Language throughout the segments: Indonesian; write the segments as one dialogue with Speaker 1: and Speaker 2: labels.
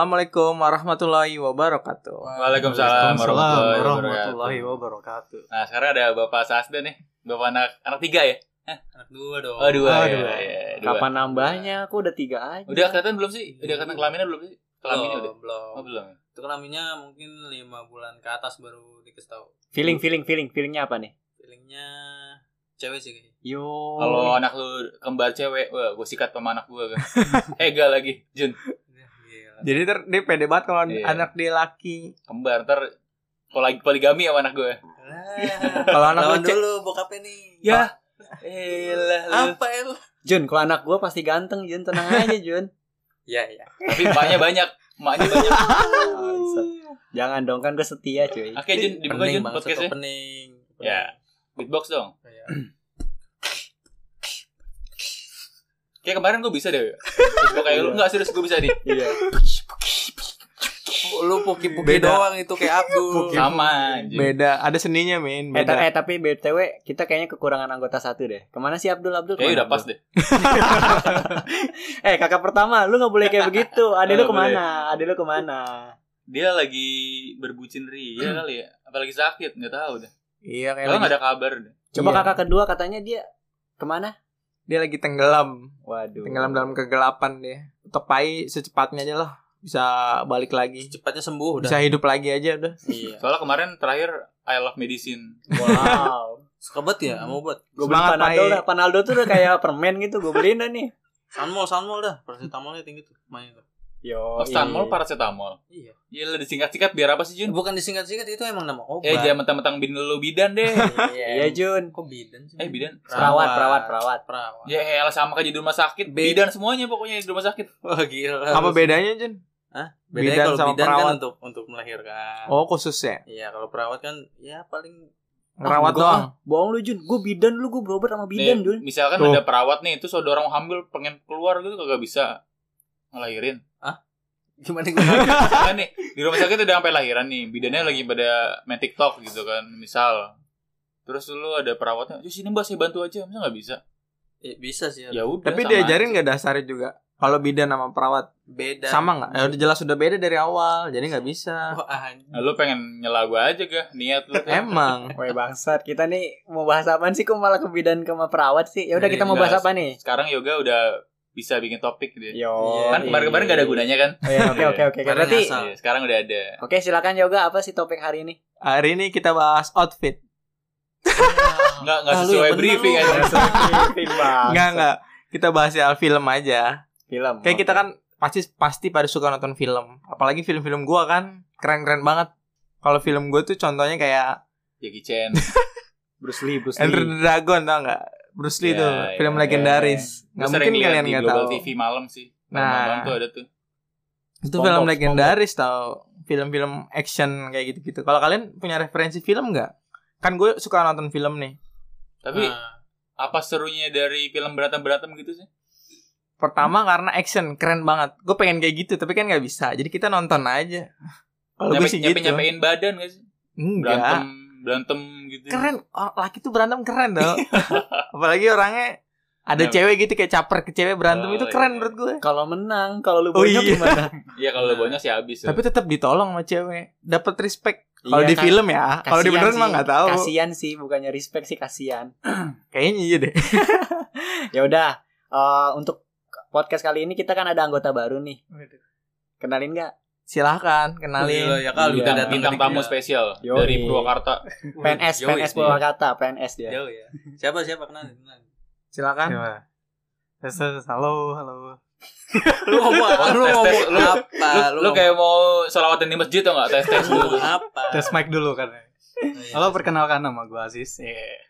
Speaker 1: Assalamualaikum warahmatullahi wabarakatuh.
Speaker 2: Waalaikumsalam warahmatullahi
Speaker 3: warahmatullahi
Speaker 2: wabarakatuh.
Speaker 3: wabarakatuh.
Speaker 2: Nah sekarang ada Bapak Sasda nih Bapak anak anak tiga ya?
Speaker 3: Anak dua dong.
Speaker 2: Oh dua,
Speaker 3: Ah,
Speaker 2: ya,
Speaker 3: dua.
Speaker 2: ya, dua.
Speaker 1: Kapan nambahnya? Aku udah tiga aja.
Speaker 2: Udah kelihatan belum sih? Udah kelihatan kelaminnya belum sih? Kelaminnya udah?
Speaker 3: Belum, belum.
Speaker 2: Oh belum ya?
Speaker 3: Itu kelaminnya mungkin lima bulan ke atas baru dikasih tahu.
Speaker 1: Feeling, feeling, feeling, feelingnya apa nih?
Speaker 3: Feelingnya cewek sih kayaknya.
Speaker 1: Yo.
Speaker 2: Kalau anak lu kembar cewek Wah gue sikat sama anak gue kan Ega lagi Jun
Speaker 3: Ya, Gila.
Speaker 1: Jadi ter dia pede banget kalau
Speaker 2: Iya.
Speaker 1: anak dia laki.
Speaker 2: Kembar ntar Kalau lagi poligami sama anak gue
Speaker 3: Lah.
Speaker 1: Kalau anak
Speaker 3: Lawan
Speaker 1: lu cek-
Speaker 3: dulu bokapnya nih. ya
Speaker 2: Ya ah. Elah lu
Speaker 3: Apa el?
Speaker 1: Jun, kalau anak gua pasti ganteng, Jun. Tenang aja, Jun.
Speaker 3: Ya ya.
Speaker 2: Tapi emaknya banyak Emaknya banyak
Speaker 4: Ah,
Speaker 1: Bangsat. Jangan dong, kan gua setia, cuy.
Speaker 2: Oke Jun dibuka
Speaker 3: Pening
Speaker 2: Jun
Speaker 3: banget
Speaker 2: podcastnya
Speaker 3: opening.
Speaker 2: Ya. Beatbox dong
Speaker 3: Oh, ya.
Speaker 2: Kayak kemarin gue bisa deh Beatbox kayak lu Enggak serius gue bisa nih
Speaker 1: Iya.
Speaker 3: Lu puki-puki
Speaker 1: Beda.
Speaker 3: doang itu kayak Abdul.
Speaker 1: Puki.
Speaker 2: Sama Jun
Speaker 4: Beda, ada seninya men.
Speaker 1: Eh, ta-
Speaker 4: Beda.
Speaker 1: eh, tapi BTW kita kayaknya kekurangan anggota satu deh. Kemana sih Abdul Abdul?
Speaker 2: Kayaknya udah
Speaker 1: kemana,
Speaker 2: pas
Speaker 1: Abdul?
Speaker 2: deh
Speaker 1: Eh kakak pertama, lu nggak boleh kayak begitu. Ade
Speaker 2: Oh,
Speaker 1: lu
Speaker 2: nggak boleh.
Speaker 1: kemana? Ade lu kemana?
Speaker 2: Dia lagi berbucin ria kali ya Apalagi sakit Gak tahu deh
Speaker 4: Iya kayak
Speaker 2: Kalau
Speaker 4: lagi,
Speaker 2: gak ada kabar deh
Speaker 1: Coba
Speaker 4: Iya.
Speaker 1: kakak kedua katanya dia kemana?
Speaker 4: dia lagi tenggelam,
Speaker 1: Waduh.
Speaker 4: tenggelam dalam kegelapan dia. Tepai secepatnya aja lah, bisa balik lagi,
Speaker 3: Cepatnya sembuh udah.
Speaker 4: bisa hidup lagi aja udah.
Speaker 3: Iya.
Speaker 2: Soalnya kemarin terakhir I love medicine
Speaker 1: Wow.
Speaker 3: Suka banget ya sama obat.
Speaker 1: Gue beli
Speaker 4: Semangat,
Speaker 1: Panadol
Speaker 4: Pai.
Speaker 1: dah. Panadol tuh udah kayak permen gitu. Gue beliin dah nih.
Speaker 3: Sanmol, sanmol dah. Paracetamolnya tinggi tuh. Main tuh.
Speaker 1: Yo.
Speaker 2: Ostanmol paracetamol
Speaker 3: Iya.
Speaker 2: Iya lu disingkat-singkat biar apa sih Jun?
Speaker 3: Bukan disingkat-singkat itu emang nama obat.
Speaker 2: Eh jangan mentang-mentang bin lu bidan deh
Speaker 1: Iya Jun.
Speaker 3: Kok bidan sih?
Speaker 2: Eh bidan
Speaker 1: Perawat, perawat, perawat.
Speaker 3: Perawat.
Speaker 2: Ya elah sama kayak di rumah sakit
Speaker 3: Be-
Speaker 2: Bidan semuanya pokoknya di rumah sakit
Speaker 3: Wah gila.
Speaker 4: Apa bedanya Jun?
Speaker 3: Eh, Hah?
Speaker 4: bidan
Speaker 3: Bedanya kalau
Speaker 4: sama
Speaker 3: bidan
Speaker 4: perawat?
Speaker 3: kan untuk untuk melahirkan.
Speaker 4: Oh khususnya,
Speaker 3: Iya, kalau perawat kan ya paling
Speaker 4: ngerawat
Speaker 1: Enggak,
Speaker 4: doang.
Speaker 1: Bohong lu Jun. Gue bidan lu. Gue berobat sama bidan
Speaker 2: Nih,
Speaker 1: Jun.
Speaker 2: Misalkan
Speaker 4: Tuh.
Speaker 2: ada perawat nih Terus ada orang hamil pengen keluar gitu kagak bisa Ngelahirin
Speaker 3: gimana gimana.
Speaker 2: Misalkan nih di rumah sakit udah sampai lahiran nih bidannya lagi pada main TikTok gitu kan misal terus dulu ada perawatnya "Ya, sini mbak saya bantu aja masa nggak bisa
Speaker 3: Ya, bisa sih.
Speaker 2: ya udah
Speaker 4: Tapi
Speaker 2: sama
Speaker 4: diajarin
Speaker 2: aja.
Speaker 4: nggak dasarnya juga? Kalau bidan sama perawat
Speaker 3: Beda.
Speaker 4: sama nggak? Ya udah jelas udah beda dari awal, jadi nggak bisa.
Speaker 3: Wah, anjing.
Speaker 2: Nah, lu pengen nyela gua aja gak niat lu kan?
Speaker 4: Emang
Speaker 1: Woi bangsat, kita nih mau bahas apaan sih? Kok malah ke bidan ke sama perawat sih? Ya udah
Speaker 2: Jadi
Speaker 1: kita mau
Speaker 2: nggak-
Speaker 1: bahas apa nih?
Speaker 2: sekarang yoga udah bisa bikin topik gitu ya.
Speaker 4: Oh,
Speaker 1: Yo.
Speaker 4: iya,
Speaker 2: kan kemarin-kemarin gak ada gunanya kan
Speaker 1: Oh, iya, Oke oke oke.
Speaker 3: Kemarin
Speaker 1: Berarti
Speaker 3: ngasal.
Speaker 2: Iya, sekarang udah ada
Speaker 1: Oke, silakan Yoga apa sih topik hari ini?
Speaker 4: hari ini kita bahas outfit. Oh.
Speaker 2: nggak nggak
Speaker 3: Ah, lu
Speaker 2: sesuai
Speaker 3: yang bener
Speaker 2: briefing
Speaker 3: lu.
Speaker 2: aja
Speaker 4: Nggak nggak, kita bahas ya film aja.
Speaker 1: Film.
Speaker 4: Kayak kita kan pasti pasti pada suka nonton film. Apalagi film-film gua kan keren-keren banget. Kalau film gue tuh contohnya kayak
Speaker 2: Jackie Chan
Speaker 1: Bruce Lee, Bruce
Speaker 4: Enter the Dragon tau nggak? Bruce Lee
Speaker 2: Ya,
Speaker 4: tuh
Speaker 2: ya,
Speaker 4: film
Speaker 2: ya.
Speaker 4: legendaris. Nggak
Speaker 2: Gue
Speaker 4: mungkin
Speaker 2: sering lihat
Speaker 4: kalian
Speaker 2: di
Speaker 4: nggak
Speaker 2: Global
Speaker 4: tahu.
Speaker 2: TV malam sih
Speaker 4: Nah.
Speaker 2: Malam tuh ada tuh
Speaker 4: Itu
Speaker 1: Spongebob,
Speaker 4: film legendaris tau. Film-film action kayak gitu-gitu. Kalau kalian punya referensi film nggak? Kan gue suka nonton film nih.
Speaker 2: Tapi
Speaker 3: Nah,
Speaker 2: apa serunya dari film berantem-berantem gitu sih?
Speaker 4: Pertama karena action keren banget. Gue pengen kayak gitu tapi kan nggak bisa. Jadi kita nonton aja. Kalau gue sih gitu.
Speaker 2: nyampein badan gak sih? berantem
Speaker 4: Enggak.
Speaker 2: berantem gitu
Speaker 4: keren Oh, laki tuh berantem keren dong apalagi orangnya ada
Speaker 2: Nah.
Speaker 4: cewek gitu kayak caper ke cewek berantem
Speaker 2: Oh,
Speaker 4: itu
Speaker 2: iya.
Speaker 4: keren menurut gue
Speaker 1: Kalau menang, kalau lu
Speaker 4: Oh,
Speaker 1: bonyok
Speaker 4: iya.
Speaker 1: gimana?
Speaker 2: ya kalau
Speaker 3: Nah.
Speaker 2: banyak sih habis ya.
Speaker 4: tapi tetap ditolong sama cewek dapat respect kalau
Speaker 1: Iya,
Speaker 4: di
Speaker 1: kan.
Speaker 4: film ya kalau di
Speaker 1: Kasian
Speaker 4: beneran
Speaker 1: sih.
Speaker 4: mah nggak tahu
Speaker 1: Kasian sih, bukannya respect sih kasian.
Speaker 4: kayaknya iya deh
Speaker 1: Ya udah, eh, untuk podcast kali ini kita kan ada anggota baru nih. Kenalin nggak?
Speaker 4: silahkan
Speaker 3: gila,
Speaker 4: kenalin
Speaker 3: ya
Speaker 2: bintang,
Speaker 3: kali udah datang
Speaker 2: bintang
Speaker 3: dari
Speaker 2: tamu
Speaker 3: kita.
Speaker 2: spesial
Speaker 1: Yoi.
Speaker 2: dari Purwakarta
Speaker 1: PNS,
Speaker 2: Yoi,
Speaker 1: PNS
Speaker 2: dia.
Speaker 1: Purwakarta, PNS dia.
Speaker 3: ya Jauh ya. Siapa siapa kenalin? kenalin.
Speaker 4: silahkan
Speaker 5: Iya.
Speaker 3: Halo, halo. lu ngomong apa? Lu
Speaker 2: Tes, tes,
Speaker 3: ngomong
Speaker 2: lu-
Speaker 3: apa?
Speaker 2: lu, lu kayak mau sholawatan di masjid atau nggak tes tes
Speaker 3: ngomong
Speaker 2: dulu
Speaker 3: apa?
Speaker 5: Tes mic dulu kan.
Speaker 3: Oh, iya.
Speaker 5: Halo perkenalkan nama gue Aziz. Eh,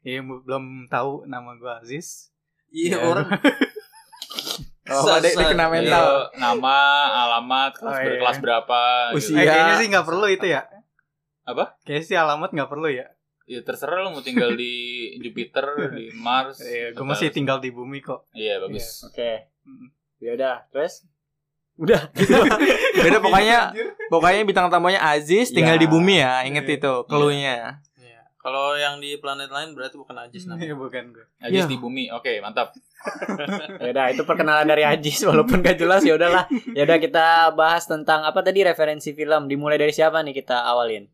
Speaker 5: Iya, bu- belum tahu nama gue Aziz. Iya.
Speaker 3: Iya, orang
Speaker 4: Kalau apa, Dek, dia kena
Speaker 3: Sasa.
Speaker 4: mental.
Speaker 2: Iya, nama alamat kelas,
Speaker 5: Oh,
Speaker 2: ber-
Speaker 5: iya.
Speaker 2: kelas berapa gitu.
Speaker 5: Eh,
Speaker 4: Usia. Iya.
Speaker 5: kayaknya sih nggak perlu itu ya.
Speaker 2: Apa?
Speaker 5: Kayaknya sih alamat nggak perlu ya.
Speaker 2: ya terserah lu mau tinggal di Jupiter di Mars
Speaker 5: Eh, gue
Speaker 2: atau-
Speaker 5: masih tinggal di bumi kok.
Speaker 2: iya bagus
Speaker 1: Oke.
Speaker 5: Mm.
Speaker 1: Ya udah, terus
Speaker 4: beda pokoknya pokoknya bintang tamunya Aziz tinggal
Speaker 1: Iya.
Speaker 4: di bumi ya inget
Speaker 5: Iya.
Speaker 4: itu keluarnya
Speaker 3: Iya.
Speaker 6: Kalau yang di planet lain berarti bukan Ajis namanya.
Speaker 7: Iya, bukan gue.
Speaker 2: Ajis
Speaker 4: Iya.
Speaker 2: di bumi. Oke, mantap.
Speaker 1: Ya udah, itu perkenalan dari Ajis walaupun gak jelas ya udahlah. Ya udah kita bahas tentang apa tadi referensi film. Dimulai dari siapa nih kita awalin?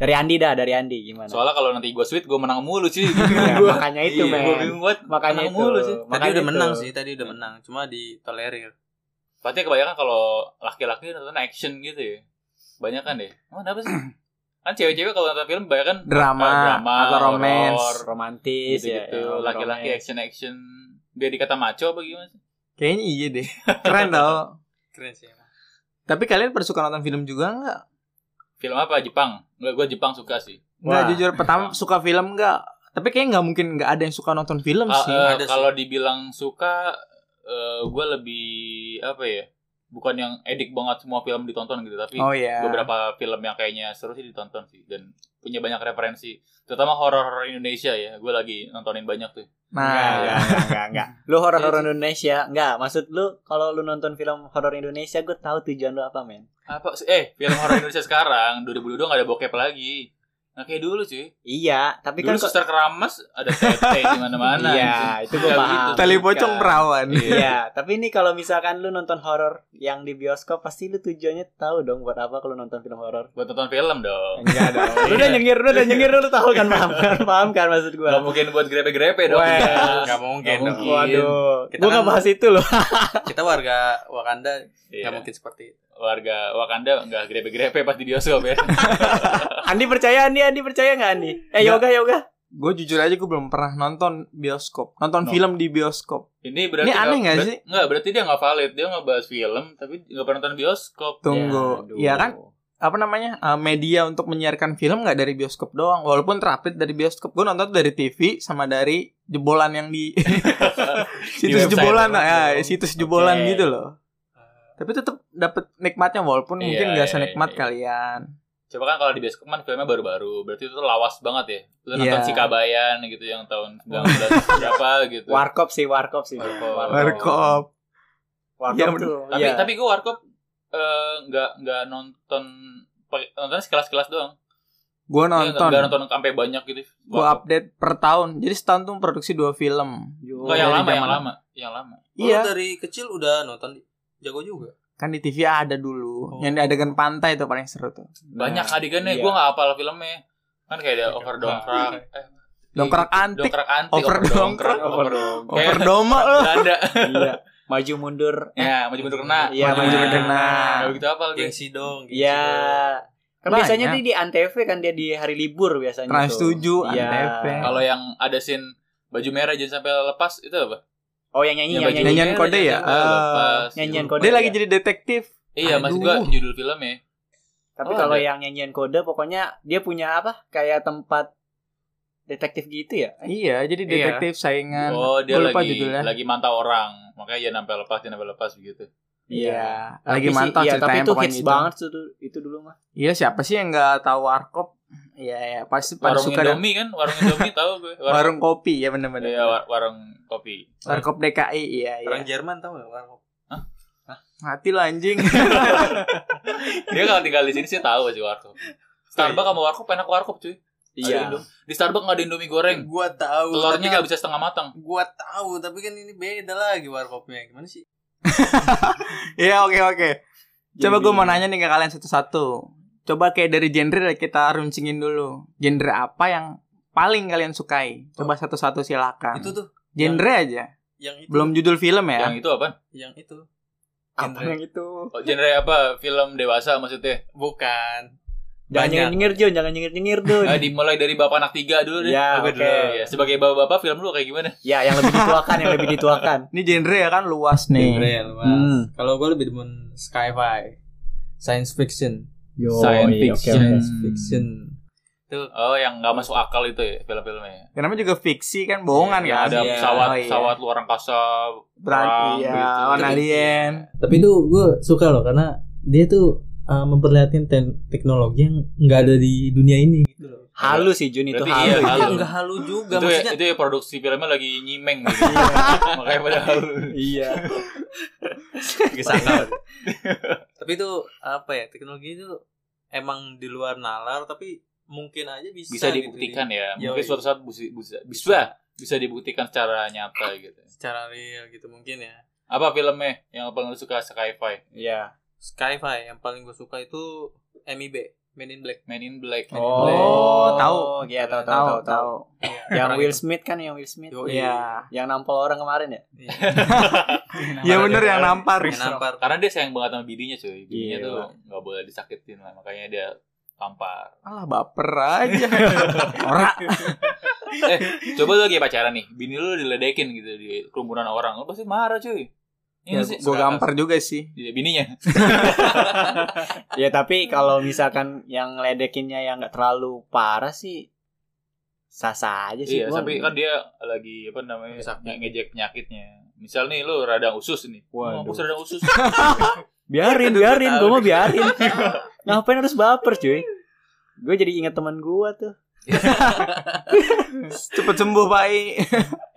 Speaker 1: Dari Andi dah, dari Andi gimana?
Speaker 2: Soalnya kalau nanti gue sweet, gue menang mulu sih.
Speaker 1: Ya,
Speaker 2: Gua-
Speaker 1: makanya itu,
Speaker 2: iya, Gue
Speaker 1: men.
Speaker 2: bingung banget.
Speaker 1: Makanya
Speaker 2: menang
Speaker 1: itu.
Speaker 2: mulu sih.
Speaker 6: Tadi
Speaker 1: Makanya
Speaker 6: udah
Speaker 1: itu.
Speaker 6: menang sih, tadi udah menang, cuma ditolerir.
Speaker 2: Berarti kebanyakan kalau laki-laki nonton action gitu ya. Banyak kan deh. Emang kenapa sih? Kan cewek-cewek kalau nonton film banyak kan
Speaker 4: Drama,
Speaker 2: eh, drama
Speaker 4: atau romance.
Speaker 2: horor,
Speaker 1: Romantis ya,
Speaker 2: gitu-gitu.
Speaker 1: ya,
Speaker 2: Laki-laki
Speaker 1: romantis.
Speaker 2: action-action. Biar dikata maco apa gimana sih?
Speaker 4: Kayaknya iya deh. Keren tau.
Speaker 6: Keren sih emang.
Speaker 4: Tapi kalian pada suka nonton film juga nggak?
Speaker 2: Film apa? Jepang. Gue gue Jepang suka sih.
Speaker 4: Nggak
Speaker 1: Wah.
Speaker 4: jujur pertama suka film nggak? Tapi kayaknya nggak mungkin nggak ada yang suka nonton film
Speaker 2: Ah,
Speaker 4: sih.
Speaker 2: eh,
Speaker 6: ada sih.
Speaker 2: kalau dibilang suka eh, gue lebih apa ya? Bukan yang edik banget semua film ditonton gitu, tapi
Speaker 4: oh iya.
Speaker 2: beberapa film yang kayaknya seru sih ditonton sih dan punya banyak referensi terutama horor-horor Indonesia ya gue lagi nontonin banyak tuh
Speaker 1: Enggak,
Speaker 4: Nah,
Speaker 1: enggak, enggak, ya, enggak, enggak. Lu horor-horor Indonesia? Enggak, maksud lu kalau lu nonton film horor Indonesia, gue tahu tujuan lu apa, men.
Speaker 2: apa sih- eh film horor Indonesia sekarang 2022 gak ada bokep lagi nah kayak dulu sih
Speaker 1: Iya, tapi
Speaker 2: dulu
Speaker 1: kan kok-
Speaker 2: suster keramas ada tete di mana-mana
Speaker 1: Iya, itu gua
Speaker 2: Nggak
Speaker 1: paham.
Speaker 2: begitu,
Speaker 4: tali
Speaker 2: bukan.
Speaker 4: pocong perawan.
Speaker 1: Iya, tapi ini kalau misalkan lu nonton horor yang di bioskop pasti lu tujuannya tahu dong buat apa kalau nonton film horor.
Speaker 2: buat nonton film dong
Speaker 1: Enggak dong. lu udah nyengir, lu udah nyengir, lu tahu kan paham kan, paham kan maksud gua.
Speaker 2: Gak mungkin buat grepe-grepe dong
Speaker 1: Weh,
Speaker 2: ya.
Speaker 6: Gak mungkin.
Speaker 2: Nggak
Speaker 6: dong.
Speaker 1: Waduh,
Speaker 6: Kita
Speaker 1: gua nggak
Speaker 6: kan-
Speaker 1: bahas itu loh.
Speaker 6: Kita warga Wakanda
Speaker 2: Iya.
Speaker 6: nggak mungkin seperti itu.
Speaker 2: warga Wakanda gak grepe-grepe pas di bioskop ya
Speaker 1: Andi percaya Andi, Andi percaya nggak Andi? Eh yoga yoga.
Speaker 4: Gue jujur aja gue belum pernah nonton bioskop, nonton
Speaker 2: No.
Speaker 4: film di bioskop.
Speaker 2: ini berarti
Speaker 4: Ini aneh nggak
Speaker 2: ber-
Speaker 4: sih?
Speaker 2: nggak, berarti dia gak valid dia nggak bahas film tapi gak pernah nonton bioskop
Speaker 4: Tunggu, ya, kan? Apa namanya? Eh, media untuk menyiarkan film nggak dari bioskop doang. Walaupun terupdate dari bioskop, gue nonton dari TV sama dari jebolan yang di situs
Speaker 2: website
Speaker 4: jebolan,
Speaker 2: emang
Speaker 4: ya,
Speaker 2: dong.
Speaker 4: situs jebolan
Speaker 1: Oke.
Speaker 4: gitu loh. Tapi tetap dapat nikmatnya walaupun
Speaker 2: Iya,
Speaker 4: mungkin nggak
Speaker 2: iya,
Speaker 4: senikmat
Speaker 2: iya.
Speaker 4: kalian.
Speaker 2: Coba kan kalau di bioskop kan filmnya baru-baru, berarti itu tuh lawas banget ya. Lu nonton
Speaker 4: Iya.
Speaker 2: Sikabayan gitu yang tahun 19 berapa gitu.
Speaker 1: Warkop sih, warkop sih.
Speaker 2: Warkop.
Speaker 4: Warkop.
Speaker 1: Warkop
Speaker 4: Iya,
Speaker 1: tuh.
Speaker 2: Tapi
Speaker 1: iya.
Speaker 2: tapi gua warkop eh, nggak nggak nonton pakai- nontonnya sekelas-kelas doang. Iya,
Speaker 4: Gue
Speaker 2: Nggak-
Speaker 4: nonton.
Speaker 2: Nggak nonton sampai banyak gitu.
Speaker 4: Gue update per tahun. Jadi setahun tuh produksi dua film.
Speaker 1: Iya,
Speaker 2: Nggak, yang
Speaker 4: dari
Speaker 2: lama, yang
Speaker 4: Oh, zaman-
Speaker 2: lama, yang lama.
Speaker 6: Lu
Speaker 4: Iya.
Speaker 3: Oh,
Speaker 6: dari kecil udah nonton jago juga.
Speaker 4: Kan di TV ada
Speaker 6: Oh.
Speaker 4: dulu. Yang di adegan pantai tuh paling seru tuh.
Speaker 2: Banyak adegannya,
Speaker 1: iya.
Speaker 2: gua nggak hafal filmnya. Kan kayak ada overdongkrak, eh,
Speaker 4: Dongkrak antik.
Speaker 2: dongkrak antik,
Speaker 4: Overdongkrak.
Speaker 2: overdongkrak,
Speaker 4: Over
Speaker 2: overdongkrak.
Speaker 4: doma lo.
Speaker 2: Belanda.
Speaker 1: Iya. Maju mundur.
Speaker 2: Ya, maju mundur kena.
Speaker 1: Iya,
Speaker 4: maju
Speaker 1: maju
Speaker 4: mundur kena.
Speaker 2: Nggak begitu hafal gue.
Speaker 6: Gengsi dong. gengsi
Speaker 1: Iya. Kan
Speaker 4: Banyak.
Speaker 1: biasanya dia di Antv kan dia di hari libur biasanya
Speaker 4: Trans
Speaker 1: tuh.
Speaker 4: 7,
Speaker 1: Iya.
Speaker 4: Antv.
Speaker 2: Kalau yang ada scene baju merah jangan sampai lepas itu apa?
Speaker 1: Oh yang nyanyi, yang
Speaker 2: Iya, baju
Speaker 1: nyanyi.
Speaker 4: nyanyian
Speaker 2: merah
Speaker 4: kode ya?
Speaker 2: jangan sampai
Speaker 4: Ah.
Speaker 2: lepas.
Speaker 1: Nyanyian
Speaker 2: Gitu.
Speaker 1: kode.
Speaker 4: Dia lagi
Speaker 1: ya.
Speaker 4: jadi detektif.
Speaker 2: Iya, maksud gua
Speaker 4: Aduh.
Speaker 2: judul filmnya.
Speaker 1: Tapi
Speaker 2: Oh,
Speaker 1: kalau
Speaker 2: ada.
Speaker 1: yang nyanyian kode pokoknya dia punya apa? Kayak tempat detektif gitu ya.
Speaker 4: Iya, jadi
Speaker 7: Iya.
Speaker 4: detektif saingan.
Speaker 2: Oh, dia
Speaker 4: kan. Gua lupa
Speaker 2: lagi
Speaker 4: judulnya.
Speaker 2: lagi mantau orang. Makanya jangan sampai lepas, jangan sampai lepas begitu.
Speaker 4: Iya,
Speaker 1: Tapi
Speaker 4: lagi
Speaker 1: sih-
Speaker 4: mantap
Speaker 1: iya, tapi
Speaker 4: ceritanya
Speaker 1: itu
Speaker 4: pokoknya
Speaker 1: hits
Speaker 4: gitu.
Speaker 1: banget tuh tuh- itu dulu mah.
Speaker 4: Iya, siapa sih yang nggak tahu warkop? Iya, iya, pasti pada
Speaker 2: Warung
Speaker 4: suka dah.
Speaker 2: Indomie kan, warung Indomie tahu gue.
Speaker 4: warung kopi ya bener-bener.
Speaker 2: Iya, war- warung kopi.
Speaker 4: Warkop DKI, iya,
Speaker 6: dong.
Speaker 4: iya.
Speaker 6: Orang Jerman tau gak? Orang-
Speaker 4: Mati lo anjing.
Speaker 2: Dia kalau tinggal di sini sih tahu sih warkop. Starbucks sama warkop enak warkop cuy.
Speaker 1: Iya.
Speaker 2: Ada
Speaker 4: Iya.
Speaker 2: Indo- Di Starbucks nggak ada Indomie goreng.
Speaker 6: Gua tahu.
Speaker 2: Iya. Telurnya
Speaker 6: tapi
Speaker 2: nggak bisa setengah matang.
Speaker 6: Gua tahu, tapi kan ini beda lagi warkopnya. Gimana sih?
Speaker 4: Iya, oke, oke. Coba
Speaker 1: Jadi-
Speaker 4: gue mau nanya nih ke kalian satu-satu. Coba kayak dari genre kita runcingin dulu. Genre apa yang paling kalian sukai? Coba satu-satu silakan.
Speaker 6: Itu tuh
Speaker 4: genre aja.
Speaker 6: yang itu.
Speaker 4: Belum judul film ya.
Speaker 2: Yang itu apa?
Speaker 6: yang itu.
Speaker 1: Apa
Speaker 6: genre.
Speaker 1: yang itu?
Speaker 2: Oh, genre apa? Film dewasa maksudnya?
Speaker 6: Bukan.
Speaker 1: Jangan
Speaker 6: Banyak.
Speaker 1: nyengir Jun, jangan nyengir-nyengir Jun.
Speaker 2: Nah, dimulai dari bapak anak tiga dulu deh.
Speaker 1: Ya,
Speaker 2: Apa
Speaker 1: oke.
Speaker 2: dulu? Ya, sebagai bapak-bapak film lu kayak gimana?
Speaker 1: ya, yang lebih dituakan, yang lebih dituakan.
Speaker 4: Ini genre ya kan luas
Speaker 6: Genre
Speaker 4: nih.
Speaker 6: ya, luas.
Speaker 1: Hmm.
Speaker 6: Kalau gua lebih demen sci-fi, science fiction,
Speaker 1: Yo,
Speaker 2: Science
Speaker 1: iya, oke,
Speaker 2: fiction.
Speaker 1: oke.
Speaker 6: science fiction.
Speaker 2: Oh, yang nggak masuk akal itu ya filmnya-filmnya.
Speaker 4: Kenapa juga fiksi kan bohongan
Speaker 2: Yang
Speaker 4: kan?
Speaker 2: ada
Speaker 1: Iya.
Speaker 2: pesawat,
Speaker 4: Oh, iya.
Speaker 2: pesawat luar angkasa.
Speaker 4: Berarti
Speaker 2: perang
Speaker 4: ya,
Speaker 2: gitu.
Speaker 4: lawan alien.
Speaker 6: Tapi itu gua suka loh karena dia tuh uh, memperlihatkan te- teknologi yang nggak ada di dunia ini gitu loh.
Speaker 1: Halu sih Jun itu
Speaker 2: Berarti
Speaker 1: halu.
Speaker 2: iya,
Speaker 1: Iya,
Speaker 2: halu.
Speaker 6: Enggak halu juga
Speaker 2: itu, ya,
Speaker 6: maksudnya.
Speaker 2: itu ya produksi filmnya lagi nyimeng gitu.
Speaker 4: Iya,
Speaker 2: Makanya pada halu.
Speaker 1: Iya.
Speaker 6: tapi itu apa ya? Teknologi itu emang di luar nalar tapi
Speaker 3: mungkin aja bisa
Speaker 2: bisa
Speaker 3: gitu,
Speaker 2: dibuktikan
Speaker 3: Din.
Speaker 2: ya.
Speaker 3: Yoi.
Speaker 2: Mungkin suatu saat busi- busi- bisa bisa dibuktikan secara nyata gitu.
Speaker 3: secara real gitu mungkin ya
Speaker 2: Apa filmnya yang paling lu suka sci-fi?
Speaker 1: Iya.
Speaker 3: Skyfi yang paling gue suka itu MIB Men in Black
Speaker 2: Men in Black. Men in Black.
Speaker 4: Oh, tahu.
Speaker 1: Iya, tahu
Speaker 4: Tahu,
Speaker 1: tahu tahu tahu.
Speaker 4: tahu.
Speaker 3: Iya,
Speaker 1: Yang Will Smith kan yang Will Smith.
Speaker 3: Yoi.
Speaker 4: Iya.
Speaker 1: Yang nampol orang kemarin ya?
Speaker 4: Iya bener yang nampar.
Speaker 3: yang nampar
Speaker 2: Karena dia sayang banget sama bidinya cuy. Bidinya
Speaker 1: Iya.
Speaker 2: tuh nggak boleh disakitin lah. Makanya dia tampar.
Speaker 4: Alah baper aja. Ora.
Speaker 2: Coba lu lagi pacaran nih. Bini lu diledekin gitu di kerumunan orang. Lu pasti marah cuy.
Speaker 4: Ya,
Speaker 2: Iya sih?
Speaker 4: gue gampar juga sih.
Speaker 2: Iya, bininya.
Speaker 1: Ya tapi kalau misalkan yang ledekinnya yang nggak terlalu parah sih sah-sah aja
Speaker 2: Iya,
Speaker 1: sih. gua.
Speaker 2: tapi kan dia lagi apa namanya
Speaker 3: Sakit.
Speaker 2: nge- ngejek penyakitnya. Misal nih lu radang usus nih. Wah,
Speaker 1: Waduh.
Speaker 2: mampus radang usus.
Speaker 1: biarin, biarin, gua mau biarin. Ngapain harus baper, cuy? Gue jadi ingat teman gua tuh.
Speaker 4: Cepet sembuh baik.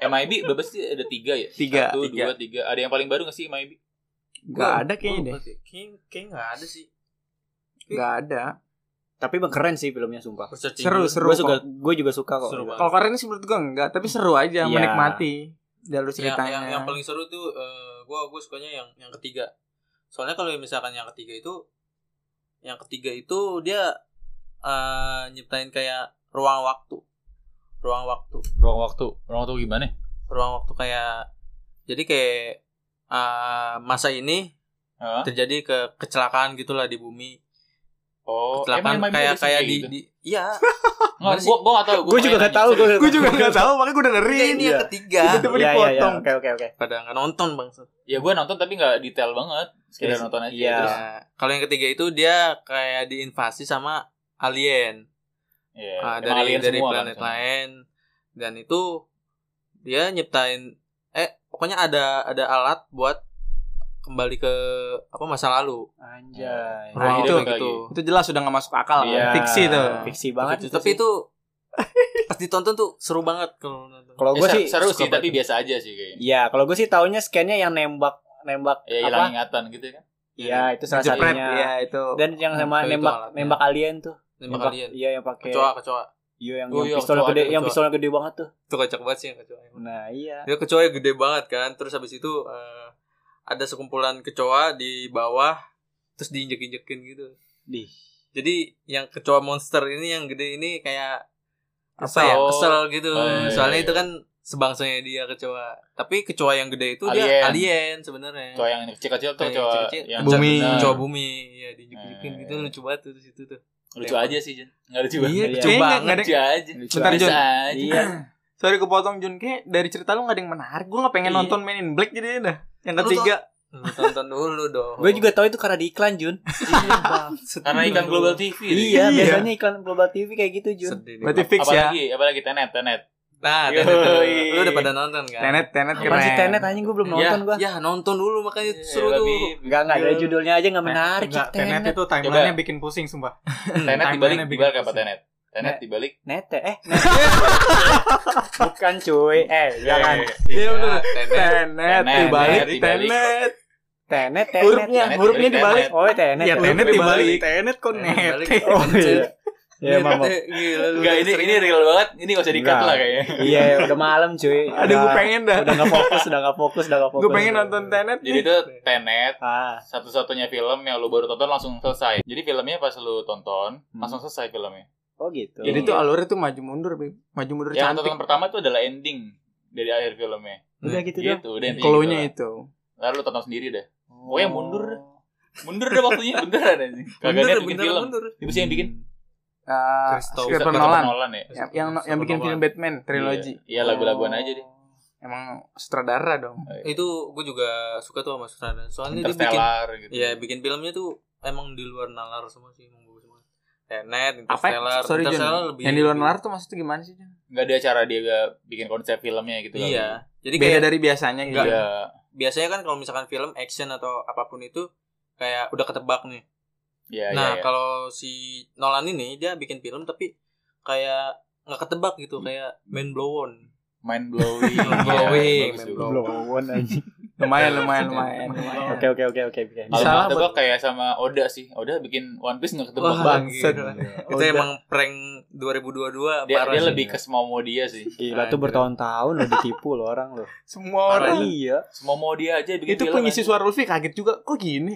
Speaker 2: MIB berapa sih ada tiga ya?
Speaker 4: Tiga,
Speaker 2: Satu,
Speaker 4: tiga.
Speaker 2: dua, tiga. Ada yang paling baru gak sih MIB?
Speaker 4: Gak ada kayaknya
Speaker 3: Iya.
Speaker 4: deh.
Speaker 3: Kayaknya kayak nggak ada sih
Speaker 4: Gak ada.
Speaker 1: Tapi emang keren sih filmnya sumpah.
Speaker 3: Gua searching
Speaker 4: Seru
Speaker 3: dulu.
Speaker 4: seru.
Speaker 1: Gue juga
Speaker 4: kok.
Speaker 1: gue juga suka kok.
Speaker 3: Seru banget.
Speaker 4: Kalau keren sih menurut gue enggak, tapi seru aja
Speaker 1: Iya.
Speaker 4: menikmati jalur
Speaker 3: yang,
Speaker 4: ceritanya.
Speaker 3: Iya, yang, yang paling seru tuh eh, gua gue sukanya yang yang ketiga soalnya kalau misalkan yang ketiga itu yang ketiga itu dia eh, nyiptain kayak ruang waktu ruang waktu
Speaker 2: Ruang waktu. Ruang waktu gimana?
Speaker 3: ruang waktu kayak jadi kayak eh, masa ini
Speaker 2: Hah?
Speaker 3: terjadi ke kecelakaan gitulah di bumi
Speaker 2: Oh,
Speaker 3: kecelakaan
Speaker 2: emang MIB
Speaker 3: kayak
Speaker 2: ada sih
Speaker 3: kayak di,
Speaker 2: gitu?
Speaker 3: di iya
Speaker 2: Nggak,
Speaker 3: Gimana sih?
Speaker 2: gua gua gitu, nggak tahu.
Speaker 1: Gue juga
Speaker 2: nggak
Speaker 1: gak tahu Iya, gue.
Speaker 4: Gue juga gak tahu, makanya gue
Speaker 3: Enggak,
Speaker 4: dengerin.
Speaker 3: ini
Speaker 2: iya.
Speaker 3: yang ketiga
Speaker 4: Tiba-tiba dipotong.
Speaker 1: Oke oke oke.
Speaker 3: pada nggak nonton bang
Speaker 2: Ya gua nonton tapi nggak detail banget. Sekedar
Speaker 1: Iya.
Speaker 2: nonton aja.
Speaker 1: Iya.
Speaker 2: Terus,
Speaker 3: Ya, kalau yang ketiga itu dia kayak diinvasi sama alien
Speaker 2: Iya.
Speaker 3: Ah,
Speaker 2: Emang
Speaker 3: dari
Speaker 2: alien
Speaker 3: dari
Speaker 2: semua kan,
Speaker 3: planet
Speaker 2: semua.
Speaker 3: lain dan itu dia nyiptain eh pokoknya ada ada alat buat kembali ke apa masa lalu
Speaker 1: Anjay.
Speaker 4: Nah,
Speaker 2: Nah, itu
Speaker 4: itu,
Speaker 2: balik
Speaker 3: gitu
Speaker 4: itu jelas sudah gak masuk akal.
Speaker 2: Iya.
Speaker 4: Fiksi tuh.
Speaker 1: Fiksi banget.
Speaker 3: tapi itu pas ditonton tuh seru banget kalau nonton
Speaker 1: kalau
Speaker 2: Ya,
Speaker 1: gue
Speaker 2: ser-
Speaker 1: sih
Speaker 2: seru
Speaker 1: suka
Speaker 2: sih tapi
Speaker 1: banget.
Speaker 2: biasa aja sih kayaknya.
Speaker 1: Iya, kalau gue sih taunya scan-nya yang nembak nembak
Speaker 2: Ya
Speaker 1: apa?
Speaker 2: hilang ingatan gitu kan.
Speaker 1: Iya, itu salah
Speaker 4: Jepret,
Speaker 1: satunya.
Speaker 4: iya itu.
Speaker 1: Dan yang
Speaker 3: Itu-
Speaker 1: sama
Speaker 3: itu
Speaker 1: nembak
Speaker 3: alatnya.
Speaker 1: nembak alien tuh.
Speaker 3: nembak alien
Speaker 1: Iya, yang pakai
Speaker 3: kecoa kecoa
Speaker 1: Iya, yang,
Speaker 2: Oh,
Speaker 1: yang
Speaker 2: iya,
Speaker 1: pistolnya
Speaker 2: kecoa,
Speaker 1: gede,
Speaker 3: ada
Speaker 1: yang
Speaker 3: kecoa.
Speaker 1: pistolnya gede banget tuh.
Speaker 3: itu kocak banget sih yang kecoa
Speaker 1: Nah, iya.
Speaker 3: dia Ya, kecoa gede banget kan terus habis itu eh, ada sekumpulan kecoa di bawah terus diinjek-injekin gitu
Speaker 1: Di.
Speaker 3: jadi yang kecoa monster ini yang gede ini kayak apa ya
Speaker 2: Kesel.
Speaker 3: kesel gitu
Speaker 2: Oh, iya,
Speaker 3: soalnya
Speaker 2: iya.
Speaker 3: itu kan sebangsanya dia kecoa tapi kecoa yang gede itu
Speaker 2: Alien.
Speaker 3: dia alien sebenarnya
Speaker 2: Cowok yang kecil-kecil tuh
Speaker 3: Yang
Speaker 2: cowok
Speaker 3: kecil-kecil.
Speaker 2: yang
Speaker 4: Bumi.
Speaker 2: benar.
Speaker 3: kecoa bumi ya diinjek-injekin
Speaker 2: Eh.
Speaker 3: gitu lucu banget tuh di situ tuh
Speaker 2: Lucu aja sih, Jen. Enggak lucu banget.
Speaker 4: Iya,
Speaker 1: Iya.
Speaker 4: kayaknya nggak- nggak ada-
Speaker 2: Lucu aja.
Speaker 4: Bentar,
Speaker 2: Biasa
Speaker 4: Jon.
Speaker 2: aja.
Speaker 1: Iya.
Speaker 4: Sorry kepotong Jun, kayak dari cerita lu gak ada yang menarik. Gue gak pengen
Speaker 3: Iya.
Speaker 4: nonton Men in Black jadi dah. Yang
Speaker 3: Lu
Speaker 4: ketiga,
Speaker 3: Lu tonton dulu dong
Speaker 1: gue juga tahu itu karena di iklan, Jun.
Speaker 2: Karena ikan Global TV.
Speaker 4: Iya.
Speaker 1: iya, biasanya iklan Global TV kayak gitu, Jun.
Speaker 3: sedih deh.
Speaker 4: berarti fix ya.
Speaker 2: Apalagi, apalagi Tenet, Tenet.
Speaker 3: nah
Speaker 2: Yoi. Nah,
Speaker 3: Tenet tuh. lu udah pada nonton kan
Speaker 4: Tenet, tenet
Speaker 1: Apa
Speaker 4: keren.
Speaker 1: sih Tenet anjing gue belum nonton
Speaker 3: ya,
Speaker 1: gua.
Speaker 3: ya nonton dulu makanya seru
Speaker 2: Iya,
Speaker 3: tuh
Speaker 2: lebih-
Speaker 1: Enggak, enggak dari judulnya aja enggak menarik
Speaker 8: Enggak,
Speaker 1: Tenet.
Speaker 8: tenet itu timelinenya bikin pusing sumpah.
Speaker 2: Tenet
Speaker 8: Timeline-nya
Speaker 2: dibalik,
Speaker 8: bikin
Speaker 2: dibalik apa
Speaker 8: pusing.
Speaker 2: Tenet? Tenet
Speaker 1: Net.
Speaker 2: dibalik.
Speaker 1: Nete eh nete. Bukan cuy. Eh, jangan.
Speaker 2: ya,
Speaker 4: Iya, bener.
Speaker 3: Tenet
Speaker 4: Tenet,
Speaker 2: Tenet,
Speaker 4: dibalik,
Speaker 2: dibalik.
Speaker 4: tenet.
Speaker 1: Tenet, tenet.
Speaker 4: Hurufnya,
Speaker 2: Tenet,
Speaker 4: hurufnya
Speaker 2: tenet.
Speaker 4: dibalik.
Speaker 1: Oh, tenet.
Speaker 4: Ya, tenet dibalik. Tenet kok
Speaker 3: Tenet
Speaker 4: net.
Speaker 3: balik.
Speaker 1: Oh, iya. Ya,
Speaker 3: Tenet,
Speaker 1: maaf. maaf.
Speaker 3: eh, gila lu
Speaker 2: Enggak, ini ini
Speaker 3: Iya.
Speaker 2: real banget. Ini gak usah di-cut
Speaker 1: Enggak.
Speaker 2: lah kayaknya.
Speaker 1: Iya, udah malam cuy.
Speaker 4: Ada gue
Speaker 1: Udah-
Speaker 4: pengen dah.
Speaker 1: Udah enggak fokus, udah enggak fokus, udah enggak fokus.
Speaker 4: Gue pengen nonton tenet
Speaker 2: Jadi
Speaker 4: nih.
Speaker 2: itu Tenet
Speaker 1: Ah,
Speaker 2: satu-satunya film yang lu baru tonton langsung selesai. Jadi filmnya pas lu tonton, langsung selesai filmnya.
Speaker 1: oh gitu.
Speaker 4: Jadi tuh alurnya tuh maju mundur, Bib. Maju mundur
Speaker 2: Yang
Speaker 4: cantik.
Speaker 2: tonton pertama itu adalah ending dari akhir filmnya.
Speaker 1: udah gitu dong.
Speaker 2: Gitu, udah intinya
Speaker 4: Keluhnya
Speaker 2: gitu
Speaker 4: itu.
Speaker 2: lah. Lalu lu tonton sendiri deh. Pokoknya mundur
Speaker 1: Oh.
Speaker 2: deh. Mundur deh waktunya, beneran anjing. Kagak
Speaker 3: Mundur,
Speaker 2: niat bikin
Speaker 3: mundur,
Speaker 2: film.
Speaker 3: mundur.
Speaker 2: Itu sih yang bikin
Speaker 4: Eh,
Speaker 3: Christopher
Speaker 4: Christopher
Speaker 2: Christopher
Speaker 4: Nolan.
Speaker 2: ya.
Speaker 4: Ya, yang yang bikin film Batman trilogi.
Speaker 2: Iya, lagu-laguan aja deh.
Speaker 4: Emang sutradara dong.
Speaker 3: itu gue juga suka tuh sama sutradara soalnya dia bikin
Speaker 2: Interstellar gitu.
Speaker 3: ya bikin filmnya tuh emang di luar nalar semua sih emang bagus banget Tenet,
Speaker 4: Apa? ya?
Speaker 3: Interstellar,
Speaker 4: Sorry Jun.
Speaker 3: Interstellar lebih
Speaker 4: Yang di luar nalar tuh maksudnya gimana sih? Jun?
Speaker 2: nggak ada cara dia nggak bikin konsep filmnya gitu kali.
Speaker 3: Iya. Jadi
Speaker 4: Beda
Speaker 3: kayak
Speaker 4: dari biasanya gitu.
Speaker 2: iya
Speaker 3: biasanya kan kalau misalkan film action atau apapun itu kayak udah ketebak nih.
Speaker 2: iya
Speaker 3: nah,
Speaker 2: iya, iya.
Speaker 3: kalau si Nolan ini dia bikin film tapi kayak nggak ketebak
Speaker 2: Hmm.
Speaker 3: gitu, kayak main blown.
Speaker 2: mind blowing Iya,
Speaker 3: Mind blowing,
Speaker 2: bagus
Speaker 3: mind
Speaker 2: juga.
Speaker 3: blowing.
Speaker 1: Belum
Speaker 4: Lumayan,
Speaker 1: aja.
Speaker 4: lumayan, lumayan. lumayan.
Speaker 1: Oke oke oke oke oke.
Speaker 2: Kalau
Speaker 4: Salah
Speaker 2: mau tebak kayak sama Oda sih. Oda bikin One Piece nggak ketebak
Speaker 4: Wah,
Speaker 2: banget.
Speaker 4: Bangsat.
Speaker 3: gitu. Itu emang prank 2022
Speaker 2: Dia,
Speaker 3: parah
Speaker 2: dia
Speaker 3: sih.
Speaker 2: lebih ke semau mau dia sih.
Speaker 1: Gila tuh bertahun-tahun lo ditipu lo orang lo.
Speaker 4: Semua
Speaker 3: Parah.
Speaker 4: orang.
Speaker 1: Iya.
Speaker 2: Semau mau dia aja bikin
Speaker 4: Itu
Speaker 2: film,
Speaker 4: pengisi
Speaker 2: anjing.
Speaker 4: suara Luffy kaget juga. Kok gini?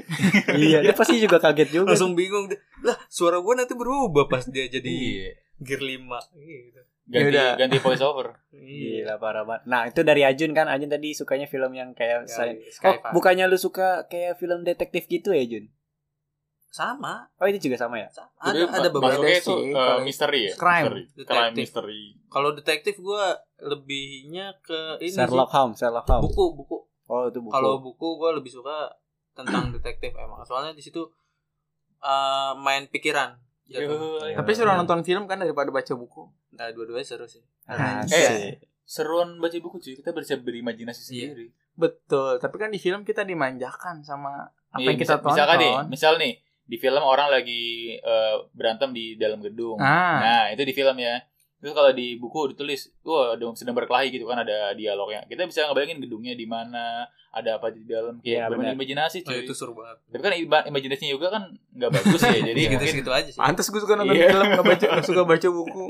Speaker 1: Iya, dia pasti juga kaget juga.
Speaker 3: langsung bingung deh. Lah, suara gua nanti berubah pas dia jadi
Speaker 2: Iya.
Speaker 3: gear 5 gitu. Iya.
Speaker 2: Ganti
Speaker 4: Yaudah.
Speaker 2: ganti voice over.
Speaker 1: Gila parah banget. Nah, itu dari Ajun kan. Ajun tadi sukanya film yang
Speaker 4: Iya,
Speaker 1: kayak sci- Oh,
Speaker 3: Skyfire.
Speaker 1: bukannya lu suka kayak film detektif gitu ya, Jun?
Speaker 3: sama,
Speaker 1: Oh, ini juga sama ya?
Speaker 3: sama.
Speaker 2: Jadi
Speaker 3: Ada ada
Speaker 2: ma-
Speaker 3: beberapa
Speaker 2: masuknya
Speaker 4: sih,
Speaker 2: itu eh,
Speaker 4: kalau-
Speaker 2: misteri ya.
Speaker 4: Crime.
Speaker 2: Misteri. Crime
Speaker 3: Detektif.
Speaker 2: misteri.
Speaker 3: Kalau detektif gua lebihnya ke ini sih.
Speaker 1: Sherlock Holmes, Sherlock Holmes.
Speaker 3: buku buku.
Speaker 1: Oh, itu buku.
Speaker 3: Kalau buku gua lebih suka tentang detektif emang. Soalnya di situ eh, main pikiran. Jatuh.
Speaker 2: Yoi.
Speaker 4: Tapi suruh nonton film kan daripada baca buku.
Speaker 3: Nah, dua-duanya seru sih.
Speaker 1: Asik.
Speaker 2: Seruan baca buku cuy, kita bisa berimajinasi
Speaker 3: Iya.
Speaker 2: sendiri.
Speaker 4: Betul. Tapi kan di film kita dimanjakan sama apa
Speaker 2: Nih,
Speaker 4: yang kita
Speaker 2: misa- Misalkan nih,
Speaker 4: tonton.
Speaker 2: Iya, misal nih di film orang lagi eh, berantem di dalam gedung.
Speaker 4: Ah,
Speaker 2: Nah, itu di film ya. Terus kalau di buku ditulis, wah ada- sedang berkelahi gitu kan ada dialognya. Kita bisa ngebayangin gedungnya di mana, ada apa di dalam.
Speaker 1: Iya,
Speaker 2: Kayak bener
Speaker 1: benar.
Speaker 2: imajinasi
Speaker 3: Oh,
Speaker 2: cuy.
Speaker 1: iya.
Speaker 3: itu seru banget.
Speaker 2: Tapi kan ima- imajinasinya juga kan nggak bagus ya. jadi mungkin
Speaker 3: Gitu-gitu aja Gitu sih.
Speaker 4: pantas gue suka nonton
Speaker 2: Iya.
Speaker 4: film, gak baca, gak suka baca buku.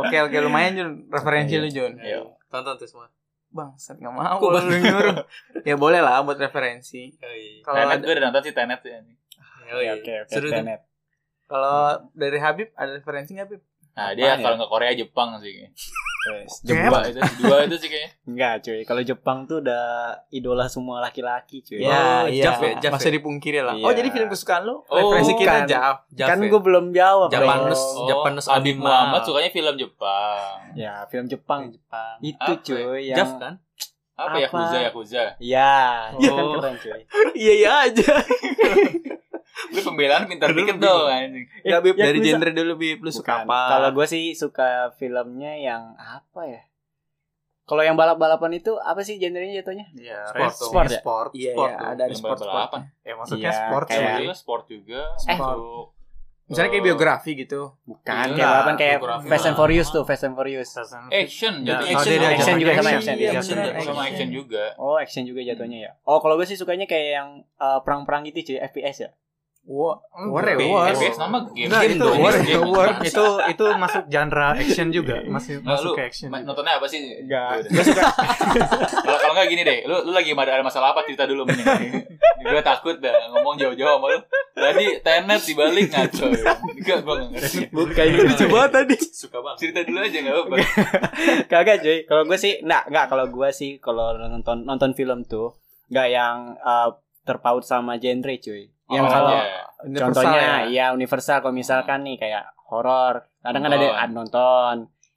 Speaker 4: Oke, oke, lumayan Jun. Referensi lu Jun.
Speaker 2: Iya.
Speaker 3: Tonton tuh semua.
Speaker 4: Bang, set gak mau
Speaker 3: Kok
Speaker 4: lu
Speaker 3: Bang?
Speaker 4: nyuruh. Ya boleh lah buat referensi.
Speaker 3: Yoi.
Speaker 4: Kalau ada-
Speaker 2: Tenet gue udah nonton sih Tenet ya.
Speaker 1: Oke,
Speaker 3: Yoi.
Speaker 1: oke, oke.
Speaker 3: iya. Seru tuh.
Speaker 1: Tenet.
Speaker 4: kalau dari Habib ada referensi nggak Habib?
Speaker 2: Nah, dia
Speaker 1: Apaan ya?
Speaker 2: kalau nggak Korea Jepang sih. kayaknya.
Speaker 1: Terus,
Speaker 2: Dua itu, dua itu sih kayaknya.
Speaker 1: Enggak, cuy. Kalau Jepang tuh udah idola semua laki-laki, cuy.
Speaker 4: Ya,
Speaker 3: Oh,
Speaker 4: iya.
Speaker 3: Jav ya, Jav
Speaker 4: Masa
Speaker 3: ya.
Speaker 4: dipungkiri lah. Oh,
Speaker 1: Iya.
Speaker 4: jadi film kesukaan lu
Speaker 2: Oh,
Speaker 4: referensi kita
Speaker 1: bukan.
Speaker 4: Jav.
Speaker 3: Jaf
Speaker 1: kan
Speaker 3: ya.
Speaker 1: gue belum jawab. dong.
Speaker 3: Japanese,
Speaker 2: Oh,
Speaker 3: Japanese
Speaker 2: Habib
Speaker 3: anime.
Speaker 2: Muhammad sukanya film Jepang.
Speaker 1: Ya, film Jepang.
Speaker 3: Jepang.
Speaker 1: Itu
Speaker 2: Apa ya?
Speaker 1: cuy yang
Speaker 3: Jav kan?
Speaker 2: Apa,
Speaker 1: Apa?
Speaker 2: ya Yakuza, Yakuza.
Speaker 1: Ya, itu kan
Speaker 3: Oh.
Speaker 1: keren cuy.
Speaker 4: Iya, iya aja.
Speaker 2: Lu pembelaan pintar dikit dong anjing.
Speaker 4: Nggak, Bib.
Speaker 1: Ya,
Speaker 4: Dari
Speaker 1: bisa.
Speaker 4: genre dulu Bib, lu suka
Speaker 1: Bukan.
Speaker 4: apa?
Speaker 1: Kalau gue sih suka filmnya yang apa ya? Kalau yang balap-balapan itu apa sih genrenya jatuhnya?
Speaker 7: Iya,
Speaker 3: Sport
Speaker 7: res-
Speaker 3: dong.
Speaker 7: sport,
Speaker 1: Iya.
Speaker 7: sport,
Speaker 4: Iya,
Speaker 7: sport
Speaker 4: iya,
Speaker 7: tuh.
Speaker 4: ada sport
Speaker 2: Yang
Speaker 4: Eh, sport.
Speaker 2: balapan.
Speaker 7: Ya maksudnya
Speaker 1: Iya,
Speaker 7: sport
Speaker 1: kayak-
Speaker 7: cuy.
Speaker 2: Juga sport juga.
Speaker 1: Eh.
Speaker 2: Masuk.
Speaker 4: Misalnya kayak
Speaker 2: Eh,
Speaker 4: biografi gitu.
Speaker 1: Bukan,
Speaker 2: Iya,
Speaker 1: kayak balapan kayak
Speaker 3: fotografi.
Speaker 1: Fast and Furious tuh, Fast and Furious.
Speaker 4: Oh,
Speaker 2: Action, jadi
Speaker 7: Nah,
Speaker 2: action.
Speaker 7: ada- ada-
Speaker 1: oh, Action
Speaker 7: ada-
Speaker 1: juga sama
Speaker 7: ada-
Speaker 1: action,
Speaker 7: iya,
Speaker 1: iya,
Speaker 7: bener,
Speaker 2: Sama action,
Speaker 4: action.
Speaker 2: juga.
Speaker 1: Oh, action juga jatuhnya ya. Oh, kalau gue sih sukanya kayak yang eh, perang-perang gitu cuy, FPS ya.
Speaker 4: Wah, war ya,
Speaker 2: Tapi
Speaker 4: war.
Speaker 2: FPS nama game
Speaker 7: Enggak,
Speaker 2: game
Speaker 7: itu
Speaker 2: dong,
Speaker 7: war,
Speaker 2: game,
Speaker 7: itu
Speaker 2: game.
Speaker 7: war. Itu itu masuk genre action juga,
Speaker 4: Iya.
Speaker 7: masih
Speaker 2: Nggak,
Speaker 7: masuk
Speaker 2: lu
Speaker 7: ke action.
Speaker 2: ma-
Speaker 7: juga.
Speaker 2: nontonnya apa sih?
Speaker 4: Ya
Speaker 1: Enggak.
Speaker 2: Gua suka. Kalau kalau enggak gini deh, lu lu lagi ada, ada masalah apa cerita dulu mending. Gue takut dah ngomong jauh-jauh sama lu. Tadi tenet dibalik ngaco. Enggak, gua enggak ngerti.
Speaker 1: Bukan
Speaker 2: lucu banget
Speaker 1: tadi.
Speaker 3: Suka banget.
Speaker 2: Cerita dulu aja enggak apa-apa.
Speaker 1: Kagak cuy. Kalau gue sih enggak, enggak kalau gue sih kalau nonton nonton film tuh enggak yang eh, terpaut sama genre cuy. Yang
Speaker 2: Oh,
Speaker 1: kalau
Speaker 2: iya.
Speaker 4: Universal
Speaker 1: Contohnya
Speaker 4: ya.
Speaker 1: ya universal kalau misalkan nih kayak horor, kadang kan ada
Speaker 2: Nonton.
Speaker 1: ah, nonton,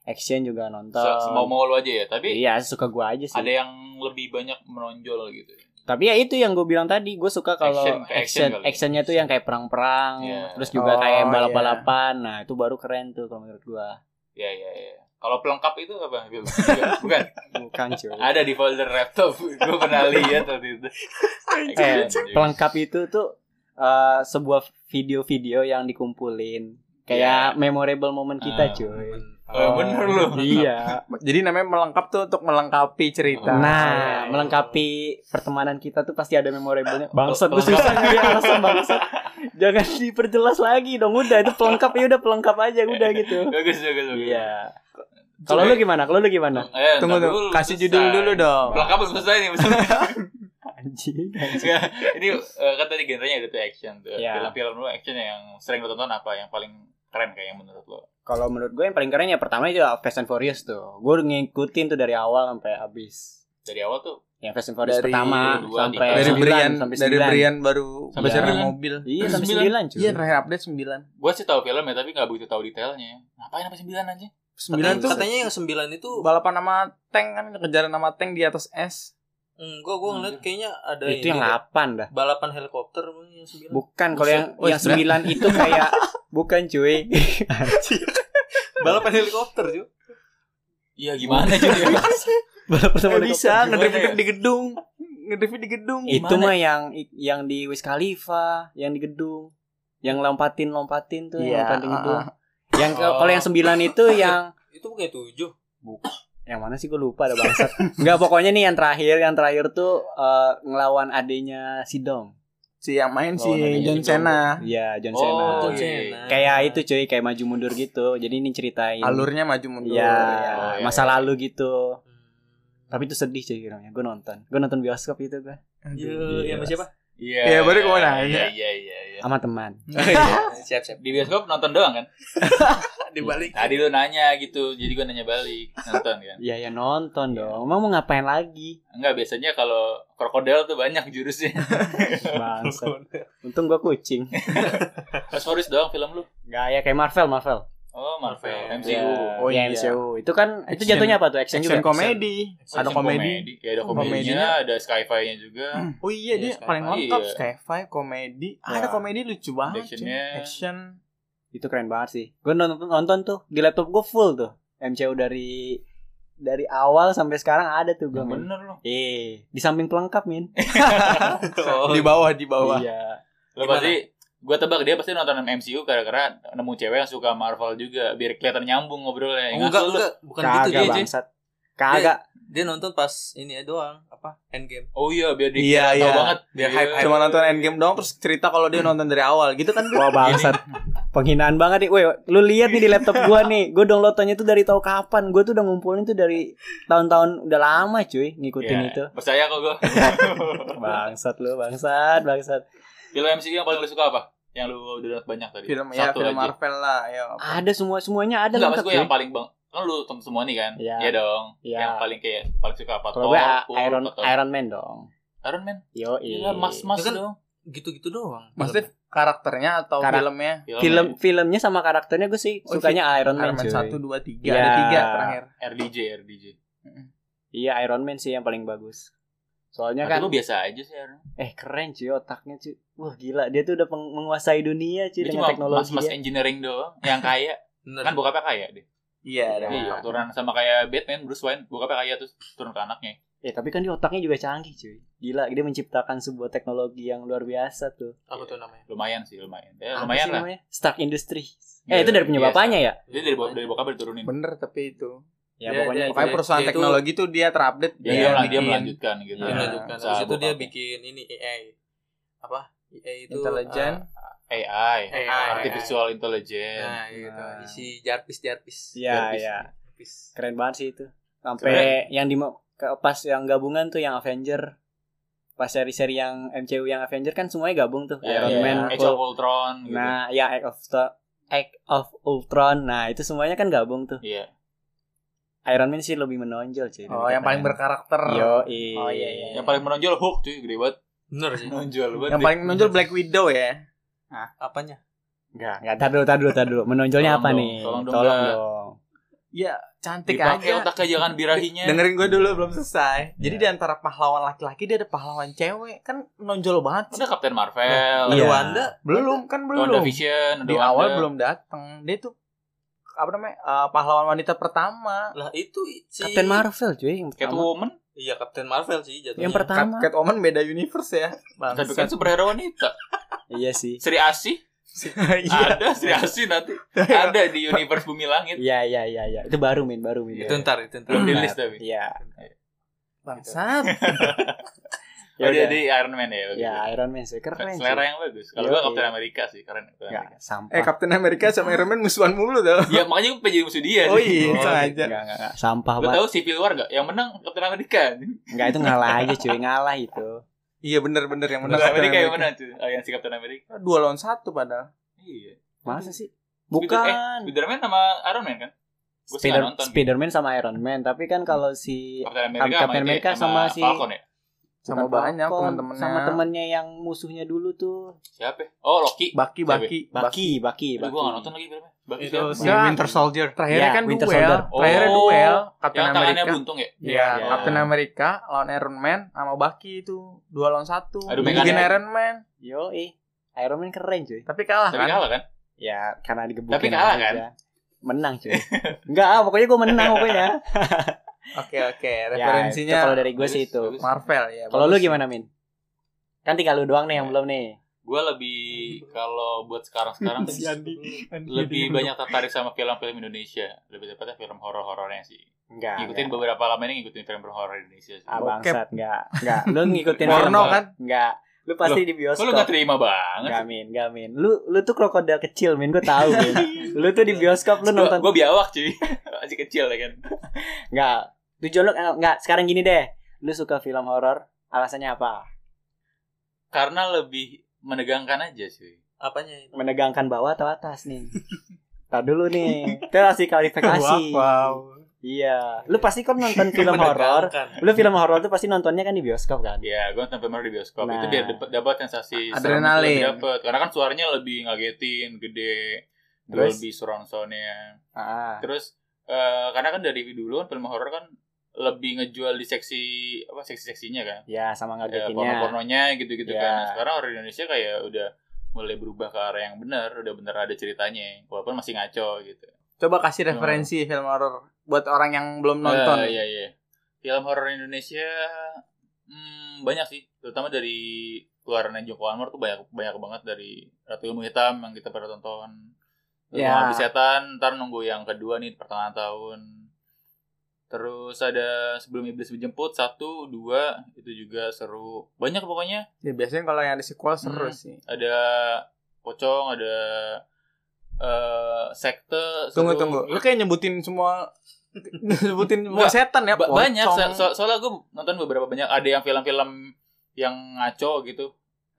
Speaker 1: action juga nonton.
Speaker 2: Iya, Se- semau mau lu aja ya, tapi
Speaker 1: Iya, suka gua aja sih.
Speaker 2: ada yang lebih banyak menonjol gitu.
Speaker 1: Tapi ya itu yang gue bilang tadi, gue suka kalau
Speaker 2: Action,
Speaker 1: action,
Speaker 2: kayak action kali. ya.
Speaker 1: actionnya tuh yang kayak perang-perang,
Speaker 2: Iya.
Speaker 1: terus juga
Speaker 4: Oh,
Speaker 1: kayak
Speaker 4: iya.
Speaker 1: balap-balapan. Nah, itu baru keren tuh kalau menurut gua.
Speaker 2: Ya ya ya. Kalau pelengkap itu apa? Bil? Bukan. Bukan.
Speaker 1: Bukan cuy.
Speaker 2: Ada di folder laptop. Gue pernah lihat waktu itu.
Speaker 1: eh, pelengkap itu tuh eh, sebuah video-video yang dikumpulin kayak memorable moment
Speaker 2: Iya. Ah,
Speaker 1: kita cuy.
Speaker 2: Oh, bener lu.
Speaker 1: Iya.
Speaker 4: Jadi namanya melengkap tuh untuk melengkapi cerita.
Speaker 1: Nah,
Speaker 3: Oh.
Speaker 1: melengkapi pertemanan kita tuh pasti ada memorable
Speaker 2: Bangsat,
Speaker 1: Bangsat,
Speaker 2: lu
Speaker 1: lu
Speaker 2: susah
Speaker 1: susah alasan bangsat. Jangan diperjelas lagi dong, udah itu pelengkap ya udah pelengkap aja udah gitu.
Speaker 2: Bagus bagus bagus.
Speaker 1: Iya. Kalau lu gimana? Kalau lu gimana?
Speaker 2: Eh,
Speaker 4: Tunggu
Speaker 2: ntar
Speaker 4: dulu,
Speaker 2: dulu,
Speaker 4: kasih
Speaker 2: selesai.
Speaker 4: judul dulu dong.
Speaker 2: Pelengkap belum selesai nih. belum selesai.
Speaker 1: Anjing.
Speaker 2: Nggak, Ini eh, kan tadi genrenya ada tuh action tuh.
Speaker 1: Iya.
Speaker 2: Film-film lu action yang sering lu tonton apa yang paling keren kayak yang menurut lo?
Speaker 1: Kalau menurut gue yang paling keren ya pertama itu Fast and Furious tuh. Gue ngikutin tuh dari awal sampai habis.
Speaker 2: Dari awal tuh
Speaker 1: Yang Fast and Furious
Speaker 4: Dari
Speaker 1: pertama
Speaker 2: dua,
Speaker 1: sampai
Speaker 2: tiga.
Speaker 4: dari
Speaker 1: sembilan,
Speaker 4: Brian
Speaker 1: sampai
Speaker 4: dari
Speaker 1: sembilan.
Speaker 4: Brian baru
Speaker 2: Sampai
Speaker 4: bicara
Speaker 2: sembilan.
Speaker 4: mobil.
Speaker 1: Iya, sampai
Speaker 2: Sembilan.
Speaker 1: sembilan cuy.
Speaker 4: Iya, terakhir update 9.
Speaker 2: gue sih tahu filmnya tapi nggak begitu tahu detailnya. Ngapain apa sembilan aja?
Speaker 4: 9 Nah, tuh
Speaker 3: katanya yang sembilan itu
Speaker 4: balapan sama tank kan kejaran sama tank di atas es.
Speaker 3: enggak gua ngeliat kayaknya ada
Speaker 4: Iya.
Speaker 3: ini
Speaker 1: itu yang
Speaker 3: deh.
Speaker 1: 8 dah.
Speaker 3: balapan helikopter mungkin yang sembilan.
Speaker 1: Bukan kalau yang
Speaker 4: Oh,
Speaker 1: yang sembilan itu kayak bukan cuy.
Speaker 3: balapan helikopter cuy
Speaker 2: Iya gimana jadi?
Speaker 1: Balap pertama
Speaker 4: Gak
Speaker 1: di
Speaker 4: bisa
Speaker 2: gimana
Speaker 4: ngedrift
Speaker 2: ya?
Speaker 4: di gedung. Iya. Ngedrift di gedung.
Speaker 1: kop- Itu mah yang yang di Wiz Khalifa, yang di gedung, yang lompatin-lompatin tuh, yang
Speaker 4: Iya,
Speaker 1: lompatin
Speaker 4: ah,
Speaker 1: gedung. Yang ke-
Speaker 2: Oh.
Speaker 1: kalau yang sembilan itu yang
Speaker 3: itu bukan tujuh
Speaker 1: Yang mana sih gue lupa ada bangsat. Enggak pokoknya nih yang terakhir, yang terakhir tuh eh, ngelawan adenya si Dom.
Speaker 4: Si yang main si
Speaker 2: Lawan
Speaker 4: Oh,
Speaker 2: yang
Speaker 4: John
Speaker 2: itu.
Speaker 4: Cena.
Speaker 1: Iya, John Cena.
Speaker 2: Oh,
Speaker 3: John
Speaker 2: iya.
Speaker 3: Cena.
Speaker 1: Kayak itu cuy, kayak maju mundur gitu. Jadi ini ceritain
Speaker 4: Alurnya maju mundur.
Speaker 1: Iya,
Speaker 2: Oh, iya,
Speaker 1: masa
Speaker 2: iya.
Speaker 1: lalu gitu.
Speaker 3: Hmm.
Speaker 1: Tapi itu sedih cuy kira-kira. Gue nonton. Gue nonton bioskop itu gue
Speaker 3: Iya, iya, sama siapa?
Speaker 2: Iya.
Speaker 4: Iya, baru gua mau nanya.
Speaker 2: Iya, iya, iya, iya.
Speaker 1: sama teman.
Speaker 3: Siap, siap.
Speaker 2: Di bioskop nonton doang kan?
Speaker 3: Dibalik.
Speaker 2: Tadi lu nanya gitu, jadi gua nanya balik. Nonton kan?
Speaker 1: Iya, ya nonton dong. Emang mau ngapain lagi?
Speaker 2: Enggak, biasanya kalau krokodil tuh banyak jurusnya.
Speaker 1: Bangsat. Untung gue kucing.
Speaker 2: Fosforis doang film lu.
Speaker 1: Gak ya kayak Marvel, Marvel.
Speaker 2: Oh, Marvel,
Speaker 3: Marvel.
Speaker 2: MCU.
Speaker 1: Iya,
Speaker 4: Oh,
Speaker 1: iya,
Speaker 4: iya.
Speaker 1: MCU. Itu kan itu
Speaker 4: Action.
Speaker 1: jatuhnya apa tuh? Action,
Speaker 4: Action
Speaker 1: juga.
Speaker 4: komedi.
Speaker 2: Action
Speaker 4: Ada komedi.
Speaker 2: Ya, ada
Speaker 4: Oh,
Speaker 2: komedinya,
Speaker 4: komedinya.
Speaker 2: ada sci-fi-nya juga.
Speaker 4: Oh iya
Speaker 3: Iya,
Speaker 4: dia
Speaker 3: Skyfire.
Speaker 4: paling lengkap
Speaker 2: Iya.
Speaker 4: Skyfire komedi.
Speaker 1: Wah.
Speaker 4: Ada komedi lucu banget. cuy.
Speaker 2: Actionnya.
Speaker 4: Action.
Speaker 1: Itu keren banget sih. Gue nonton, nonton tuh di laptop gue full tuh. MCU dari dari awal sampai sekarang ada tuh gue.
Speaker 2: Yang
Speaker 1: men.
Speaker 2: bener loh.
Speaker 1: Eh, di samping pelengkap, Min.
Speaker 4: Di bawah di
Speaker 2: Oh,
Speaker 4: bawah.
Speaker 1: Iya.
Speaker 2: Lo
Speaker 3: Gimana?
Speaker 2: pasti gue tebak dia pasti nonton MCU gara-gara nemu cewek yang suka Marvel juga biar kelihatan nyambung ngobrolnya. Yang
Speaker 3: Oh, Enggak,
Speaker 2: asli lu-
Speaker 3: enggak, bukan gitu
Speaker 1: Kagak
Speaker 3: dia, Jay.
Speaker 1: bangsat. Kagak.
Speaker 3: Dia nonton pas ini ya doang, apa? Endgame.
Speaker 2: Oh iya, biar dia
Speaker 4: Iya
Speaker 2: tahu
Speaker 4: iya.
Speaker 2: banget Iya,
Speaker 4: Biar hype hype. Cuma nonton Endgame doang terus cerita kalau dia nonton dari awal gitu kan.
Speaker 1: Wah bangsat Penghinaan banget nih Weh lu lihat nih di laptop gua nih Gue downloadannya tuh dari tahu kapan Gue tuh udah ngumpulin tuh dari Tahun-tahun udah lama cuy Ngikutin
Speaker 2: Iya,
Speaker 1: itu
Speaker 2: Percaya kok gue.
Speaker 1: Bangsat lu bangsat Bangsat
Speaker 2: film MCU yang paling lu suka apa? Yang lu udah nonton banyak tadi.
Speaker 4: Film ya film Marvel lah ya.
Speaker 1: Ada semua Semuanya ada
Speaker 2: Enggak,
Speaker 1: lengkap
Speaker 2: maksud gue
Speaker 1: cuy.
Speaker 2: yang paling bang. Kan lu nonton semua nih kan?
Speaker 1: Iya.
Speaker 2: Iya dong.
Speaker 1: Iya.
Speaker 2: Yang paling kayak paling suka apa?
Speaker 1: Kalau gue
Speaker 2: Thor,
Speaker 1: Iron,
Speaker 2: Thor, Thor.
Speaker 1: Iron Man dong
Speaker 2: Iron Man.
Speaker 1: Yo
Speaker 2: Oh, Iya, mas-mas
Speaker 3: Ya kan,
Speaker 2: dong.
Speaker 3: Gitu-gitu doang.
Speaker 4: Maksudnya karakternya atau
Speaker 1: Karak-
Speaker 4: filmnya?
Speaker 1: Film
Speaker 2: ya?
Speaker 1: filmnya sama karakternya gue sih
Speaker 4: Oh,
Speaker 1: sukanya Iron Man,
Speaker 4: Iron Man
Speaker 1: cuy.
Speaker 4: satu dua tiga
Speaker 1: Iya.
Speaker 4: ada tiga terakhir.
Speaker 2: RDJ, RDJ.
Speaker 1: Ya Iya Iron Man sih yang paling bagus. Soalnya
Speaker 2: Ya
Speaker 1: kan
Speaker 2: lu biasa aja sih Iron Man.
Speaker 1: eh keren cuy otaknya cuy. Wah gila dia tuh udah peng- menguasai dunia cuy
Speaker 2: Dia
Speaker 1: dengan
Speaker 2: cuma
Speaker 1: teknologi ya.
Speaker 2: mas-mas
Speaker 1: dia.
Speaker 2: engineering doang yang kaya.
Speaker 3: Bener.
Speaker 2: kan bokapnya kaya deh.
Speaker 4: Iya. ada.
Speaker 2: Iya, turunan sama kayak Batman, Bruce Wayne, bokapnya kaya terus turun ke anaknya.
Speaker 1: Eh tapi kan dia otaknya juga canggih cuy. Gila dia menciptakan sebuah teknologi yang luar biasa tuh.
Speaker 3: Apa tuh namanya?
Speaker 2: Lumayan sih, lumayan. Ya,
Speaker 1: Apa
Speaker 2: lumayan
Speaker 1: sih
Speaker 2: lah.
Speaker 1: namanya? Stark Industries.
Speaker 2: Iya,
Speaker 1: Eh itu dari punya
Speaker 2: iya,
Speaker 1: bapaknya ya?
Speaker 2: Dia dari, bo- dari bokapnya diturunin.
Speaker 4: Bener tapi itu.
Speaker 1: Ya
Speaker 3: Iya, iya,
Speaker 1: pokoknya itu.
Speaker 4: Pokoknya
Speaker 3: Dia-
Speaker 4: perusahaan
Speaker 3: dia itu-
Speaker 4: teknologi tuh dia terupdate. dia
Speaker 2: Dia, Iya, dia,
Speaker 4: yang
Speaker 2: dia
Speaker 4: bikin.
Speaker 2: melanjutkan gitu.
Speaker 1: Ah,
Speaker 3: Dia
Speaker 4: Iya.
Speaker 3: melanjutkan.
Speaker 2: Usaha
Speaker 3: Habis itu dia
Speaker 2: bokapnya.
Speaker 3: bikin ini AI. Apa? AI itu
Speaker 4: Intelijen.
Speaker 3: uh,
Speaker 2: AI,
Speaker 3: AI.
Speaker 2: Ah, artificial intelligence.
Speaker 3: Nah, gitu.
Speaker 1: Nah.
Speaker 3: Isi jarpis-jarpis.
Speaker 1: Iya,
Speaker 3: Jarpis,
Speaker 1: iya.
Speaker 3: jarpis.
Speaker 1: Keren banget sih itu. Sampai yang di ke- pas yang gabungan tuh yang Avenger pas seri-seri yang MCU yang Avenger kan semuanya gabung tuh
Speaker 2: Ya,
Speaker 3: Iya.
Speaker 1: Iron
Speaker 2: ya,
Speaker 1: Man,
Speaker 2: Age
Speaker 1: Hulk,
Speaker 2: of Ultron gitu.
Speaker 1: Nah, ya Act of Sto- Act of Ultron. Nah, itu semuanya kan gabung tuh.
Speaker 2: Iya.
Speaker 1: Iron Man sih lebih menonjol sih.
Speaker 4: Oh yang paling berkarakter.
Speaker 1: Yo,
Speaker 4: Oh, iya, iya.
Speaker 2: Yang paling menonjol Hulk cuy, gede banget.
Speaker 3: Bener sih.
Speaker 2: Menonjol banget.
Speaker 4: Yang paling menonjol Black Widow ya.
Speaker 3: Apanya?
Speaker 1: Enggak, enggak tar dulu, tar dulu, tar dulu. Menonjolnya
Speaker 2: Tolong
Speaker 1: apa
Speaker 2: dong,
Speaker 1: nih?
Speaker 2: tolong dong, Kak.
Speaker 1: dong.
Speaker 4: Iya cantik
Speaker 2: dipakai kan,
Speaker 4: aja.
Speaker 2: otaknya jangan birahinya.
Speaker 4: Dengerin gue dulu belum selesai. Jadi di antara pahlawan laki-laki dia ada pahlawan cewek kan menonjol banget. sih.
Speaker 2: Udah Captain Marvel,
Speaker 1: Iya.
Speaker 3: Wanda.
Speaker 4: Belum kan
Speaker 2: Wanda
Speaker 4: belum.
Speaker 2: Vision,
Speaker 4: Di awal belum datang. Dia tuh apa namanya eh, pahlawan wanita pertama.
Speaker 3: Lah itu i- si
Speaker 1: Captain Iya. Marvel cuy yang pertama.
Speaker 2: Catwoman,
Speaker 3: Iya, Captain Marvel sih jatuhnya.
Speaker 1: Yang
Speaker 4: Cat,
Speaker 1: pertama.
Speaker 4: Catwoman beda universe ya.
Speaker 2: tapi kan
Speaker 4: Bangsat.
Speaker 2: superhero wanita.
Speaker 1: Iya sih.
Speaker 2: Sri Asih,
Speaker 4: Iya.
Speaker 2: ada Sri Asih nanti. Ada di universe bumi langit.
Speaker 1: Iya, iya, iya, iya. Itu baru main, baru main.
Speaker 3: Itu ntar, itu ntar.
Speaker 2: Belum di list tapi.
Speaker 1: Iya.
Speaker 4: Bangsat.
Speaker 1: Ya
Speaker 2: Oh,
Speaker 1: udah.
Speaker 2: jadi Iron Man ya.
Speaker 1: Ya, Iron Man sih keren. cuy.
Speaker 2: Selera ya. yang bagus. Kalau gua
Speaker 1: Iya,
Speaker 2: Captain
Speaker 1: iya. Ya.
Speaker 2: America sih keren. Captain
Speaker 1: Enggak,
Speaker 2: America.
Speaker 1: sampah.
Speaker 4: Eh Captain America sama Iron Man musuhan mulu tuh.
Speaker 2: Ya makanya gue pengen jadi musuh dia.
Speaker 4: Oh iya,
Speaker 2: sih.
Speaker 4: sengaja.
Speaker 1: Enggak, enggak, enggak. Sampah
Speaker 2: Lu
Speaker 1: banget.
Speaker 2: tahu Civil War gak? Yang menang Captain America.
Speaker 1: Enggak, itu ngalah aja cuy, ngalah itu.
Speaker 4: Iya bener-bener yang menang
Speaker 2: Captain America yang menang tuh. Oh, yang si Captain America.
Speaker 4: Dua lawan satu padahal.
Speaker 2: Iya.
Speaker 1: Masa sih?
Speaker 2: Spider- eh,
Speaker 1: Bukan.
Speaker 2: Spider-Man sama Iron Man kan? Gua suka
Speaker 1: Spider
Speaker 2: nonton. Oh,
Speaker 1: Spider-Man sama Iron Man, tapi kan kalau si
Speaker 2: Captain America,
Speaker 1: Captain
Speaker 2: sama,
Speaker 1: America
Speaker 2: America
Speaker 1: sama
Speaker 2: sama,
Speaker 1: si-
Speaker 2: Falcon ya?
Speaker 4: Sama
Speaker 1: Bukan
Speaker 4: banyak
Speaker 1: Falcon,
Speaker 4: teman-temannya.
Speaker 1: sama temennya yang musuhnya dulu tuh
Speaker 2: Siapa? ya? Oh, Loki.
Speaker 4: Baki baki.
Speaker 1: Baki Baki
Speaker 2: Aduh,
Speaker 1: Baki
Speaker 2: gua gak nonton lagi filmnya. ya. Baki
Speaker 7: Itu
Speaker 2: siapa?
Speaker 7: si
Speaker 4: Enggak.
Speaker 7: Winter Soldier.
Speaker 4: Terakhirnya
Speaker 1: Ya,
Speaker 4: kan
Speaker 1: Winter
Speaker 4: duel.
Speaker 1: Soldier.
Speaker 4: Terakhirnya
Speaker 2: Oh.
Speaker 4: duel
Speaker 2: Yang
Speaker 4: Captain
Speaker 2: tangannya
Speaker 4: America.
Speaker 2: buntung ya?
Speaker 4: Iya,
Speaker 1: Ya.
Speaker 4: Captain America lawan Iron Man sama Baki itu dua lawan satu.
Speaker 2: Aduh,
Speaker 4: Bikin
Speaker 2: mekanik.
Speaker 4: Iron Man,
Speaker 1: yo eh Iron Man keren cuy
Speaker 4: tapi kalah
Speaker 2: Tapi
Speaker 4: kan?
Speaker 2: kalah kan?
Speaker 1: ya karena digebukin
Speaker 2: Tapi kalah,
Speaker 1: aja.
Speaker 2: kan?
Speaker 1: menang cuy enggak ah, pokoknya gue menang pokoknya
Speaker 4: Oke oke,
Speaker 1: ya itu
Speaker 4: referensinya
Speaker 1: kalau dari gue sih itu
Speaker 2: Bagus, bagus.
Speaker 4: Marvel ya.
Speaker 1: kalau lu
Speaker 4: bagus.
Speaker 1: gimana min kan tinggal lu doang nih yang belum nih
Speaker 2: Gue lebih kalau buat sekarang-sekarang lebih banyak tertarik sama film-film Indonesia. Lebih tepatnya film horor-horornya sih.
Speaker 1: Enggak.
Speaker 2: Ngikutin beberapa lama ini ngikutin film horor Indonesia. sih.
Speaker 1: Ah,
Speaker 2: Kok
Speaker 1: bangsat, enggak. Enggak. Lu ngikutin
Speaker 2: Porno
Speaker 1: film horor?
Speaker 4: kan?
Speaker 1: Enggak. Lu pasti di bioskop.
Speaker 2: lu gak terima banget?
Speaker 1: Enggak, Min, enggak, Min. Lu lu tuh krokodil kecil, Min. Gue tahu, Min. Lu tuh di bioskop lu nonton
Speaker 2: Gue biawak cuy Masih kecil ya kan
Speaker 1: Enggak. Tujuan lu eh, enggak sekarang gini deh. Lu suka film horor, alasannya apa?
Speaker 2: Karena lebih menegangkan aja cuy
Speaker 3: Apanya itu?
Speaker 1: Menegangkan bawah atau atas nih? Tar dulu nih. Kita kasih klarifikasi. Iya. Lu pasti kan nonton film horor.
Speaker 3: Menegangkan.
Speaker 1: Lu film horor tuh pasti nontonnya kan di bioskop kan?
Speaker 2: Ya gue nonton film di bioskop
Speaker 1: Nah.
Speaker 2: Itu biar dapet, dapat sensasi serem itu
Speaker 4: Adrenalin.
Speaker 2: lebih dapet. Karena kan suaranya lebih ngagetin Gede
Speaker 1: Terus?
Speaker 2: Dolby surround soundnya
Speaker 1: Ah.
Speaker 2: Terus eh, Karena kan dari dulu kan film horor kan Lebih ngejual di seksi Apa seksi-seksinya kan
Speaker 1: Ya, sama
Speaker 2: Ya,
Speaker 1: ngagetinnya.
Speaker 2: Porno-pornonya gitu-gitu
Speaker 1: Ya.
Speaker 2: kan Nah, Sekarang horor Indonesia kayak udah mulai berubah ke arah yang benar, udah bener ada ceritanya, walaupun masih ngaco gitu.
Speaker 4: Coba kasih referensi film horor buat orang yang belum nonton.
Speaker 2: Eh, iya iya. Film horor Indonesia hmm, banyak sih, terutama dari keluaran Joko Anwar tuh banyak banyak banget dari Ratu Ilmu Hitam yang kita pernah tonton. Terus
Speaker 1: Ya.
Speaker 2: Mengabdi Setan, ntar nunggu yang kedua nih pertengahan tahun. Terus ada sebelum iblis menjemput satu dua itu juga seru. Banyak pokoknya
Speaker 4: Ya, biasanya kalau yang ada sequel seru
Speaker 2: Hmm.
Speaker 4: sih.
Speaker 2: ada pocong ada eh, sekte.
Speaker 4: Tunggu
Speaker 2: seru.
Speaker 4: tunggu. Lu kayak nyebutin semua nyebutin semua
Speaker 2: Nggak,
Speaker 4: setan ya.
Speaker 2: Ba- banyak so,
Speaker 4: pocong.
Speaker 2: so- soalnya gue nonton beberapa banyak ada yang film-film yang ngaco gitu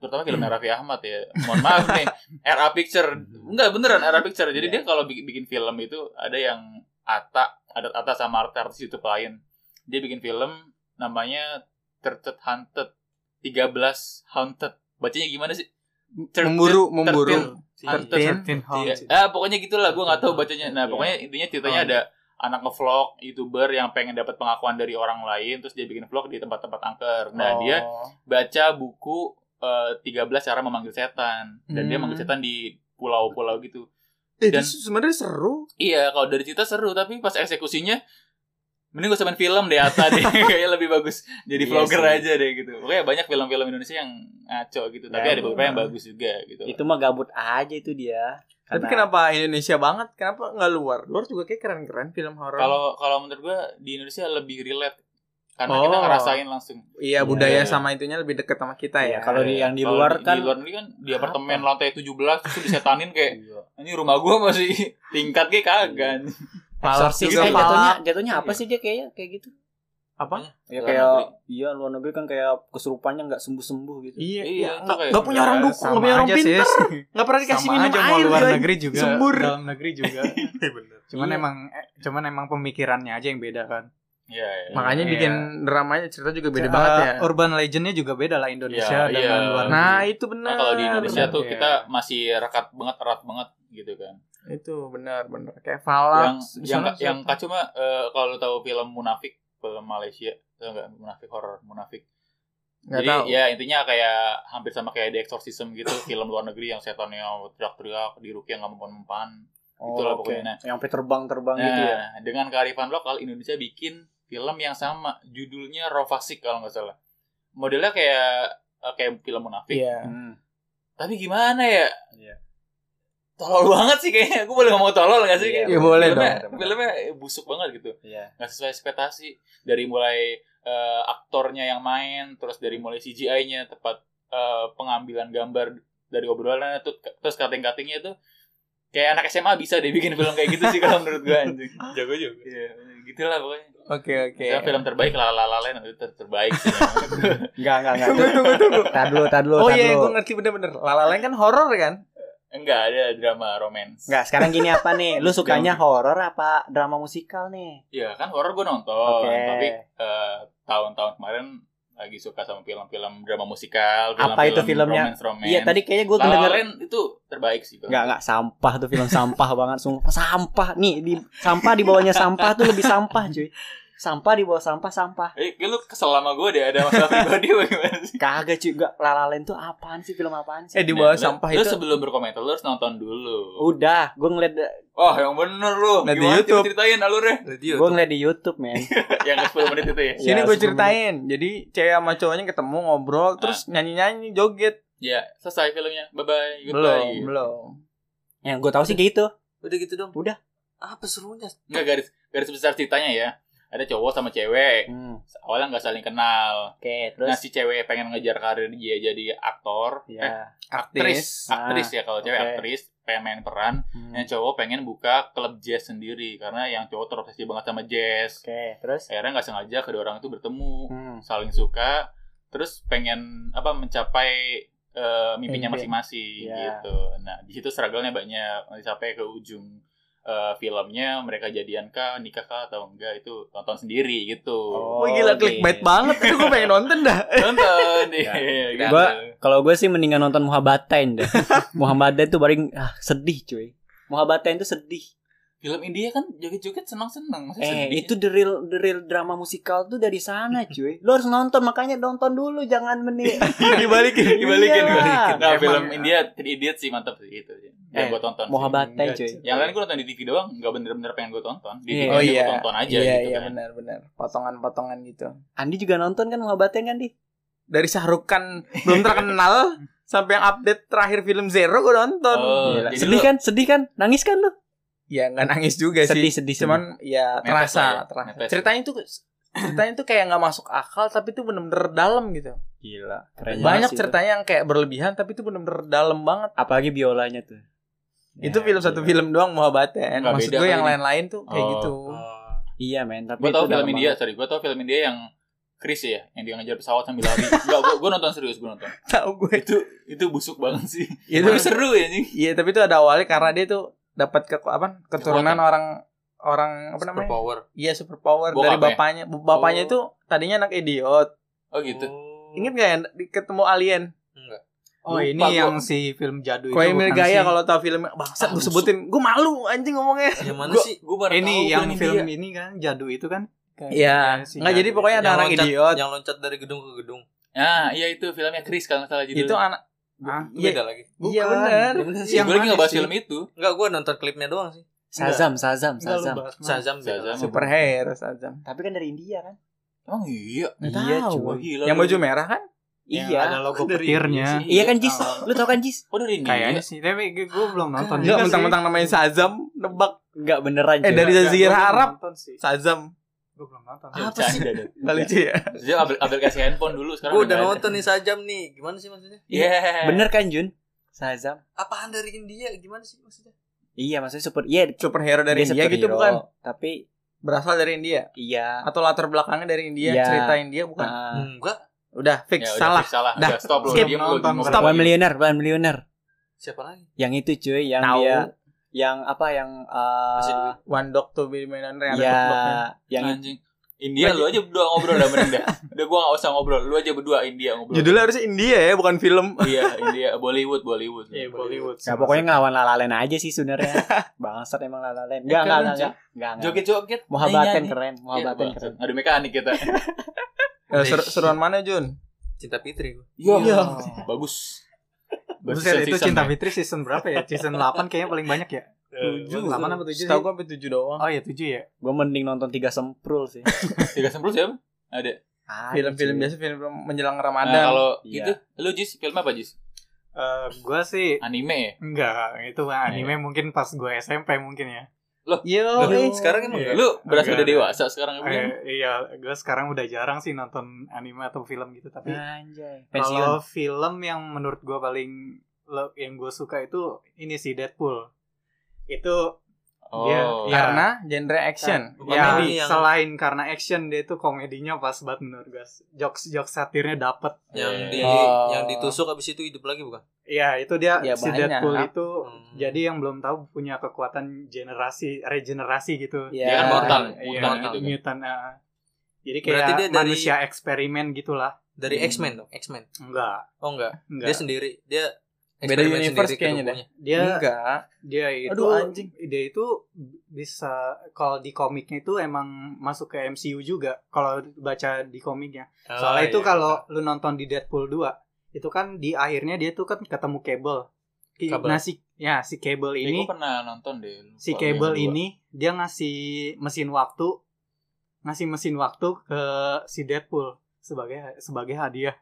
Speaker 2: terutama film
Speaker 4: Hmm.
Speaker 2: Raffi Ahmad ya mohon maaf nih era picture enggak beneran era picture jadi
Speaker 4: Iya.
Speaker 2: dia kalau bikin, bikin film itu ada yang Ata ada Ata sama artis YouTube lain dia bikin film namanya Thirted Haunted 13 Haunted bacanya gimana sih Thirteen-
Speaker 4: memburu memburu.
Speaker 2: Thirteen. Haunted. Iya. Ah, pokoknya gitulah gue nggak tahu bacanya.
Speaker 1: Iya.
Speaker 2: Nah, pokoknya intinya ceritanya ada anak ngevlog youtuber yang pengen dapat pengakuan dari orang lain terus dia bikin vlog di tempat-tempat angker.
Speaker 1: Oh.
Speaker 2: Nah, dia baca buku eh, 13 cara memanggil setan dan dia
Speaker 4: Hmm.
Speaker 2: manggil setan di pulau-pulau gitu.
Speaker 4: Eh,
Speaker 2: Dan-
Speaker 4: itu sebenarnya seru.
Speaker 2: Iya, kalau dari cerita seru tapi pas eksekusinya mending gue samain film deh Ata deh kayaknya lebih bagus jadi
Speaker 1: Iya
Speaker 2: vlogger
Speaker 1: sih.
Speaker 2: aja deh gitu. Pokoknya banyak film-film Indonesia yang ngaco gitu, tapi
Speaker 1: Ya,
Speaker 2: ada beberapa yang
Speaker 1: bener.
Speaker 2: bagus juga gitu.
Speaker 1: Itu mah gabut aja itu dia.
Speaker 4: Tapi
Speaker 1: Karena-
Speaker 4: kenapa Indonesia banget? Kenapa nggak luar? Luar juga kayak keren-keren film horor.
Speaker 2: Kalau kalau menurut gue di Indonesia lebih relate karena kita
Speaker 4: Oh.
Speaker 2: ngerasain langsung.
Speaker 4: iya
Speaker 1: Iya.
Speaker 4: budaya sama itunya lebih deket sama kita
Speaker 1: Iya,
Speaker 4: ya.
Speaker 1: kalau di yang di
Speaker 2: Kalau
Speaker 1: luar kan
Speaker 2: di luar negeri kan di apartemen lantai 17 terus disetanin kayak
Speaker 1: iya,
Speaker 2: ini rumah gua masih tingkat kayak kagak.
Speaker 4: Malas
Speaker 1: Exorcist
Speaker 4: juga,
Speaker 1: eh,
Speaker 4: Pak.
Speaker 3: gitu ya.
Speaker 1: jatuhnya jatuhnya apa sih dia kayaknya kayak gitu
Speaker 4: Apa?
Speaker 1: ya
Speaker 2: Luar
Speaker 1: kayak
Speaker 2: negeri.
Speaker 1: iya luar negeri kan kayak kesurupannya nggak sembuh sembuh gitu
Speaker 4: Iya,
Speaker 2: Iya, itu
Speaker 4: Nggak-
Speaker 2: kayak-
Speaker 4: nggak punya orang dukung, nggak punya orang pintar, nggak pernah dikasih
Speaker 7: sama
Speaker 4: minum
Speaker 7: aja
Speaker 4: air.
Speaker 7: mau luar
Speaker 4: coy.
Speaker 7: negeri juga
Speaker 4: Sembur.
Speaker 7: dalam negeri juga cuman
Speaker 1: Iya.
Speaker 7: emang eh, cuman emang pemikirannya aja yang beda kan
Speaker 2: Iya. iya.
Speaker 4: Makanya
Speaker 7: Iya.
Speaker 4: bikin dramanya cerita juga beda
Speaker 7: Eh,
Speaker 4: banget ya.
Speaker 7: urban legendnya juga beda lah Indonesia
Speaker 2: Iya,
Speaker 7: dengan
Speaker 2: iya.
Speaker 7: luar negeri
Speaker 4: Nah, itu benar.
Speaker 2: Nah, kalau di Indonesia
Speaker 7: benar,
Speaker 2: tuh
Speaker 7: iya.
Speaker 2: kita masih rekat banget erat banget gitu kan.
Speaker 4: itu benar benar kayak
Speaker 2: Yang
Speaker 4: Valax di
Speaker 2: yang
Speaker 4: sana
Speaker 2: yang
Speaker 4: siapa?
Speaker 2: kacau mah eh, kalau lu tahu film Munafik film Malaysia itu enggak munafik horor munafik.
Speaker 4: Nggak
Speaker 2: Jadi
Speaker 4: tahu.
Speaker 2: ya intinya kayak hampir sama kayak The Exorcism gitu film luar negeri yang setannya teriak-teriak di rukiah nggak mempan-mempan. Itulah
Speaker 1: Oh, oke.
Speaker 2: pokoknya. Nah,
Speaker 1: yang sampai terbang terbang
Speaker 2: Nah,
Speaker 1: gitu ya
Speaker 2: dengan kearifan lokal Indonesia bikin film yang sama, judulnya Rovasik kalau nggak salah. Modelnya kayak eh, kayak film munafik.
Speaker 4: Iya.
Speaker 1: Hmm.
Speaker 2: Tapi gimana ya?
Speaker 1: Iya.
Speaker 2: Tolol banget sih kayaknya. Gue boleh ngomong tolol nggak sih?
Speaker 1: Iya,
Speaker 2: Kayak
Speaker 4: boleh
Speaker 2: filmnya,
Speaker 1: dong.
Speaker 2: Filmnya busuk banget gitu.
Speaker 1: Iya.
Speaker 2: Nggak sesuai ekspektasi dari mulai eh, aktornya yang main, terus dari mulai CGI-nya tepat eh, pengambilan gambar dari obrolannya tuh terus cutting-cuttingnya tuh kayak anak SMA bisa deh bikin film kayak gitu sih kalau menurut gue anjing.
Speaker 3: Jago juga.
Speaker 2: Iya, gitu lah pokoknya.
Speaker 4: Oke oke.
Speaker 2: Saya film terbaik La La La Land itu ter- terbaik sih.
Speaker 1: Enggak, enggak, enggak. Tunggu, tunggu, tunggu. Tahan dulu, tahan dulu,
Speaker 4: Oh
Speaker 1: tahan
Speaker 4: iya,
Speaker 1: dulu.
Speaker 4: gue ngerti bener-bener. Lala Land kan horor kan?
Speaker 2: Enggak ada drama romance.
Speaker 1: Enggak, sekarang gini apa nih? Lu sukanya horor apa drama musikal nih?
Speaker 2: Ya kan horor gue nonton,
Speaker 1: Oke.
Speaker 2: tapi eh, tahun-tahun kemarin lagi suka sama film-film drama musikal, film-film
Speaker 1: Apa itu filmnya?
Speaker 2: romance romance.
Speaker 1: Iya, tadi kayaknya gue
Speaker 2: La La
Speaker 1: kedengeran.
Speaker 2: Land itu terbaik sih. Bang.
Speaker 1: Enggak, enggak sampah tuh film sampah banget, sumpah sampah. Nih, di sampah di bawahnya sampah tuh lebih sampah, cuy. Sampah di bawah sampah, sampah.
Speaker 2: Eh, kayak lu kesel sama gue deh ada masalah pribadi apa gimana sih?
Speaker 1: Kagak cuy, enggak La La Land tuh apaan sih film apaan
Speaker 4: Eh
Speaker 1: sih?
Speaker 4: di bawah
Speaker 2: Nah, lu-
Speaker 4: sampah
Speaker 2: lu
Speaker 4: itu.
Speaker 2: sebelum berkomentar lu harus nonton dulu.
Speaker 1: Udah, gue ngeliat
Speaker 2: Oh, yang bener lu.
Speaker 4: Nah, di
Speaker 2: Gimana
Speaker 4: YouTube.
Speaker 2: ceritain alurnya?
Speaker 1: gue ngeliat di YouTube, men.
Speaker 2: yang ke 10 menit itu ya.
Speaker 4: Sini
Speaker 1: Ya,
Speaker 4: gue
Speaker 1: sebelum-
Speaker 4: ceritain. Jadi cewek sama cowoknya ketemu ngobrol, terus nyanyi-nyanyi joget.
Speaker 2: Ya, selesai filmnya. Iya. Bye bye.
Speaker 4: Belum belum.
Speaker 1: Yang gue tahu sih kayak gitu.
Speaker 3: Udah gitu dong.
Speaker 1: Udah.
Speaker 3: Apa serunya?
Speaker 2: Enggak garis garis besar ceritanya ya. ada cowok sama cewek
Speaker 1: Hmm.
Speaker 2: awalnya nggak saling kenal
Speaker 1: Oke, terus
Speaker 2: nah si cewek pengen ngejar karir dia jadi aktor
Speaker 4: Iya.
Speaker 2: eh,
Speaker 1: ya.
Speaker 2: aktris
Speaker 1: Ah,
Speaker 2: aktris ya kalau cewek
Speaker 1: oke.
Speaker 2: aktris pengen main peran
Speaker 1: Hmm.
Speaker 2: yang cowok pengen buka klub jazz sendiri karena yang cowok terobsesi banget sama jazz
Speaker 1: Oke, terus
Speaker 2: akhirnya nggak sengaja kedua orang itu bertemu
Speaker 1: Hmm.
Speaker 2: saling suka terus pengen apa mencapai eh, mimpinya
Speaker 1: Mimpi.
Speaker 2: masing-masing
Speaker 1: Ya.
Speaker 2: gitu nah di situ struggle-nya banyak Nanti sampai ke ujung eh, filmnya mereka jadian kah nikah kah atau enggak itu nonton sendiri gitu
Speaker 1: Oh.
Speaker 4: Wah gila clickbait banget itu gue pengen nonton dah.
Speaker 2: nonton
Speaker 1: Ya.
Speaker 2: iya, gitu.
Speaker 1: Gua- Kalau gue sih mendingan nonton Muhabbatain deh. Muhabbatain tuh paling ah, sedih cuy. Muhabbatain tuh sedih.
Speaker 2: film India kan joget-joget senang-senang masih
Speaker 1: Eh,
Speaker 2: sedih
Speaker 1: itu the real the real drama musikal tuh dari sana, cuy. Lo harus nonton, makanya nonton dulu, jangan Iya. meni.
Speaker 2: dibalikin dibalikin dibalikin
Speaker 1: Iyalah.
Speaker 2: nah,
Speaker 4: Emang-
Speaker 2: film India Three Idiots sih mantap sih itu yang
Speaker 1: Eh,
Speaker 2: gue tonton sih.
Speaker 1: Muhabbatain, cuy.
Speaker 2: yang lain gue Ya, kan nonton di TV doang nggak bener-bener pengen gue tonton di
Speaker 1: Iya.
Speaker 2: TV
Speaker 4: Oh
Speaker 2: aja
Speaker 4: iya.
Speaker 2: gua tonton aja
Speaker 4: iya,
Speaker 2: gitu
Speaker 4: iya
Speaker 2: kan
Speaker 4: benar-benar. Potongan-potongan gitu.
Speaker 1: Andi juga nonton kan Muhabbatain kan, Di?
Speaker 4: Dari Shahrukh Khan belum terkenal sampai yang update terakhir film Zero gue nonton.
Speaker 2: Oh,
Speaker 1: Gila.
Speaker 2: jadi
Speaker 1: Sedih
Speaker 2: lu-
Speaker 1: kan? Sedih kan? Nangis kan lo?
Speaker 4: Ya nggak nangis juga sih.
Speaker 1: Sedih, sedih, sedih.
Speaker 4: Cuman ya
Speaker 2: Netes
Speaker 4: terasa,
Speaker 2: lah ya,
Speaker 4: terasa.
Speaker 2: netes.
Speaker 4: Ceritanya tuh ceritanya tuh kayak nggak masuk akal tapi tuh bener-bener dalam gitu.
Speaker 1: gila. Keren banget
Speaker 4: Banyak
Speaker 1: sih
Speaker 4: ceritanya yang kayak berlebihan tapi tuh bener-bener dalam banget.
Speaker 1: itu. Apalagi biolanya tuh.
Speaker 4: itu
Speaker 1: Ya,
Speaker 4: film satu
Speaker 1: gila.
Speaker 4: film doang Muhabbaten.
Speaker 2: iya. Nggak
Speaker 4: Maksud
Speaker 2: beda
Speaker 4: gue yang
Speaker 2: kali.
Speaker 4: lain-lain tuh kayak
Speaker 2: Oh.
Speaker 4: gitu.
Speaker 3: Oh,
Speaker 1: Iya, men, tapi
Speaker 2: gue tau
Speaker 1: itu
Speaker 2: film
Speaker 1: dalam
Speaker 2: India
Speaker 1: banget.
Speaker 2: sorry gue tau film India yang Chris ya yang dia ngejar pesawat sambil lari Enggak, gue, gue nonton serius gue nonton
Speaker 4: Tahu gue.
Speaker 2: itu itu busuk banget sih
Speaker 4: Itu
Speaker 2: tapi seru ya nih
Speaker 4: Iya, tapi itu ada awalnya karena dia tuh dapat ke apa? Keturunan
Speaker 2: Kekuatan.
Speaker 4: orang orang apa namanya?
Speaker 3: superpower.
Speaker 4: Iya, superpower
Speaker 2: Bokap
Speaker 4: dari
Speaker 2: ya?
Speaker 4: bapaknya. Bu- Bapaknya
Speaker 2: Oh.
Speaker 4: itu tadinya anak idiot.
Speaker 2: oh gitu
Speaker 3: Hmm.
Speaker 4: Ingat gak ya di- ketemu alien?
Speaker 7: Oh
Speaker 2: Lupa
Speaker 7: ini
Speaker 2: gua.
Speaker 7: yang si film jadul itu
Speaker 4: Koemir
Speaker 7: bukan
Speaker 4: Gaya
Speaker 7: sih?
Speaker 4: kalau tahu film bangsat
Speaker 2: Ah,
Speaker 4: gue
Speaker 2: busuk.
Speaker 4: sebutin. Gue malu anjing ngomongnya.
Speaker 3: Yang Ya, mana
Speaker 2: Gua-
Speaker 3: sih?
Speaker 2: gue baru
Speaker 7: Ini
Speaker 2: tahu
Speaker 7: yang
Speaker 2: bukan
Speaker 7: film
Speaker 2: India.
Speaker 7: ini kan jadul itu kan? Kayak-
Speaker 4: Iya.
Speaker 7: kayak si
Speaker 4: Enggak jadi
Speaker 7: jadul
Speaker 4: pokoknya
Speaker 7: itu.
Speaker 4: ada
Speaker 3: Yang
Speaker 4: anak
Speaker 3: loncat-
Speaker 4: idiot.
Speaker 3: Yang loncat dari gedung ke gedung.
Speaker 2: ah iya itu filmnya Chris kalau nggak salah judulnya
Speaker 4: Itu anak
Speaker 7: Hah?
Speaker 3: Itu
Speaker 4: Iya,
Speaker 3: Beda lagi.
Speaker 4: iya
Speaker 7: Bukan.
Speaker 4: benar.
Speaker 7: Yang
Speaker 2: gue lagi
Speaker 7: mana
Speaker 2: ngebahas
Speaker 7: sih?
Speaker 2: film itu
Speaker 3: Enggak, gue nonton klipnya doang sih.
Speaker 1: Sazam, Sazam,
Speaker 7: Enggak, lu
Speaker 1: Sazam.
Speaker 7: bahas mana?
Speaker 3: Shazam beda.
Speaker 2: Shazam.
Speaker 4: Superhero Shazam.
Speaker 1: Tapi kan dari India kan?
Speaker 2: emang iya
Speaker 4: Nggak
Speaker 1: Iya,
Speaker 4: tahu.
Speaker 2: Wah, gila
Speaker 4: Yang
Speaker 2: lu.
Speaker 4: baju merah kan?
Speaker 7: Yang
Speaker 1: Iya.
Speaker 7: Ada logo petirnya.
Speaker 1: Iya kan, Jis? Lu tau kan, Jis?
Speaker 2: Oh dari India
Speaker 7: Kayaknya sih, tapi gue belum
Speaker 4: Enggak
Speaker 3: Iya.
Speaker 7: nonton. juga sih.
Speaker 4: mentang-mentang namanya Shazam nebak
Speaker 1: Enggak beneran,
Speaker 4: Eh,
Speaker 1: cuy.
Speaker 4: dari
Speaker 7: Enggak,
Speaker 4: Jazirah
Speaker 7: gua belum
Speaker 4: Arab.
Speaker 7: nonton sih.
Speaker 4: Shazam.
Speaker 7: Gue belum nonton.
Speaker 2: apa sih? Iya.
Speaker 4: Enggak lucu ya?
Speaker 2: Dia apl- aplikasi handphone dulu sekarang.
Speaker 3: Gue udah
Speaker 2: nggak ada.
Speaker 3: nonton nih sajam nih. Gimana sih maksudnya?
Speaker 2: Iya.
Speaker 1: Bener kan, Jun? Sazam.
Speaker 3: Apaan dari India? Gimana sih maksudnya?
Speaker 1: Iya, maksudnya super. Iya,
Speaker 4: Superhero dari
Speaker 1: dia
Speaker 4: India gitu
Speaker 1: superhero,
Speaker 4: bukan?
Speaker 1: Tapi
Speaker 4: Berasal dari India
Speaker 1: iya.
Speaker 4: atau latar belakangnya dari India,
Speaker 1: Iya.
Speaker 4: cerita India bukan? Hmm.
Speaker 1: Ah.
Speaker 3: Enggak.
Speaker 4: Udah fix
Speaker 2: Ya, udah,
Speaker 4: salah.
Speaker 2: fix, salah.
Speaker 4: Dah.
Speaker 2: Udah, stop lu.
Speaker 4: Skip.
Speaker 2: Diam lu.
Speaker 7: Nonton.
Speaker 2: Mau
Speaker 7: Stop.
Speaker 2: berapa?
Speaker 1: One millionaire, one millionaire.
Speaker 3: Siapa lagi?
Speaker 1: Yang itu cuy, yang
Speaker 4: Tahu.
Speaker 1: dia yang apa yang eh,
Speaker 3: Kasih duit.
Speaker 4: One dog to be mainan yang ada
Speaker 7: Iya.
Speaker 1: ya
Speaker 4: dog-dognya.
Speaker 1: yang
Speaker 2: Anjing. India lu aja berdua ngobrol dah mending dah. Udah gua enggak usah ngobrol. Lu aja berdua India ngobrol.
Speaker 4: Judulnya harusnya India ya, bukan film.
Speaker 2: Iya, India Bollywood, Bollywood.
Speaker 7: Iya, Bollywood.
Speaker 1: ya pokoknya ngelawan lalalen aja sih sebenarnya. Bangsat emang lalalen. Enggak, enggak, enggak, enggak. Enggak, enggak.
Speaker 2: Joget-joget.
Speaker 1: Muhabbaten
Speaker 2: nyanyi-nyanyi.
Speaker 1: keren,
Speaker 2: Iya,
Speaker 1: muhabbaten
Speaker 2: bangsat.
Speaker 1: keren.
Speaker 2: Ada mekanik kita.
Speaker 4: Eh, seru- seruan mana Jun?
Speaker 3: Cinta Fitri gue.
Speaker 2: Iya. Bagus.
Speaker 7: Buset,
Speaker 2: season
Speaker 7: itu
Speaker 2: season,
Speaker 7: Cinta
Speaker 2: ya.
Speaker 7: Fitri season berapa ya? Season 8 kayaknya paling banyak ya?
Speaker 2: Eh,
Speaker 4: Tujuh.
Speaker 7: 8 apa 7 sih?
Speaker 4: Setahu gua sampai tujuh doang.
Speaker 7: Oh iya 7 ya?
Speaker 1: Gue mending nonton tiga semprul sih.
Speaker 2: Tiga sempul siapa? Ada.
Speaker 1: Ah,
Speaker 4: Film-film
Speaker 1: cuy.
Speaker 4: biasa film menjelang
Speaker 2: Nah,
Speaker 4: Ramadan.
Speaker 2: kalau
Speaker 1: Iya.
Speaker 2: itu lu Jis film apa Jis?
Speaker 7: Eh, gue sih
Speaker 2: Anime ya?
Speaker 7: Enggak, itu mah anime mungkin pas gue SMP mungkin ya.
Speaker 4: Yo,
Speaker 2: Lu-
Speaker 4: eh.
Speaker 3: Sekarang emang enggak.
Speaker 7: Iya.
Speaker 2: Lu berasa
Speaker 7: Agak-
Speaker 2: udah dewasa sekarang
Speaker 7: Eh,
Speaker 2: kan?
Speaker 7: iya, gue sekarang udah jarang sih nonton anime atau film gitu. Tapi
Speaker 1: Anjay. Iya, Pensiun.
Speaker 7: kalau film yang menurut gue paling lo- yang gue suka itu ini sih Deadpool. Itu dia
Speaker 2: Oh.
Speaker 7: ya,
Speaker 4: karena genre action.
Speaker 3: Bukan
Speaker 7: ya
Speaker 3: ini yang-
Speaker 7: selain karena action dia itu komedinya pas banget menurut gue. Jokes jokes satirnya dapet.
Speaker 3: Yang di
Speaker 2: Iya.
Speaker 4: Oh.
Speaker 3: yang ditusuk abis itu hidup lagi bukan?
Speaker 7: Iya, itu dia
Speaker 4: Ya,
Speaker 7: si
Speaker 4: banyak.
Speaker 7: Deadpool itu.
Speaker 3: Hmm.
Speaker 7: Jadi yang belum tahu punya kekuatan generasi regenerasi gitu.
Speaker 4: Ya.
Speaker 2: Dia kan mortal,
Speaker 7: Iya,
Speaker 2: mutan gitu kan.
Speaker 7: mutant, ah. Jadi
Speaker 3: Berarti
Speaker 7: kayak
Speaker 3: dia dari-
Speaker 7: manusia eksperimen gitulah.
Speaker 3: Dari
Speaker 7: Hmm.
Speaker 3: X-Men dong, X-Men.
Speaker 7: Enggak,
Speaker 3: Oh enggak.
Speaker 7: enggak.
Speaker 3: Dia sendiri, dia
Speaker 4: Beda
Speaker 3: eksperimen
Speaker 4: universe
Speaker 3: sendiri ke
Speaker 4: kayaknya
Speaker 3: tubuhnya.
Speaker 7: dia
Speaker 4: Enggak.
Speaker 7: dia itu
Speaker 4: Aduh, anjing.
Speaker 7: dia itu bisa kalau di komiknya itu emang masuk ke MCU juga kalau baca di komiknya.
Speaker 3: Oh,
Speaker 7: Soalnya itu
Speaker 3: iya,
Speaker 7: kalau
Speaker 3: iya.
Speaker 7: lu nonton di Deadpool 2 itu kan di akhirnya dia tuh kan ketemu Cable. Ki-
Speaker 3: Cable.
Speaker 7: Nah si ya si Cable
Speaker 2: Eh,
Speaker 7: ini
Speaker 2: gua pernah nonton deh. lupa
Speaker 7: si
Speaker 2: gua
Speaker 7: Cable
Speaker 2: yang kedua.
Speaker 7: ini dia ngasih mesin waktu ngasih mesin waktu ke si Deadpool sebagai sebagai hadiah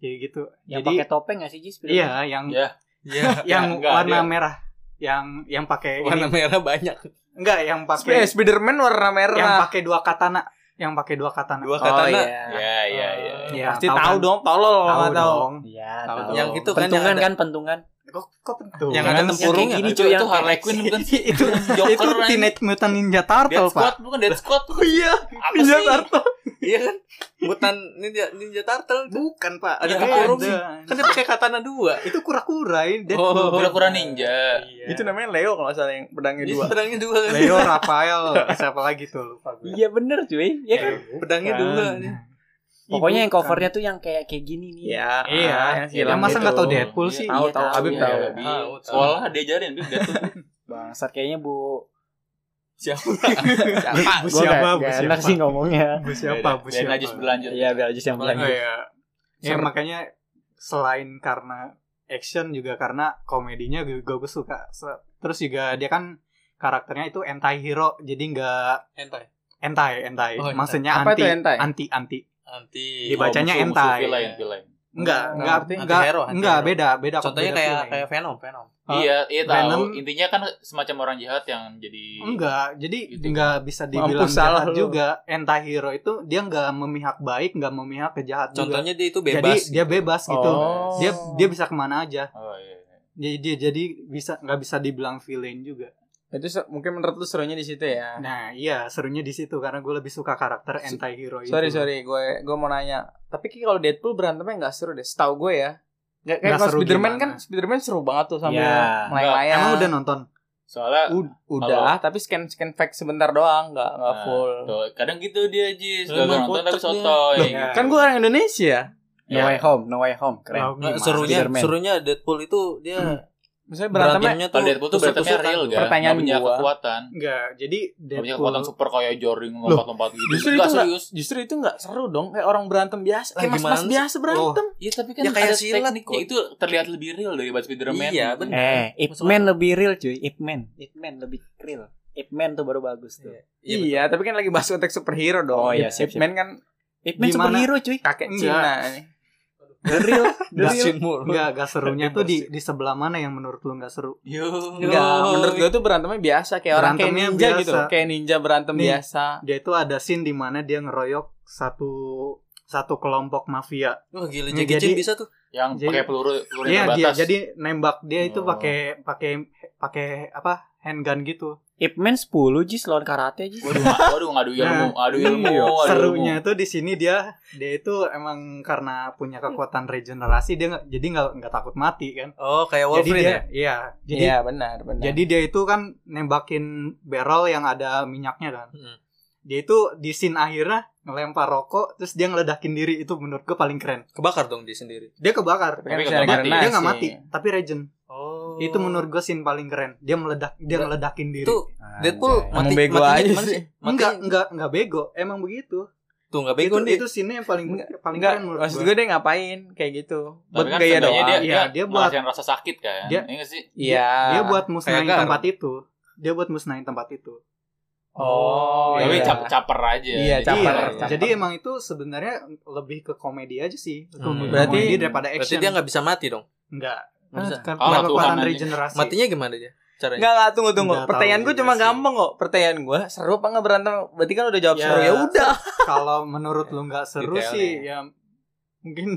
Speaker 7: jadi gitu
Speaker 1: Yang
Speaker 7: jadi
Speaker 1: pakai topeng gak sih Jis?
Speaker 7: iya yang
Speaker 2: Ya,
Speaker 3: Iya.
Speaker 7: yang
Speaker 2: enggak,
Speaker 7: warna
Speaker 2: dia-
Speaker 7: merah yang yang pakai
Speaker 4: Warna
Speaker 7: ini
Speaker 4: merah banyak.
Speaker 7: enggak yang
Speaker 4: Sp-
Speaker 7: pakai
Speaker 4: Spiderman warna
Speaker 7: yang
Speaker 4: merah.
Speaker 7: pakai dua katana yang pakai dua katana.
Speaker 4: Dua
Speaker 1: Oh,
Speaker 4: katana.
Speaker 2: Iya, iya, iya.
Speaker 7: Iya,
Speaker 4: Pasti
Speaker 7: tahu
Speaker 4: tahu,
Speaker 7: kan?
Speaker 4: dong, tolol kalau
Speaker 7: Tahu
Speaker 4: nggak tahu.
Speaker 7: dong.
Speaker 1: Iya,
Speaker 7: Tahu
Speaker 1: tahu.
Speaker 7: dong.
Speaker 3: Yang itu kan
Speaker 1: pentungan
Speaker 3: yang ada-
Speaker 1: kan pentungan.
Speaker 7: Kok kok pentung?
Speaker 4: Yang ada tempurung
Speaker 2: kayak
Speaker 4: ya.
Speaker 2: gini
Speaker 4: Itu-
Speaker 2: cuy, itu,
Speaker 4: itu
Speaker 2: Harley Quinn bukan sih?
Speaker 7: itu
Speaker 2: Joker
Speaker 7: itu
Speaker 2: anjing.
Speaker 7: Teenage Mutant Ninja Turtle,
Speaker 2: Dead
Speaker 7: Pak.
Speaker 2: Squad bukan Dead Squad.
Speaker 7: Oh iya,
Speaker 2: Apa
Speaker 7: Ninja
Speaker 2: sih?
Speaker 7: Turtle.
Speaker 3: Iya kan? Mutan ninja ninja turtle tuh.
Speaker 7: Bukan, Pak.
Speaker 3: Ada
Speaker 7: Iya, Yang
Speaker 3: tempurung.
Speaker 7: ada.
Speaker 3: Kan dia pakai katana dua.
Speaker 7: Itu kura-kura ini Dead
Speaker 3: Oh,
Speaker 2: Kura-kura ninja.
Speaker 4: Itu namanya Leo kalau nggak salah yang pedangnya dua.
Speaker 3: Pedangnya dua kan.
Speaker 7: Iya. Leo Rafael, siapa lagi tuh lupa gue.
Speaker 1: Iya bener cuy. Iya kan?
Speaker 3: Pedangnya dua nih.
Speaker 1: Pokoknya yang covernya tuh yang kayak kayak gini nih.
Speaker 4: Ya,
Speaker 7: Iya.
Speaker 4: ah, yang silam gitu.
Speaker 7: masa nggak tahu Deadpool sih?
Speaker 4: Tahu,
Speaker 1: Iya, Ah,
Speaker 4: tahu. Habib
Speaker 2: Iya,
Speaker 4: tahu.
Speaker 2: di
Speaker 3: Tahu, tahu.
Speaker 2: sekolah diajarin tuh Deadpool.
Speaker 1: Bangsat kayaknya Bu
Speaker 2: Siapa?
Speaker 7: Bu
Speaker 1: Gua
Speaker 7: siapa?
Speaker 1: nggak-
Speaker 7: Bu
Speaker 1: nggak
Speaker 7: siapa?
Speaker 1: enak sih ngomongnya.
Speaker 7: Bu siapa? Bu
Speaker 2: Biar
Speaker 7: siapa?
Speaker 2: najis berlanjut.
Speaker 1: Iya, biar aja yang
Speaker 7: Oh
Speaker 1: bilang.
Speaker 7: iya. Ya makanya selain karena action juga karena komedinya gue gue suka. Se- Terus juga dia kan karakternya itu anti hero jadi nggak
Speaker 3: Hentai.
Speaker 7: anti anti.
Speaker 3: Oh, hentai.
Speaker 7: Maksudnya
Speaker 4: Apa
Speaker 7: anti,
Speaker 4: itu hentai?
Speaker 7: anti anti
Speaker 3: Anti.
Speaker 7: Dibaca- Dibacanya
Speaker 2: Oh, musuh- musuh
Speaker 7: hentai.
Speaker 2: villain, villain.
Speaker 7: Enggak,
Speaker 4: Oh,
Speaker 7: enggak,
Speaker 4: ngerti.
Speaker 7: enggak,
Speaker 3: Anti-hero, anti-hero.
Speaker 7: enggak beda, beda.
Speaker 3: Contohnya
Speaker 7: beda
Speaker 3: kayak
Speaker 7: feeling.
Speaker 3: kayak Venom, Venom.
Speaker 7: Ah,
Speaker 2: Iya, iya
Speaker 7: Venom.
Speaker 2: tahu. Intinya kan semacam orang jahat yang jadi
Speaker 7: Enggak, jadi
Speaker 2: Gitu.
Speaker 7: enggak bisa dibilang
Speaker 4: Mampus, salah lu.
Speaker 7: jahat juga. Anti hero itu dia enggak memihak baik, enggak memihak ke jahat juga.
Speaker 3: Contohnya dia itu
Speaker 7: Jadi
Speaker 3: bebas.
Speaker 7: dia bebas gitu.
Speaker 4: Oh.
Speaker 7: Dia dia bisa kemana aja.
Speaker 2: Oh iya. iya.
Speaker 7: Jadi dia jadi bisa nggak bisa dibilang villain juga.
Speaker 4: Itu se- mungkin menurut lu serunya di situ ya.
Speaker 7: Nah, iya serunya di situ karena gue lebih suka karakter anti hero itu.
Speaker 4: Sorry sorry, gue gue mau nanya. Tapi kayak kalau Deadpool berantemnya nggak seru deh. Setahu gue ya. Nggak kayak
Speaker 7: Nggak
Speaker 4: kalau
Speaker 7: seru
Speaker 4: Spiderman
Speaker 7: gimana?
Speaker 4: kan Spiderman seru banget tuh sambil
Speaker 1: Iya.
Speaker 4: melayang-layang.
Speaker 7: Emang udah nonton?
Speaker 2: Soalnya
Speaker 4: Ud- udah, tapi scan scan fact sebentar doang, nggak nggak
Speaker 2: Nah,
Speaker 4: full.
Speaker 2: tuh, kadang gitu dia Jis,
Speaker 3: Lu
Speaker 2: gak
Speaker 3: emang
Speaker 2: nonton tapi
Speaker 3: kocak dia.
Speaker 2: sotoy.
Speaker 4: Loh,
Speaker 2: gitu.
Speaker 4: Kan gue orang Indonesia.
Speaker 1: No
Speaker 7: Iya.
Speaker 1: way home, no way home. Keren.
Speaker 7: Wow,
Speaker 3: Nggak,
Speaker 7: gimana?
Speaker 3: Nah, serunya
Speaker 1: Spiderman.
Speaker 3: serunya Deadpool itu dia
Speaker 4: Misalnya berantemnya
Speaker 3: berantemnya tuh
Speaker 2: Kalau Deadpool tuh berantemnya
Speaker 3: tusuk-tusukan.
Speaker 2: real gak?
Speaker 4: Pertanyaan
Speaker 2: gak punya
Speaker 4: gua.
Speaker 2: kekuatan.
Speaker 7: Enggak, jadi
Speaker 2: Gak punya
Speaker 7: Deadpool
Speaker 2: kekuatan super kayak Jordan lompat-lompat gitu.
Speaker 4: justru
Speaker 2: Nggak,
Speaker 4: itu nggak-
Speaker 2: serius.
Speaker 4: justru itu nggak seru dong kayak orang berantem biasa
Speaker 3: Lah,
Speaker 4: kayak mas mas
Speaker 3: gimana sih?
Speaker 4: biasa berantem
Speaker 3: Iya tapi kan
Speaker 2: Kan ya kayak
Speaker 3: ada
Speaker 2: silat tekniknya
Speaker 3: tekniknya
Speaker 2: itu terlihat lebih real daripada Spider-Man.
Speaker 3: Iya,
Speaker 2: Gitu.
Speaker 3: bener.
Speaker 1: Eh, Ip
Speaker 3: Maksud-
Speaker 1: Man lebih real cuy. Ip Man, Ip Man lebih real. Ip Man tuh baru bagus tuh.
Speaker 3: Iya,
Speaker 4: iya tapi kan lagi bahas konteks superhero dong
Speaker 1: Oh,
Speaker 4: Ip-
Speaker 1: iya, siap, siap.
Speaker 4: Ipman kan
Speaker 1: Ip Man
Speaker 7: Gimana?
Speaker 1: superhero cuy.
Speaker 4: kakek
Speaker 7: Enggak.
Speaker 4: Cina
Speaker 1: The real, the
Speaker 7: Nggak
Speaker 1: real.
Speaker 7: Enggak, enggak serunya tuh di di sebelah mana yang menurut lu enggak seru?
Speaker 4: enggak menurut gue tuh berantemnya biasa kayak orang kayak
Speaker 7: Berantemnya
Speaker 4: ninja
Speaker 7: biasa.
Speaker 4: gitu kayak ninja berantem
Speaker 7: Nih.
Speaker 4: biasa
Speaker 7: Dia itu ada scene di mana dia ngeroyok satu satu kelompok mafia.
Speaker 3: Wah gila
Speaker 7: Jadi-
Speaker 3: Jackie Chan bisa tuh.
Speaker 2: Yang
Speaker 7: Jadi-
Speaker 2: pakai peluru peluru yang
Speaker 7: Iya, dia
Speaker 2: terbatas.
Speaker 7: jadi nembak dia itu
Speaker 2: Oh.
Speaker 7: pakai pakai pakai apa? handgun gitu.
Speaker 1: Ip Man 10 jis lawan karate jis.
Speaker 2: Waduh, nggak- waduh ngadu ilmu, ngadu ilmu, ngadu
Speaker 7: serunya tuh di sini dia dia itu emang karena punya kekuatan regenerasi dia nggak- jadi nggak nggak takut mati kan
Speaker 3: Oh kayak
Speaker 7: jadi
Speaker 3: Wolverine
Speaker 7: dia
Speaker 3: ya.
Speaker 7: iya jadi
Speaker 4: iya benar benar
Speaker 7: jadi dia itu kan nembakin barrel yang ada minyaknya kan
Speaker 3: Hmm.
Speaker 7: dia itu di scene akhirnya ngelempar rokok terus dia ngeledakin diri itu menurut gue paling keren
Speaker 3: Kebakar dong dia sendiri.
Speaker 7: dia kebakar
Speaker 4: Tapi kan
Speaker 2: Tapi
Speaker 4: bisa
Speaker 2: nggak mati.
Speaker 4: regenerasi.
Speaker 7: dia nggak mati tapi regen
Speaker 3: Oh.
Speaker 7: itu menurut gue scene paling keren dia meledak dia
Speaker 3: Nggak-
Speaker 7: ngeledakin diri
Speaker 3: itu Deadpool
Speaker 1: Anjay.
Speaker 3: mati
Speaker 4: Emang bego
Speaker 3: matinya
Speaker 4: aja
Speaker 3: gimana
Speaker 4: sih.
Speaker 3: Mati-
Speaker 7: enggak enggak enggak bego emang begitu
Speaker 3: tuh enggak bego
Speaker 7: itu,
Speaker 3: nih.
Speaker 7: itu scene yang paling paling
Speaker 4: enggak
Speaker 7: keren menurut
Speaker 4: maksud
Speaker 7: gua.
Speaker 4: gue dia ngapain kayak gitu
Speaker 2: Tapi
Speaker 4: buat
Speaker 2: kan
Speaker 4: gaya
Speaker 2: setidaknya
Speaker 4: doang
Speaker 2: dia,
Speaker 7: Iya,
Speaker 2: dia,
Speaker 7: dia buat-
Speaker 2: ngerasain rasa sakit kan.
Speaker 7: Dia-
Speaker 2: Iya nggak sih?
Speaker 4: iya
Speaker 7: dia buat musnahin
Speaker 3: Kayak Garam.
Speaker 7: tempat itu dia buat musnahin tempat itu
Speaker 4: oh
Speaker 2: Tapi
Speaker 4: iya.
Speaker 2: cap- caper aja.
Speaker 4: Iya,
Speaker 2: Jadi-
Speaker 4: caper,
Speaker 7: iya
Speaker 4: caper.
Speaker 7: jadi emang itu sebenarnya lebih ke komedi aja sih ke
Speaker 3: Hmm.
Speaker 4: Berarti-
Speaker 7: komedi daripada
Speaker 3: Berarti
Speaker 7: action
Speaker 3: dia enggak bisa mati dong.
Speaker 7: enggak
Speaker 3: Nggak bisa.
Speaker 7: kan
Speaker 2: Ah, Tuhan
Speaker 7: kekuatan
Speaker 2: aja.
Speaker 7: regenerasi
Speaker 3: Matinya gimana dia? Caranya.
Speaker 4: Enggak enggak tunggu tunggu.
Speaker 7: Nggak tahu
Speaker 4: Pertanyaan gue
Speaker 7: juga
Speaker 4: cuma
Speaker 7: sih.
Speaker 4: gampang kok. Pertanyaan gue seru apa enggak berantem? Berarti kan udah jawab
Speaker 7: Ya.
Speaker 4: seru ya udah.
Speaker 7: kalau menurut lu nggak seru
Speaker 3: Detailnya.
Speaker 7: sih ya mungkin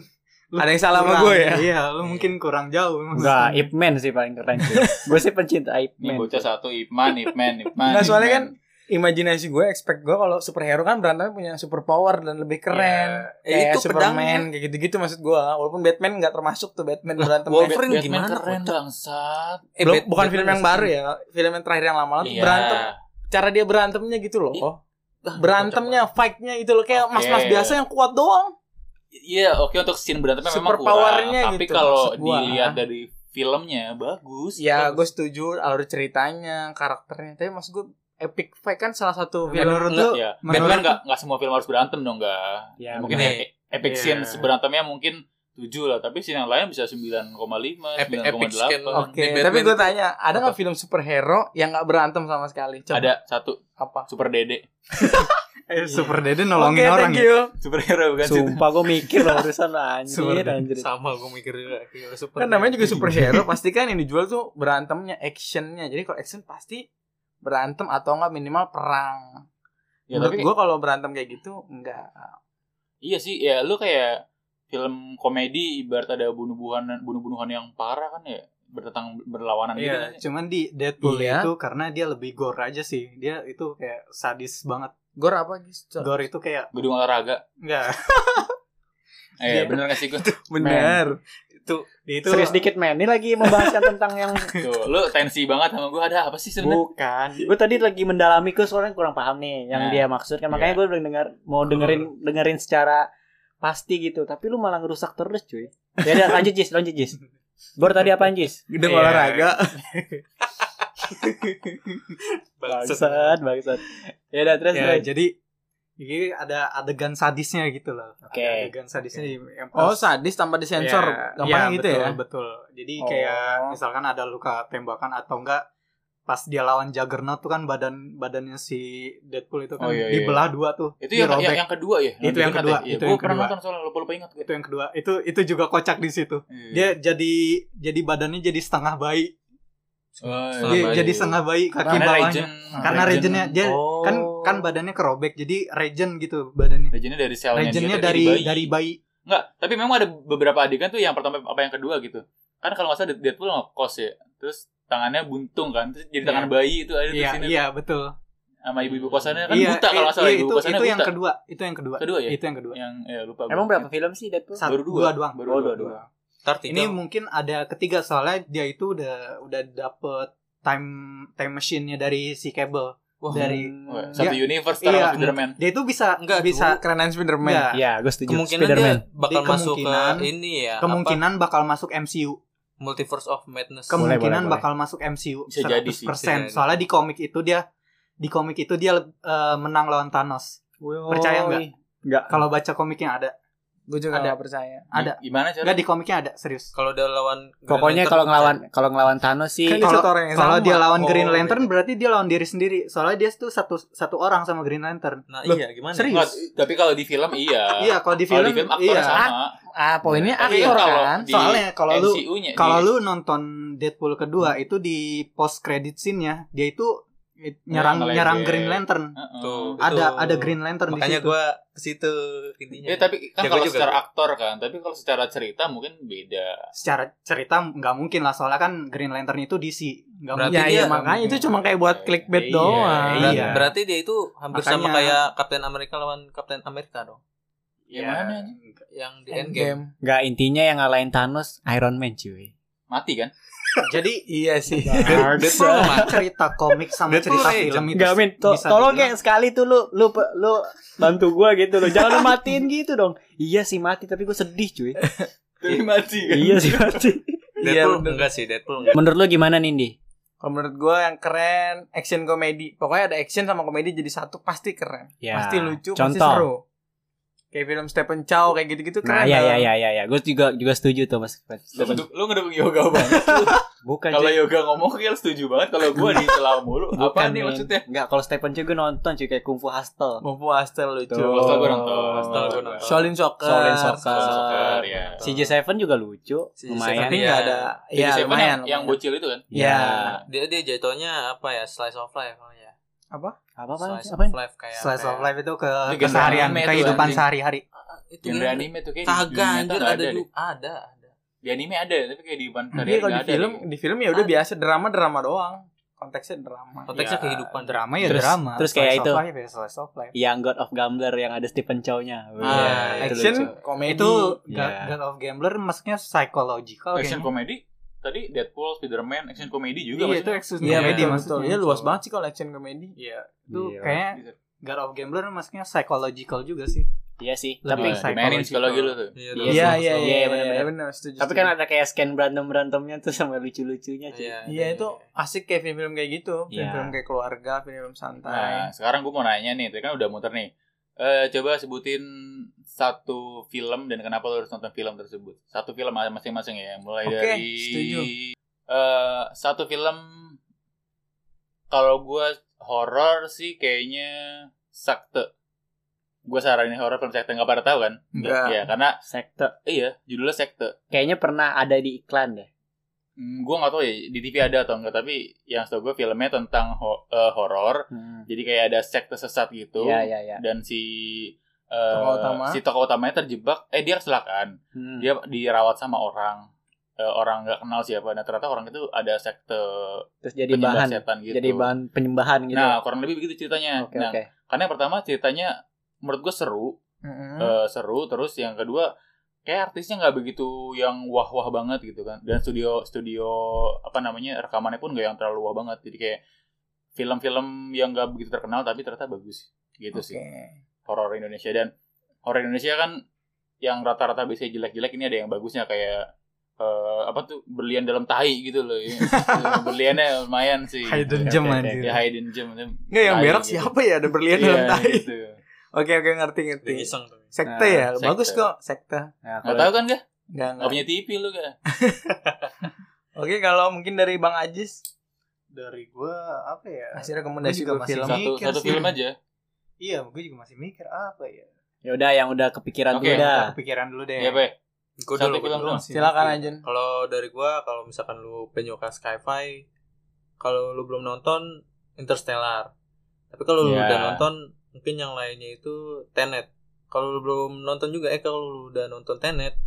Speaker 7: lu
Speaker 4: Ada yang salah sama
Speaker 7: kurang-
Speaker 4: gue ya?
Speaker 7: iya lu mungkin kurang jauh
Speaker 1: Enggak, Ip Man sih paling keren cuy. Gue sih pencinta Ip
Speaker 2: Ini
Speaker 1: Man.
Speaker 2: bocah satu Ipman, Ipman, Ipman. Iya.
Speaker 4: Enggak soalnya
Speaker 2: Ipman.
Speaker 4: kan imajinasi gue expect gue kalau superhero kan berantemnya punya super power dan lebih keren.
Speaker 2: Iya.
Speaker 3: Ya,
Speaker 4: Kayak
Speaker 3: itu
Speaker 4: Superman
Speaker 3: pedangnya.
Speaker 4: kayak gitu-gitu maksud gue. Walaupun Batman enggak termasuk tuh Batman berantem.
Speaker 3: Wolverine
Speaker 2: Batman
Speaker 3: gimana?
Speaker 2: keren bangsat.
Speaker 3: Eh,
Speaker 4: Belum-
Speaker 3: Bat-
Speaker 4: bukan
Speaker 3: Batman
Speaker 4: film yang
Speaker 3: masih-
Speaker 4: baru ya. Film yang terakhir yang lama-lama
Speaker 2: Iya.
Speaker 4: berantem. Cara dia berantemnya gitu loh.
Speaker 3: Ih, Ah,
Speaker 4: Berantemnya, fight-nya gitu loh kayak
Speaker 2: Oke.
Speaker 4: mas-mas biasa yang kuat doang.
Speaker 2: Iya, oke untuk scene berantemnya memang
Speaker 4: Super
Speaker 2: kurang.
Speaker 4: powernya
Speaker 2: Tapi
Speaker 4: gitu,
Speaker 2: kalau
Speaker 4: maksud gua.
Speaker 2: dilihat dari filmnya bagus.
Speaker 4: Ya,
Speaker 2: Bagus.
Speaker 4: gue setuju alur ceritanya, karakternya. Tapi maksud gue epic fight kan salah satu film
Speaker 7: menurut lu
Speaker 2: ya.
Speaker 7: menurut-
Speaker 2: Batman nggak nggak semua film harus berantem dong nggak.
Speaker 1: Ya,
Speaker 2: mungkin
Speaker 3: bener.
Speaker 2: e- epic
Speaker 7: Iya.
Speaker 2: scene berantemnya mungkin 7 lah, tapi scene yang lain bisa 9,5,
Speaker 3: Epic- epic scene.
Speaker 2: 9,8.
Speaker 4: Oke,
Speaker 3: Di Batman
Speaker 4: tapi gue tanya, ada
Speaker 2: apa?
Speaker 4: nggak film superhero yang nggak berantem sama sekali? Coba.
Speaker 2: Ada satu
Speaker 4: apa?
Speaker 2: Super Dede.
Speaker 7: eh, super dede nolongin
Speaker 4: iya. Oke,
Speaker 7: orang
Speaker 4: thank
Speaker 7: ya.
Speaker 4: you.
Speaker 2: Superhero bukan sih.
Speaker 1: Sumpah gue mikir loh urusan lu, anjir
Speaker 7: Super.
Speaker 1: anjir.
Speaker 3: Sama gue mikir juga Kayak super.
Speaker 4: Kan namanya juga superhero, pasti kan yang dijual tuh berantemnya, actionnya. Jadi kalau action pasti berantem atau nggak minimal perang.
Speaker 2: Ya,
Speaker 4: Menurut
Speaker 2: tapi
Speaker 4: gue kalau berantem kayak gitu enggak.
Speaker 2: iya sih ya lu kayak film komedi ibarat ada bunuh-bunuhan bunuh-bunuhan yang parah kan ya bertentang berlawanan gitu kan
Speaker 7: Iya,
Speaker 2: ya.
Speaker 7: cuman di Deadpool
Speaker 4: Iya.
Speaker 7: itu karena dia lebih gore aja sih. Dia itu kayak sadis banget.
Speaker 4: Gor apa gitu?
Speaker 7: Gore itu kayak
Speaker 2: gedung olahraga
Speaker 7: enggak.
Speaker 2: eh
Speaker 7: Iya.
Speaker 2: bener gak sih gue
Speaker 4: Bener.
Speaker 7: Dia itu
Speaker 1: Serius dikit men, ini lagi membahaskan tentang yang
Speaker 2: tuh lu tensi banget sama gue ada apa sih sebenarnya
Speaker 7: bukan.
Speaker 1: gue tadi lagi mendalami gue soalnya kurang paham nih
Speaker 2: Nah,
Speaker 1: yang dia maksud kan makanya
Speaker 2: iya.
Speaker 1: gue udah dengar mau dengerin dengerin secara pasti gitu tapi lu malah ngerusak terus cuy ya udah lanjut jis lanjut jis Gor tadi apa jis
Speaker 4: Gedung
Speaker 7: Iya.
Speaker 4: olahraga.
Speaker 1: bangsat bangsat ya udah terus
Speaker 7: Ya,
Speaker 1: terus.
Speaker 7: jadi jadi ada adegan sadisnya gitu loh. Ada
Speaker 1: Oke.
Speaker 7: adegan sadisnya yang
Speaker 4: Oh
Speaker 7: pas-
Speaker 4: sadis tanpa disensor.
Speaker 7: Ya,
Speaker 4: Gampang
Speaker 7: ya,
Speaker 4: gitu
Speaker 7: betul,
Speaker 4: ya.
Speaker 7: Betul. Jadi kayak misalkan ada luka tembakan atau enggak pas dia lawan Juggernaut tuh kan badan badannya si Deadpool itu
Speaker 2: Oh,
Speaker 7: kan
Speaker 2: iya, iya.
Speaker 7: dibelah dua tuh.
Speaker 2: itu yang,
Speaker 7: dirobek.
Speaker 2: yang yang kedua ya
Speaker 7: Itu yang kedua, itu
Speaker 2: gue
Speaker 7: yang
Speaker 2: pernah
Speaker 7: kedua.
Speaker 2: nonton soalnya lupa lupa ingat gue
Speaker 7: itu yang kedua. Itu itu juga kocak di situ.
Speaker 2: Iya.
Speaker 7: Dia jadi jadi badannya jadi setengah bayi.
Speaker 2: Setengah
Speaker 7: Dia
Speaker 2: bayi.
Speaker 7: jadi setengah bayi kaki
Speaker 2: karena
Speaker 7: bawahnya.
Speaker 2: region
Speaker 7: Karena regionnya dia
Speaker 1: Oh.
Speaker 7: kan kan badannya kerobek jadi regen gitu badannya.
Speaker 2: regionnya dari selnya
Speaker 7: Regennya
Speaker 2: dia tuh
Speaker 7: dari
Speaker 2: jadi
Speaker 7: dari bayi.
Speaker 2: Enggak, tapi memang ada beberapa adegan tuh yang pertama apa yang kedua gitu. Kan kalau nggak salah Deadpool ngekos ya. Terus tangannya buntung kan, terus jadi
Speaker 7: Iya.
Speaker 2: tangan bayi itu ada di
Speaker 7: Iya,
Speaker 2: sini
Speaker 7: iya betul.
Speaker 2: sama ibu-ibu kosannya kan
Speaker 7: Iya,
Speaker 2: buta kalau nggak salah
Speaker 7: iya,
Speaker 2: ibu
Speaker 7: itu
Speaker 2: kosannya
Speaker 7: itu yang
Speaker 2: buta.
Speaker 7: kedua, itu yang kedua.
Speaker 2: kedua ya?
Speaker 7: Itu yang kedua.
Speaker 2: Yang ya lupa gua.
Speaker 1: emang berapa film sih Deadpool
Speaker 7: Satu,
Speaker 2: Baru dua.
Speaker 7: dua doang.
Speaker 2: Baru
Speaker 1: Oh,
Speaker 2: dua,
Speaker 1: dua-dua.
Speaker 3: Ntar tiga.
Speaker 7: Ini mungkin ada ketiga soalnya dia itu udah udah dapet time time machine-nya dari si Cable.
Speaker 2: Oh,
Speaker 7: dari
Speaker 2: Wah, satu universe sama
Speaker 7: Iya.
Speaker 2: Spiderman.
Speaker 7: dia itu bisa
Speaker 3: Enggak,
Speaker 7: bisa
Speaker 4: Kerenan Spiderman.
Speaker 7: enggak.
Speaker 2: Iya,
Speaker 1: ya gue setuju
Speaker 3: kemungkinan
Speaker 1: Spiderman
Speaker 3: dia bakal masuk
Speaker 7: Jadi
Speaker 3: ke
Speaker 7: kemungkinan-
Speaker 3: ini ya
Speaker 7: kemungkinan bakal masuk MCU.
Speaker 3: apa, multiverse of madness
Speaker 1: Boleh, boleh,
Speaker 7: Kemungkinan
Speaker 1: boleh.
Speaker 7: bakal masuk MCU
Speaker 2: Bisa
Speaker 7: 100%.
Speaker 2: jadi sih, bisa
Speaker 3: jadi.
Speaker 7: Soalnya di komik itu dia di komik itu dia eh, menang lawan Thanos. Percaya
Speaker 2: oh,
Speaker 7: nggak?
Speaker 2: iya.
Speaker 1: Nggak.
Speaker 7: Kalau baca komiknya ada.
Speaker 4: Gue juga
Speaker 7: Ada. Iya,
Speaker 4: nggak percaya.
Speaker 7: Ada.
Speaker 2: Gimana cara?
Speaker 7: Enggak di komiknya ada, serius.
Speaker 3: kalau udah lawan
Speaker 1: pokoknya
Speaker 3: Green Lantern,
Speaker 1: kalau ngelawan kalau ngelawan Thanos sih
Speaker 4: Kan dia
Speaker 7: Kalau-
Speaker 4: satu orang yang
Speaker 7: Kalau
Speaker 4: sama.
Speaker 7: dia lawan
Speaker 3: Oh,
Speaker 7: Green
Speaker 2: iya.
Speaker 7: Lantern
Speaker 3: beda.
Speaker 7: berarti dia lawan diri sendiri. Soalnya dia itu satu satu orang sama Green Lantern.
Speaker 3: nah
Speaker 4: Loh,
Speaker 3: iya gimana
Speaker 4: serius?
Speaker 2: Nggak, tapi kalau di film iya.
Speaker 7: Iya, kalau di
Speaker 2: Kalau di
Speaker 7: film,
Speaker 2: film aktor
Speaker 7: iya.
Speaker 2: sama.
Speaker 4: Ah poinnya
Speaker 2: Tapi
Speaker 4: aktor
Speaker 2: kalau
Speaker 4: kan.
Speaker 2: di
Speaker 7: Soalnya kalau lu
Speaker 2: MCU-nya
Speaker 7: Kalau
Speaker 2: di-
Speaker 7: lu nonton Deadpool kedua itu di post credit scene-nya dia itu eh, nyerang
Speaker 2: Ngeledek.
Speaker 7: nyerang Green Lantern.
Speaker 2: Heeh.
Speaker 3: Tuh.
Speaker 7: Ada
Speaker 3: Itu.
Speaker 7: ada Green Lantern
Speaker 3: makanya
Speaker 7: di situ.
Speaker 3: gue ke situ intinya
Speaker 2: Ya, tapi kan
Speaker 3: Jago
Speaker 2: kalau
Speaker 3: juga.
Speaker 2: secara aktor kan, tapi kalau secara cerita mungkin beda.
Speaker 7: Secara cerita nggak mungkin lah soalnya kan Green Lantern itu DC. Nggak
Speaker 3: Berarti
Speaker 4: Ya,
Speaker 7: mungkin.
Speaker 4: ya
Speaker 3: dia-
Speaker 4: makanya itu cuma kayak buat clickbait
Speaker 2: Iya,
Speaker 4: doang.
Speaker 3: Berat-
Speaker 7: iya.
Speaker 3: berarti dia itu hampir sama
Speaker 7: Makanya-
Speaker 3: kayak Captain America lawan Captain America dong
Speaker 2: Ya, mana?
Speaker 3: yang di Endgame,
Speaker 4: Endgame.
Speaker 1: nggak intinya yang ngalahin Thanos Iron Man cuy
Speaker 2: Mati kan?
Speaker 7: Jadi
Speaker 4: Iya sih.
Speaker 7: Deadpool sama cerita komik sama
Speaker 3: Deadpool
Speaker 7: cerita
Speaker 3: legend.
Speaker 7: film itu
Speaker 1: Gak min, to-
Speaker 7: bisa
Speaker 1: tolong ya.
Speaker 7: dibilang-
Speaker 1: kayak sekali tuh lu lu lu bantu gua gitu loh. Jangan lu matiin gitu dong. Iya sih mati tapi gue sedih cuy.
Speaker 2: Tapi mati kan?
Speaker 1: iya sih mati.
Speaker 4: Iya,
Speaker 3: Deadpool
Speaker 4: bener.
Speaker 3: enggak sih Deadpool enggak
Speaker 1: Menurut lu gimana Nindi?
Speaker 4: Kalau menurut gue yang keren action komedi. Pokoknya ada action sama komedi jadi satu pasti keren.
Speaker 1: Ya,
Speaker 4: Pasti lucu, pasti
Speaker 1: contoh.
Speaker 4: seru. Kayak film Stephen Chow kayak gitu-gitu
Speaker 1: Nah,
Speaker 4: keren.
Speaker 1: ya
Speaker 4: dong.
Speaker 1: ya ya ya ya. Gue juga juga setuju ya- tuh Mas.
Speaker 2: Lu ngedukung- Lu ngedukung yoga banget.
Speaker 1: Bukan
Speaker 2: kalau
Speaker 1: cuy.
Speaker 2: yoga ngomong kayak setuju banget. Kalau gua dicela mulu. Apa nih
Speaker 1: Min.
Speaker 2: maksudnya?
Speaker 1: Nggak, kalau Stephen cuy gue nonton cuy kayak Kung Fu Hustle.
Speaker 4: Mau puas ter lucu.
Speaker 7: gitu.
Speaker 1: Tuh.
Speaker 2: Hostel gua nonton.
Speaker 3: Hostel gua nonton.
Speaker 4: Solin Soccer.
Speaker 1: Solin
Speaker 2: Hostel Soccer,
Speaker 1: Soccer.
Speaker 2: ya.
Speaker 1: CJ7 juga lucu, lumayan.
Speaker 4: Tapi
Speaker 3: Iya.
Speaker 4: nggak ada.
Speaker 2: Jadi
Speaker 4: Ya
Speaker 2: siapa yang,
Speaker 4: lumayan.
Speaker 2: yang bocil itu kan?
Speaker 4: Ya.
Speaker 3: dia dia jatuhnya apa ya slice of life oh ya
Speaker 1: Apa apa?
Speaker 3: slice
Speaker 1: Apa?
Speaker 3: of life kayak
Speaker 7: Slice
Speaker 3: kayak-
Speaker 7: of
Speaker 3: Ah,
Speaker 7: life itu ke
Speaker 2: Itu
Speaker 7: keseharian,
Speaker 2: anime tuh,
Speaker 7: kehidupan
Speaker 2: anjing.
Speaker 7: sehari-hari.
Speaker 3: itu
Speaker 2: Genre
Speaker 3: yang-
Speaker 2: anime tuh kayak di- di
Speaker 3: kagak
Speaker 2: nyata
Speaker 3: anjir
Speaker 2: nggak
Speaker 3: ada
Speaker 2: deh.
Speaker 3: juga ada ada
Speaker 2: Di anime ada, tapi kayak di depan
Speaker 4: Tapi Iya, kalau di
Speaker 2: nggak ada
Speaker 4: film,
Speaker 2: deh.
Speaker 4: di film ya udah biasa drama-drama doang. Konteksnya drama.
Speaker 3: konteksnya
Speaker 2: Ya,
Speaker 3: kehidupan
Speaker 7: Drama ya
Speaker 1: Terus-
Speaker 7: drama.
Speaker 1: terus kayak
Speaker 7: Slice
Speaker 1: itu.
Speaker 7: Of life ya, slice of life.
Speaker 1: Yang God of Gambler yang ada Stephen Chow-nya.
Speaker 3: Ah,
Speaker 1: Iya, itu
Speaker 4: action,
Speaker 1: lucu.
Speaker 4: komedi.
Speaker 7: Itu
Speaker 4: Iya.
Speaker 7: God,
Speaker 1: Ya.
Speaker 7: God of Gambler masuknya psychological
Speaker 2: action
Speaker 7: kayaknya.
Speaker 2: komedi tadi Deadpool, Spiderman, action komedi juga
Speaker 7: Iya, itu
Speaker 2: maksudnya.
Speaker 7: action
Speaker 4: Iya,
Speaker 7: komedi
Speaker 4: betul, betul.
Speaker 7: maksudnya.
Speaker 4: Iya, luas
Speaker 7: So-
Speaker 4: banget sih kalau action komedi.
Speaker 7: Iya, itu
Speaker 1: Gila.
Speaker 2: Iya.
Speaker 7: kayaknya God of Gambler maksudnya psychological juga sih.
Speaker 1: Iya sih,
Speaker 7: Lebih
Speaker 1: tapi
Speaker 2: Nah, dimainin psikologi lu tuh.
Speaker 1: Iya,
Speaker 4: Iya, iya,
Speaker 1: betul.
Speaker 4: iya,
Speaker 1: Iya, benar-benar.
Speaker 4: benar, benar, setuju.
Speaker 1: tapi kan ada kayak scan berantem berantemnya tuh sama lucu lucunya cuy.
Speaker 3: Iya,
Speaker 4: Iya itu asik kayak film-film kayak gitu,
Speaker 1: Iya.
Speaker 4: film-film kayak keluarga, film-film santai.
Speaker 2: Nah, sekarang gua mau nanya nih, tadi kan udah muter nih. Eh coba sebutin satu film dan kenapa lo harus nonton film tersebut. Satu film masing-masing ya, mulai
Speaker 4: Oke,
Speaker 2: dari
Speaker 4: setuju.
Speaker 2: Eh, satu film kalau gua horor sih kayaknya Sakte. Gua saranin horor film Sakte nggak pada tahu kan?
Speaker 4: Nggak.
Speaker 2: Iya, karena
Speaker 1: Sekte.
Speaker 2: iya judulnya Sekte.
Speaker 1: Kayaknya pernah ada di iklan deh.
Speaker 2: Hmm, gue nggak tahu ya di TV ada atau enggak tapi yang setahu gue filmnya tentang ho- eh, horor jadi kayak ada sekte sesat gitu
Speaker 1: Iya, iya, iya.
Speaker 2: dan si eh,
Speaker 4: Tokoh utama.
Speaker 2: si tokoh utamanya terjebak eh dia kecelakaan
Speaker 1: Hmm.
Speaker 2: dia dirawat sama orang Eh, orang nggak kenal siapa nah ternyata orang itu ada sekte
Speaker 1: Terus jadi
Speaker 2: penyembah
Speaker 1: bahan
Speaker 2: setan gitu
Speaker 1: jadi bahan penyembahan gitu.
Speaker 2: nah kurang lebih begitu ceritanya
Speaker 1: Oke,
Speaker 2: nah
Speaker 1: oke.
Speaker 2: karena yang pertama ceritanya menurut gue seru
Speaker 1: Hmm.
Speaker 2: Eh, seru terus yang kedua kayak artisnya nggak begitu yang wah wah banget gitu kan dan studio studio apa namanya rekamannya pun nggak yang terlalu wah banget jadi kayak film-film yang nggak begitu terkenal tapi ternyata bagus gitu sih horor Indonesia dan horor Indonesia kan yang rata-rata biasanya jelek-jelek ini ada yang bagusnya kayak eh, apa tuh berlian dalam tai gitu loh ya. berliannya lumayan sih
Speaker 7: Hidden
Speaker 2: Oke,
Speaker 7: gem,
Speaker 2: oke,
Speaker 7: anjir.
Speaker 2: ya hidden gem
Speaker 4: Nggak yang
Speaker 2: Tai
Speaker 4: berak
Speaker 2: gitu.
Speaker 4: siapa ya ada berlian dalam
Speaker 2: Iya,
Speaker 4: tai.
Speaker 2: gitu.
Speaker 4: Oke oke ngerti ngerti.
Speaker 3: Udah iseng tuh.
Speaker 4: Sekte
Speaker 1: Nah,
Speaker 4: ya,
Speaker 2: sekte.
Speaker 4: bagus kok sekte.
Speaker 2: nggak
Speaker 1: Nah, kalau-
Speaker 2: tahu kan gak
Speaker 4: Nggak,
Speaker 2: nggak
Speaker 4: nggak.
Speaker 2: punya TV lu gak
Speaker 4: Oke kalau mungkin dari Bang Ajis
Speaker 7: dari gue apa ya
Speaker 4: kasih rekomendasi ke
Speaker 7: Gua juga masih
Speaker 4: film.
Speaker 7: suka.
Speaker 2: satu
Speaker 7: mikir
Speaker 2: satu
Speaker 7: sih.
Speaker 2: film aja
Speaker 7: iya gue juga masih mikir apa ya
Speaker 1: Ya udah yang udah kepikiran
Speaker 2: Oke.
Speaker 1: dulu
Speaker 4: Iya.
Speaker 1: dah.
Speaker 7: Kita kepikiran dulu deh
Speaker 2: ya be
Speaker 3: Gue
Speaker 2: Satu
Speaker 3: dulu, gua
Speaker 2: film
Speaker 3: dulu.
Speaker 2: doang.
Speaker 4: Silakan Ajun.
Speaker 3: Kalau dari gua kalau misalkan lu penyuka sci-fi, kalau lu belum nonton Interstellar. Tapi kalau lu
Speaker 2: Ya.
Speaker 3: udah nonton, mungkin yang lainnya itu Tenet. Kalau lu belum nonton juga eh kalau lu udah nonton Tenet,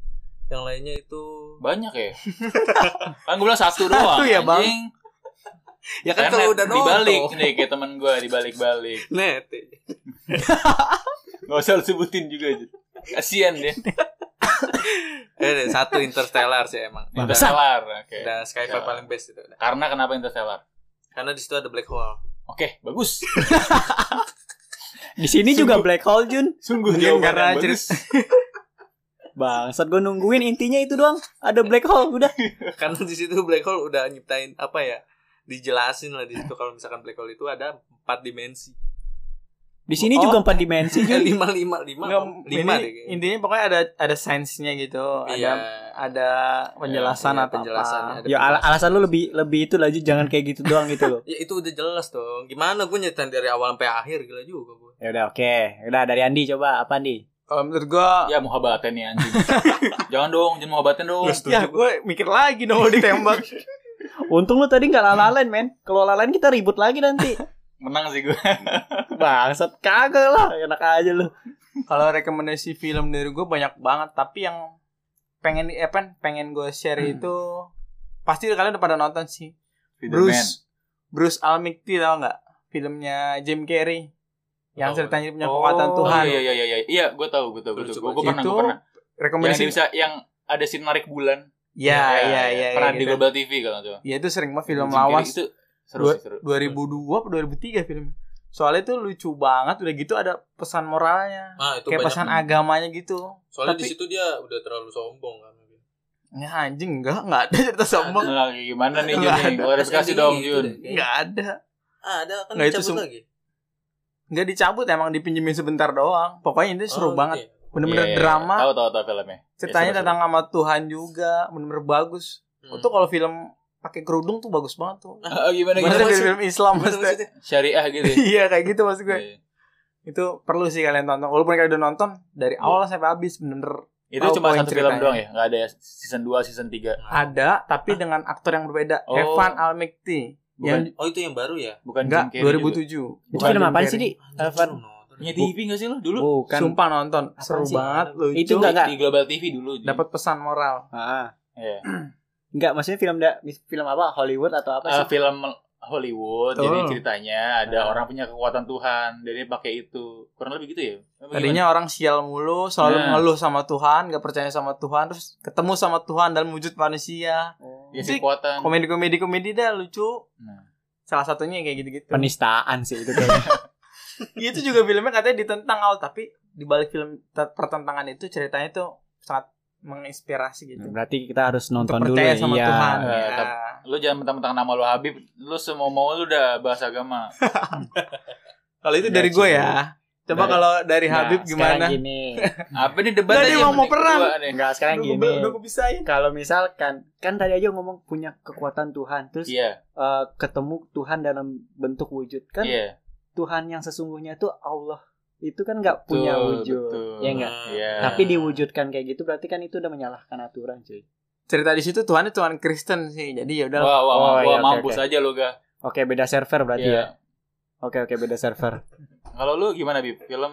Speaker 3: yang lainnya itu
Speaker 2: banyak ya kan gue bilang satu doang
Speaker 4: ya, Bang.
Speaker 2: anjing.
Speaker 3: ya
Speaker 4: kan
Speaker 2: Karena dibalik nih kayak temen gue dibalik-balik
Speaker 3: Net.
Speaker 2: nggak usah lu sebutin juga aja kasian dia
Speaker 3: Eh deh, satu Interstellar sih emang. Udah,
Speaker 2: Interstellar oke
Speaker 3: udah sci-fi
Speaker 2: Ya.
Speaker 3: paling best itu. udah.
Speaker 2: karena kenapa Interstellar
Speaker 3: Karena di situ ada black hole.
Speaker 2: oke bagus
Speaker 1: Di sini juga black hole Jun.
Speaker 2: sungguh
Speaker 4: Mungkin
Speaker 2: jawaban
Speaker 4: karena
Speaker 2: yang bagus.
Speaker 1: Bangsat gue nungguin intinya itu doang. Ada black hole udah.
Speaker 3: Karena di situ black hole udah nyiptain apa ya? Dijelasin lah di situ kalau misalkan black hole itu ada empat dimensi.
Speaker 1: Di sini
Speaker 4: Oh.
Speaker 1: juga empat dimensi
Speaker 3: Eh,
Speaker 1: Jun.
Speaker 3: lima lima lima
Speaker 4: Nggak,
Speaker 3: lima
Speaker 4: ini
Speaker 3: deh kayaknya.
Speaker 4: intinya pokoknya ada ada sainsnya gitu,
Speaker 3: Iya.
Speaker 4: ada ada penjelasan
Speaker 3: Iya,
Speaker 4: atau
Speaker 3: penjelasan,
Speaker 4: apa.
Speaker 3: ada
Speaker 1: Ya al-
Speaker 3: penjelasan.
Speaker 1: alasan lu lebih lebih itu lah Jun, jangan kayak gitu doang gitu loh.
Speaker 3: ya itu udah jelas dong gimana gue nyetan dari awal sampai akhir gila juga gue
Speaker 1: Ya udah oke. Udah dari Andi coba apa Andi?
Speaker 4: Kalau menurut gua
Speaker 2: ya muhabbatin nih anjing jangan dong jangan muhabbatin dong
Speaker 4: ya gue mikir lagi dong kalau ditembak.
Speaker 1: Untung lu tadi nggak lalalain men. Kalau lalalain kita ribut lagi nanti.
Speaker 2: menang sih gue
Speaker 1: Bangsat kagak lah. Enak aja lu.
Speaker 4: kalau rekomendasi film dari gue banyak banget, tapi yang pengen eh, pen, pengen gue share itu pasti kalian udah pada nonton sih. Bruce Bruce Almighty tau nggak filmnya Jim Carrey yang
Speaker 3: Tahu.
Speaker 4: ceritanya punya kekuatan
Speaker 2: Oh,
Speaker 4: Tuhan
Speaker 2: iya iya iya iya iya gue tahu gue tahu gue
Speaker 3: Lucu
Speaker 2: tahu gue
Speaker 4: itu
Speaker 2: pernah
Speaker 3: banget.
Speaker 2: gue pernah yang Iya,
Speaker 4: rekomendasi Iya,
Speaker 2: dia bisa yang ada sin narik bulan
Speaker 4: ya ya ya
Speaker 2: iya,
Speaker 4: ya,
Speaker 2: pernah di
Speaker 4: gitu.
Speaker 2: Global TV kalau nggak salah.
Speaker 4: Ya, itu sering banget film
Speaker 2: Jim Carrey
Speaker 4: lawas
Speaker 2: itu seru sih seru
Speaker 4: 2002 atau 2003 film soalnya itu lucu banget udah gitu ada pesan moralnya
Speaker 3: nah itu
Speaker 4: kayak
Speaker 3: banyak
Speaker 4: pesan agamanya gitu
Speaker 3: soalnya di
Speaker 4: tapi-
Speaker 3: situ dia udah terlalu sombong kan
Speaker 4: ya anjing enggak enggak ada cerita sombong
Speaker 2: Nah, gimana nih Jun
Speaker 4: Nggak
Speaker 2: nih? Klarifikasi
Speaker 3: Endingnya
Speaker 2: dong
Speaker 3: gitu
Speaker 2: Jun.
Speaker 3: deh, kayaknya.
Speaker 4: enggak ada
Speaker 3: ah ada kan
Speaker 4: Nggak, itu
Speaker 3: dicabut
Speaker 4: sem-
Speaker 3: lagi
Speaker 4: enggak dicabut emang dipinjemin sebentar doang pokoknya itu seru
Speaker 3: Oh,
Speaker 4: banget
Speaker 3: gitu ya.
Speaker 4: bener-bener
Speaker 2: Iya, iya,
Speaker 4: drama
Speaker 2: iya. Tahu tahu tahu filmnya.
Speaker 4: ceritanya
Speaker 2: seru,
Speaker 4: tentang sama Tuhan juga bener-bener bagus
Speaker 3: Hmm.
Speaker 4: itu kalau film pakai kerudung tuh bagus banget tuh
Speaker 2: Ah, gimana
Speaker 4: Bener
Speaker 2: gimana?
Speaker 4: dari film Islam
Speaker 3: Gimana
Speaker 4: maksudnya.
Speaker 3: maksudnya?
Speaker 2: Syariah gitu. ya?
Speaker 4: Iya kayak gitu maksud gue.
Speaker 2: Iya.
Speaker 4: Itu perlu sih kalian tonton. Walaupun kalian udah nonton dari awal sampai habis bener
Speaker 2: Itu
Speaker 4: Tahu
Speaker 2: cuma
Speaker 4: poin
Speaker 2: satu film
Speaker 4: ceritanya.
Speaker 2: doang ya? Enggak ada season 2, season 3.
Speaker 3: Nah,
Speaker 4: ada tapi dengan aktor yang berbeda.
Speaker 2: Oh.
Speaker 4: Evan Almighty
Speaker 2: Bukan
Speaker 4: yang
Speaker 3: oh itu yang baru ya
Speaker 2: bukan
Speaker 4: enggak
Speaker 2: Jim Carrey
Speaker 4: 2007.
Speaker 1: Itu
Speaker 4: Bukan
Speaker 1: film
Speaker 4: Jim
Speaker 1: apaan
Speaker 4: Carrey.
Speaker 1: sih di?
Speaker 3: Anjing,
Speaker 1: Evan.
Speaker 3: belum nonton.
Speaker 2: juga. Punya TV enggak sih lu dulu?
Speaker 1: Bukan.
Speaker 4: Sumpah nonton seru
Speaker 1: sih?
Speaker 4: banget lucu.
Speaker 1: Itu enggak enggak.
Speaker 2: Di Global TV dulu. Jun.
Speaker 4: dapat pesan moral.
Speaker 1: Ah.
Speaker 2: Iya.
Speaker 1: Enggak maksudnya film da- film apa? Hollywood atau apa
Speaker 2: Eh,
Speaker 1: sih?
Speaker 2: film Hollywood,
Speaker 4: Betul.
Speaker 2: jadi ceritanya ada
Speaker 1: Ah.
Speaker 2: orang punya kekuatan Tuhan, jadi pakai itu kurang lebih gitu ya. Apa gimana?
Speaker 4: Tadinya orang sial mulu, selalu
Speaker 2: Nah.
Speaker 4: ngeluh sama Tuhan, gak percaya sama Tuhan, terus ketemu sama Tuhan dalam wujud manusia.
Speaker 2: ya
Speaker 4: sih,
Speaker 2: sih kekuatan.
Speaker 4: Komedi-komedi komedi dah lucu.
Speaker 2: Nah.
Speaker 4: Salah satunya kayak gitu-gitu.
Speaker 1: Penistaan sih itu kayaknya.
Speaker 4: Iya, itu juga filmnya katanya ditentang awal tapi di balik film ter- pertentangan itu ceritanya tuh sangat menginspirasi gitu.
Speaker 1: Berarti kita harus nonton dulu
Speaker 4: Percaya sama
Speaker 1: Iya.
Speaker 4: Tuhan.
Speaker 2: Eh,
Speaker 4: ya.
Speaker 2: tapi- Lu jangan mentang-mentang nama lu Habib, lu semua mau lu udah bahas agama.
Speaker 4: Kalau itu
Speaker 2: Udah
Speaker 4: dari gue
Speaker 2: sih.
Speaker 4: ya. Coba
Speaker 2: Udah.
Speaker 4: kalau dari
Speaker 1: Iya, Nah,
Speaker 4: Habib
Speaker 1: Sekarang
Speaker 4: gimana?
Speaker 1: gini.
Speaker 2: Apa nih debat
Speaker 4: Tadi
Speaker 2: aja
Speaker 4: mau-
Speaker 2: yang
Speaker 4: mau
Speaker 2: penting
Speaker 4: perang.
Speaker 2: kedua nih.
Speaker 1: Enggak, Eh, sekarang
Speaker 4: Udah
Speaker 1: gini.
Speaker 4: gua- udah gua pisahin.
Speaker 1: Kalau misalkan kan tadi aja ngomong punya kekuatan Tuhan, terus
Speaker 2: Iya,
Speaker 1: eh, ketemu Tuhan dalam bentuk wujud kan
Speaker 2: iya.
Speaker 1: Tuhan yang sesungguhnya itu Allah itu kan nggak punya
Speaker 2: Betul,
Speaker 1: wujud
Speaker 2: betul.
Speaker 1: ya enggak
Speaker 2: Iya.
Speaker 1: tapi diwujudkan kayak gitu berarti kan itu udah menyalahkan aturan cuy
Speaker 4: cerita di situ Tuhan Tuhan Kristen sih. Jadi ya udah
Speaker 2: Wah, wah,
Speaker 1: Oh,
Speaker 2: wah,
Speaker 1: iya, oke,
Speaker 2: mampus
Speaker 1: oke.
Speaker 2: aja lo, Ga.
Speaker 1: Oke, beda server berarti
Speaker 2: Iya.
Speaker 1: ya. Oke, oke, beda server.
Speaker 2: Kalau lu gimana, Bib? Film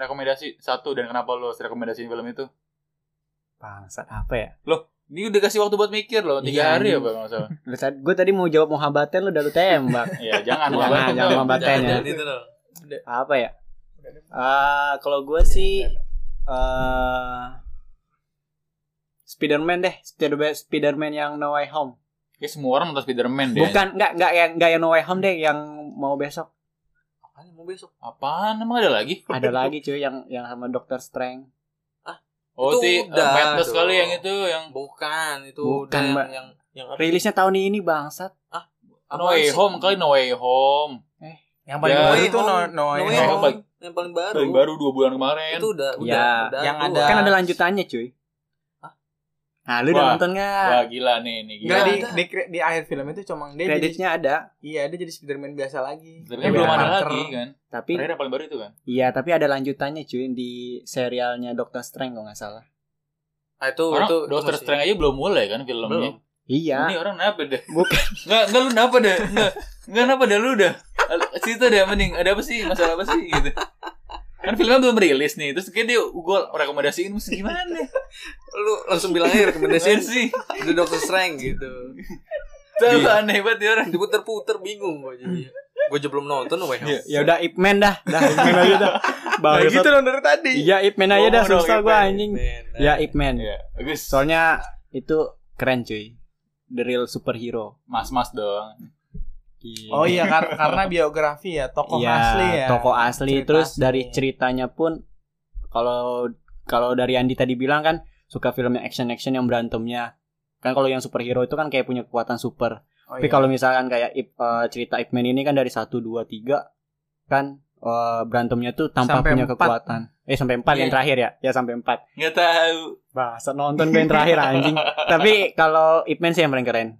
Speaker 2: rekomendasi satu dan kenapa lu rekomendasiin film itu?
Speaker 1: Bangsat apa ya?
Speaker 2: Ini udah kasih waktu buat mikir loh, tiga
Speaker 1: Iya,
Speaker 2: hari
Speaker 1: iya.
Speaker 2: ya, Bang. nggak salah.
Speaker 1: Gue tadi mau jawab muhabbaten lu udah lu tembak.
Speaker 2: Iya, jangan.
Speaker 1: Jangan,
Speaker 2: Bang.
Speaker 1: jangan, Bang. Pembatanya.
Speaker 3: Jangan-jangan itu loh.
Speaker 1: apa ya? Ah, kalau gue sih eh Spiderman deh, Spider- Spiderman yang No Way Home.
Speaker 2: Ya, semua orang nonton Spider-Man deh.
Speaker 1: Bukan, nggak nggak yang nggak yang No Way Home deh, yang mau besok.
Speaker 3: Apaan mau besok?
Speaker 2: Apaan? Emang ada lagi?
Speaker 1: Ada lagi cuy yang yang sama Dokter Strange.
Speaker 2: Oh,
Speaker 3: Itu
Speaker 2: itu
Speaker 3: udah
Speaker 2: Madness
Speaker 3: dong.
Speaker 2: kali yang itu yang
Speaker 3: Bukan, itu
Speaker 1: Bukan,
Speaker 3: udah yang-
Speaker 1: Mbak.
Speaker 3: yang yang apa?
Speaker 1: Rilisnya tahun ini bangsat.
Speaker 3: Apaan
Speaker 2: No Way
Speaker 3: sih?
Speaker 2: Home kali No Way Home.
Speaker 4: yang
Speaker 3: ya.
Speaker 2: paling
Speaker 1: iya.
Speaker 2: baru
Speaker 4: itu no, no,
Speaker 3: No Way
Speaker 2: Way
Speaker 3: Home,
Speaker 2: Home.
Speaker 3: yang paling baru.
Speaker 2: Paling baru dua bulan kemarin.
Speaker 3: Itu udah udah,
Speaker 1: Ya,
Speaker 3: udah
Speaker 4: yang
Speaker 3: keluar.
Speaker 4: ada-
Speaker 1: Kan ada lanjutannya cuy. Nah, lu udah
Speaker 2: Wah.
Speaker 1: nonton nggak?
Speaker 2: Wah, gila nih, nih gila.
Speaker 1: Iya,
Speaker 4: Enggak di,
Speaker 3: Nggak ada.
Speaker 4: di, di akhir film itu cuma dia jadi,
Speaker 1: Kreditnya ada,
Speaker 4: iya dia jadi Spiderman biasa lagi.
Speaker 2: Tapi
Speaker 1: Ya,
Speaker 2: belum
Speaker 3: Iya.
Speaker 2: ada
Speaker 1: Parker.
Speaker 2: lagi kan.
Speaker 1: tapi
Speaker 2: Terakhir yang paling baru itu kan.
Speaker 1: iya, tapi ada lanjutannya cuy di serialnya Dokter Strange kalau nggak salah.
Speaker 3: Ah, itu
Speaker 2: Orang
Speaker 3: itu itu
Speaker 2: Doctor
Speaker 3: masih-
Speaker 2: Strange aja belum mulai kan filmnya. Ini
Speaker 4: Ya.
Speaker 1: Iya.
Speaker 2: orang kenapa deh?
Speaker 1: Bukan.
Speaker 2: Enggak, enggak lu kenapa deh? Enggak. Enggak kenapa deh lu udah. Cerita deh mending ada apa sih? Masalah apa sih gitu. Kan filmnya belum rilis nih. Terus kayak dia gua rekomendasiin mesti gimana deh?
Speaker 3: lu langsung bilang aja rekomendasiin
Speaker 2: Gimana sih.
Speaker 3: The Doctor Strange gitu.
Speaker 2: Tahu
Speaker 4: Iya.
Speaker 2: aneh banget ya orang.
Speaker 3: Diputer-puter bingung gua jadi. Gua juga belum nonton No Way Home.
Speaker 1: Ya udah Ip Man dah, dah Ip Man aja dah.
Speaker 4: Nah,
Speaker 1: Bangsat.
Speaker 4: gitu loh dari tadi.
Speaker 1: Iya Ip Man aja dah
Speaker 2: Ngomong dong,
Speaker 1: susah
Speaker 2: Ip
Speaker 1: gue
Speaker 2: Man.
Speaker 1: anjing.
Speaker 3: Man, nah.
Speaker 1: Ya Ip Man.
Speaker 2: Iya, bagus.
Speaker 1: Soalnya itu keren cuy. The real superhero.
Speaker 2: Mas-mas dong.
Speaker 4: Oh iya kar- karena biografi ya tokoh
Speaker 1: Iya,
Speaker 4: asli ya.
Speaker 1: Tokoh asli
Speaker 4: Cerita
Speaker 1: terus
Speaker 4: asli.
Speaker 1: dari ceritanya pun kalau kalau dari Andi tadi bilang kan suka film yang action-action yang berantemnya. Kan kalau yang superhero itu kan kayak punya kekuatan super.
Speaker 4: Oh,
Speaker 1: Tapi
Speaker 4: iya.
Speaker 1: kalau misalkan kayak Ip- eh, cerita Ip Man ini kan dari 1 2 3 kan eh, berantemnya tuh tanpa
Speaker 4: Sampai
Speaker 1: punya
Speaker 4: empat.
Speaker 1: kekuatan. Eh sampai 4 yang
Speaker 2: Iya.
Speaker 1: terakhir ya. Ya sampai 4.
Speaker 2: Enggak tahu.
Speaker 1: Bahasa nonton gue yang terakhir anjing. Tapi kalau Ip Man sih yang paling keren.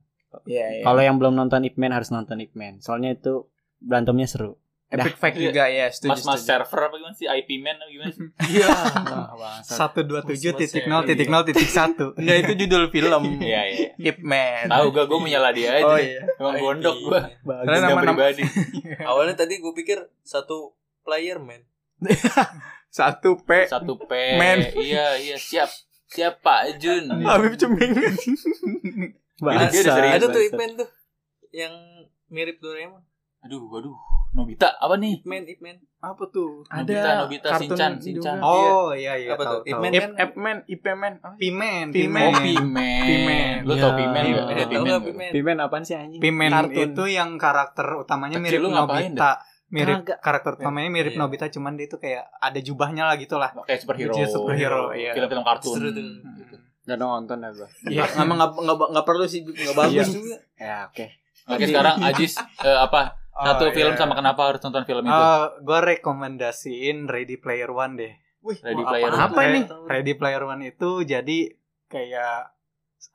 Speaker 4: Iya, iya.
Speaker 1: Kalau yang belum nonton Ip Man harus nonton Ip Man. Soalnya itu berantemnya seru.
Speaker 4: epic fact juga ya,
Speaker 1: iya,
Speaker 4: setuju.
Speaker 2: Mas-mas
Speaker 4: setuju.
Speaker 2: server apa gimana sih? IP man apa gimana sih?
Speaker 7: satu dua tujuh titik nol
Speaker 2: Mas-mas
Speaker 7: titik nol titik satu
Speaker 4: Enggak itu judul film.
Speaker 2: Iya, iya.
Speaker 4: Ip Man.
Speaker 2: Tahu gak gue menyala dia
Speaker 4: Oh
Speaker 2: aja.
Speaker 4: iya.
Speaker 2: Emang gondok gue.
Speaker 4: Karena
Speaker 2: Gak
Speaker 4: nama-nama
Speaker 2: pribadi.
Speaker 3: Awalnya tadi gua pikir satu player man.
Speaker 4: satu P
Speaker 2: Satu P.
Speaker 4: Man.
Speaker 2: Iya, iya. Siap. Siap Pak Jun.
Speaker 4: Habib Ceming.
Speaker 2: Dia- dia udah serius.
Speaker 3: Ada tuh Ip Man tuh yang mirip Doraemon.
Speaker 2: Aduh, aduh. Nobita apa nih?
Speaker 3: Ip Man, Ip Man.
Speaker 7: apa tuh
Speaker 4: Ada
Speaker 2: Nobita,
Speaker 4: kartun
Speaker 2: Shinchan,
Speaker 4: juga.
Speaker 2: Shinchan.
Speaker 7: oh iya iya
Speaker 3: Apa tuh?
Speaker 7: tahu
Speaker 3: Ip
Speaker 7: iya. tahu
Speaker 3: Man
Speaker 4: Ip
Speaker 3: kan
Speaker 4: Ip Man, Ip Man. Oh,
Speaker 7: pimen
Speaker 4: Pimen.
Speaker 2: Oh,
Speaker 7: pimen Iya.
Speaker 2: Pimen.
Speaker 4: Pimen.
Speaker 2: Lu tau
Speaker 1: Ya.
Speaker 2: Pimen
Speaker 1: Pimen.
Speaker 2: gak? Ada
Speaker 3: Tahu
Speaker 2: Pimen
Speaker 3: nggak
Speaker 2: gak?
Speaker 3: Ip Man?
Speaker 1: Pimen apaan sih anjing?
Speaker 7: pimen
Speaker 3: Kartun.
Speaker 7: itu yang karakter utamanya
Speaker 2: Kecil
Speaker 7: mirip
Speaker 2: lu ngapain
Speaker 7: Nobita mirip karakter utamanya mirip
Speaker 3: Iya.
Speaker 7: Nobita cuman dia tuh kayak ada jubahnya lah gitu lah
Speaker 2: Kayak superhero.
Speaker 7: Dia superhero, iya.
Speaker 2: Film-film kartun. Hmm.
Speaker 3: Seru tuh.
Speaker 1: Gak nonton ya gue.
Speaker 4: Iya, emang nggak nggak nggak perlu sih, nggak bagus juga.
Speaker 1: Ya oke.
Speaker 2: Oke, sekarang Ajis eh, apa?
Speaker 7: Oh,
Speaker 2: Satu
Speaker 7: iya.
Speaker 2: film sama kenapa harus nonton film itu?
Speaker 7: gue Eh, rekomendasiin Ready Player One deh
Speaker 2: Ready
Speaker 7: mau
Speaker 2: Player
Speaker 7: apaan?
Speaker 2: One.
Speaker 7: Apa ini? Ready Player One itu jadi kayak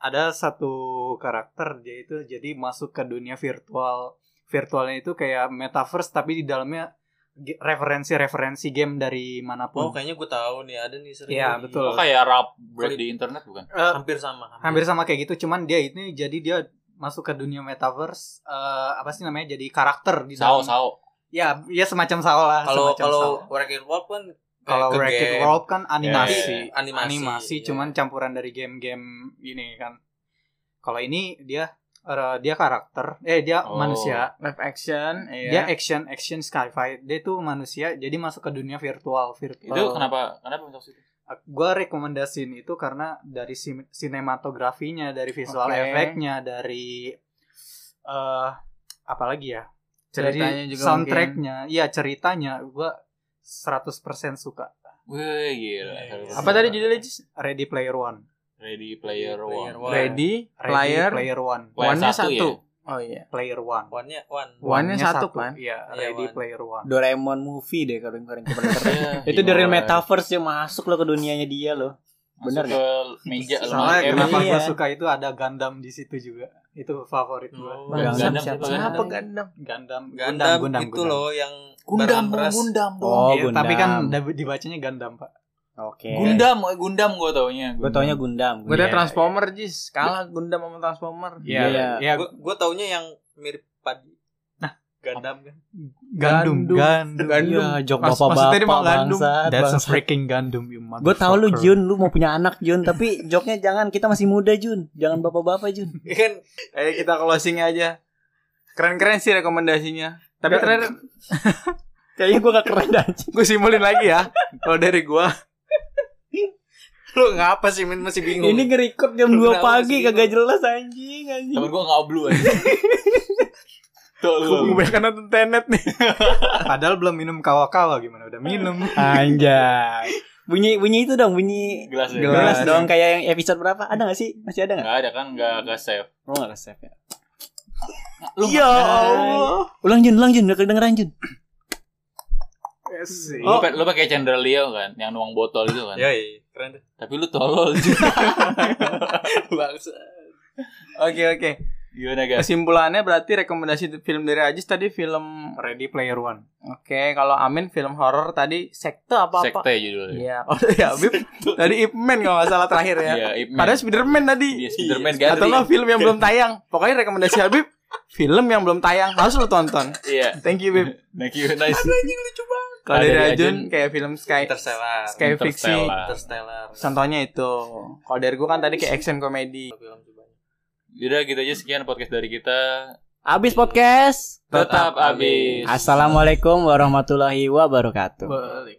Speaker 7: ada satu karakter dia itu jadi masuk ke dunia virtual. Virtualnya itu kayak metaverse tapi di dalamnya ge- referensi-referensi game
Speaker 3: Oh,
Speaker 7: dari
Speaker 3: gitu.
Speaker 7: manapun.
Speaker 3: kayaknya gua tahu nih ada nih sering.
Speaker 7: Iya,
Speaker 3: di-
Speaker 7: betul.
Speaker 2: Oh, kayak rap break di internet bukan?
Speaker 7: Eh,
Speaker 3: Hampir sama.
Speaker 7: hampir sama kayak gitu cuman dia ini jadi dia masuk ke dunia metaverse eh, apa sih namanya jadi karakter di
Speaker 2: Sao,
Speaker 7: dalam.
Speaker 2: sao.
Speaker 7: Ya, ya semacam sao lah.
Speaker 3: Kalau
Speaker 7: semacam
Speaker 3: kalau
Speaker 7: sao.
Speaker 3: Wreck-It Ralph kan kayak
Speaker 7: kalau
Speaker 3: ke
Speaker 7: Wreck-It
Speaker 3: game.
Speaker 7: Ralph kan animasi.
Speaker 2: Iya,
Speaker 3: Tapi animasi,
Speaker 7: animasi
Speaker 3: iya.
Speaker 7: cuman campuran dari game-game ini kan kalau ini dia eh, dia karakter eh dia
Speaker 2: Oh.
Speaker 7: manusia
Speaker 4: Live action, iya.
Speaker 7: dia action action sci-fi dia tuh manusia jadi masuk ke dunia virtual virtual
Speaker 2: Itu kenapa kenapa masuk situ?
Speaker 7: gue rekomendasiin itu karena dari sin- sinematografinya dari visual
Speaker 4: Oke.
Speaker 7: efeknya dari eh apalagi ya
Speaker 4: Ceritanya
Speaker 7: Dari
Speaker 4: juga
Speaker 7: soundtracknya iya ceritanya gue 100% suka
Speaker 2: Wih, gila.
Speaker 7: Iya.
Speaker 4: Apa tadi judulnya? Jis?
Speaker 7: Ready Player One
Speaker 2: Ready Player
Speaker 3: Player
Speaker 2: One. Iya,
Speaker 3: One.
Speaker 4: Ready,
Speaker 7: Ready
Speaker 4: Player,
Speaker 7: Player One
Speaker 2: Player
Speaker 4: One-nya
Speaker 2: satu ya?
Speaker 4: satu. Oh iya.
Speaker 7: Player One
Speaker 3: One-nya One.
Speaker 4: One-nya satu, kan?
Speaker 7: Iya,
Speaker 3: Iya,
Speaker 7: Ready
Speaker 3: one.
Speaker 7: Player One.
Speaker 1: Doraemon movie deh kalau yang kemarin kemarin.
Speaker 2: Iya,
Speaker 1: itu dari
Speaker 2: gimana?
Speaker 1: metaverse yang masuk lo ke dunianya dia lo. Bener
Speaker 2: Masuk ke meja
Speaker 7: Soalnya
Speaker 2: Eh,
Speaker 7: ya, kenapa
Speaker 1: iya.
Speaker 7: gua suka itu ada Gundam di situ juga. Itu favorit gua.
Speaker 3: Oh,
Speaker 2: Gundam,
Speaker 1: Gundam
Speaker 2: siapa?
Speaker 1: kan.
Speaker 4: Kenapa gandam?
Speaker 7: Gundam,
Speaker 3: Gundam, itu loh yang barang beras.
Speaker 1: Oh,
Speaker 7: Iya,
Speaker 1: Gundam.
Speaker 7: tapi kan dab- dibacanya Gundam, Pak.
Speaker 1: Oke.
Speaker 2: Gundam, eh, Gundam gue taunya.
Speaker 1: Gue taunya Gundam.
Speaker 4: Gue
Speaker 2: Iya,
Speaker 4: tau Transformer jis kalah Gundam sama Transformer.
Speaker 1: Iya. Iya.
Speaker 7: Ya,
Speaker 3: Gue gue taunya yang mirip padi. Nah, Gundam kan.
Speaker 7: gandum, gandum.
Speaker 4: Gandum.
Speaker 1: Iya, jok
Speaker 7: Mas-
Speaker 1: bapak-bapak
Speaker 7: maksudnya dia mau gandum.
Speaker 1: bangsat,
Speaker 7: That's a
Speaker 1: bangsat.
Speaker 7: freaking gandum, you
Speaker 1: Gue tau lu
Speaker 7: motherfucker.
Speaker 1: Jun, lu mau punya anak Jun, tapi joknya jangan kita masih muda Jun, jangan bapak-bapak Jun.
Speaker 3: Iya kan
Speaker 4: Ayo Eh, kita closing aja. Keren-keren sih rekomendasinya. Tapi terakhir
Speaker 1: Kayaknya gue gak keren aja.
Speaker 4: gue simpulin lagi ya. Kalau dari gue
Speaker 3: lu ngapa sih Min masih bingung?
Speaker 1: Ini ngerekord jam
Speaker 3: Lu
Speaker 1: 2
Speaker 3: kenapa
Speaker 1: pabagi
Speaker 3: masih
Speaker 1: kagak jelas anjing anjing.
Speaker 2: Temen gue ngablu aja. Tuh
Speaker 4: gue
Speaker 2: lu.
Speaker 4: banyak nonton tenet nih.
Speaker 7: Padahal belum minum kawal-kawal gimana udah minum.
Speaker 1: Anjay. Bunyi bunyi itu dong, bunyi
Speaker 2: Gelas ya.
Speaker 1: gelas, dong kayak yang episode berapa? Ada gak sih? Masih ada gak?
Speaker 2: Gak ada kan gak gak save.
Speaker 1: Lu gak save ya?
Speaker 2: Lu
Speaker 1: Ya Allah. Ulang Jun, ulang Jun, udah kedengeran Jun.
Speaker 2: Lu, pa- lu pakai Chandelier kan yang nuang botol itu kan.
Speaker 3: Ya iya, keren deh.
Speaker 2: Tapi lu tolol juga.
Speaker 3: Bangsa.
Speaker 4: Oke oke.
Speaker 2: Gimana guys?
Speaker 4: Kesimpulannya berarti rekomendasi film dari Ajis tadi film
Speaker 7: Ready Player One.
Speaker 4: Oke, kalau Amin film horor tadi sekte apa apa?
Speaker 2: Sekte judulnya.
Speaker 4: Iya. Oh ya, Bib. Tadi Ip Man kalau nggak salah terakhir ya.
Speaker 2: Iya, Ip Man.
Speaker 4: Padahal Spiderman tadi.
Speaker 2: Iya, Spiderman ganti.
Speaker 4: Atau nggak film yang belum tayang. Pokoknya rekomendasi Habib film yang belum tayang harus lo tonton.
Speaker 2: Iya.
Speaker 4: Thank you Bib.
Speaker 2: Thank you, nice.
Speaker 4: Kalau
Speaker 2: Ada
Speaker 4: dari
Speaker 2: di
Speaker 4: Ajun
Speaker 2: Ajun.
Speaker 4: kayak film Sky
Speaker 3: Interstellar.
Speaker 4: Sky Fiksi.
Speaker 2: Interstellar.
Speaker 3: Interstellar.
Speaker 4: Contohnya itu. Kalau dari gua kan tadi kayak action komedi.
Speaker 3: Film juga.
Speaker 2: Yaudah gitu aja sekian podcast dari kita.
Speaker 1: Abis podcast.
Speaker 2: Tetap habis.
Speaker 1: Assalamualaikum warahmatullahi wabarakatuh.
Speaker 4: Balik.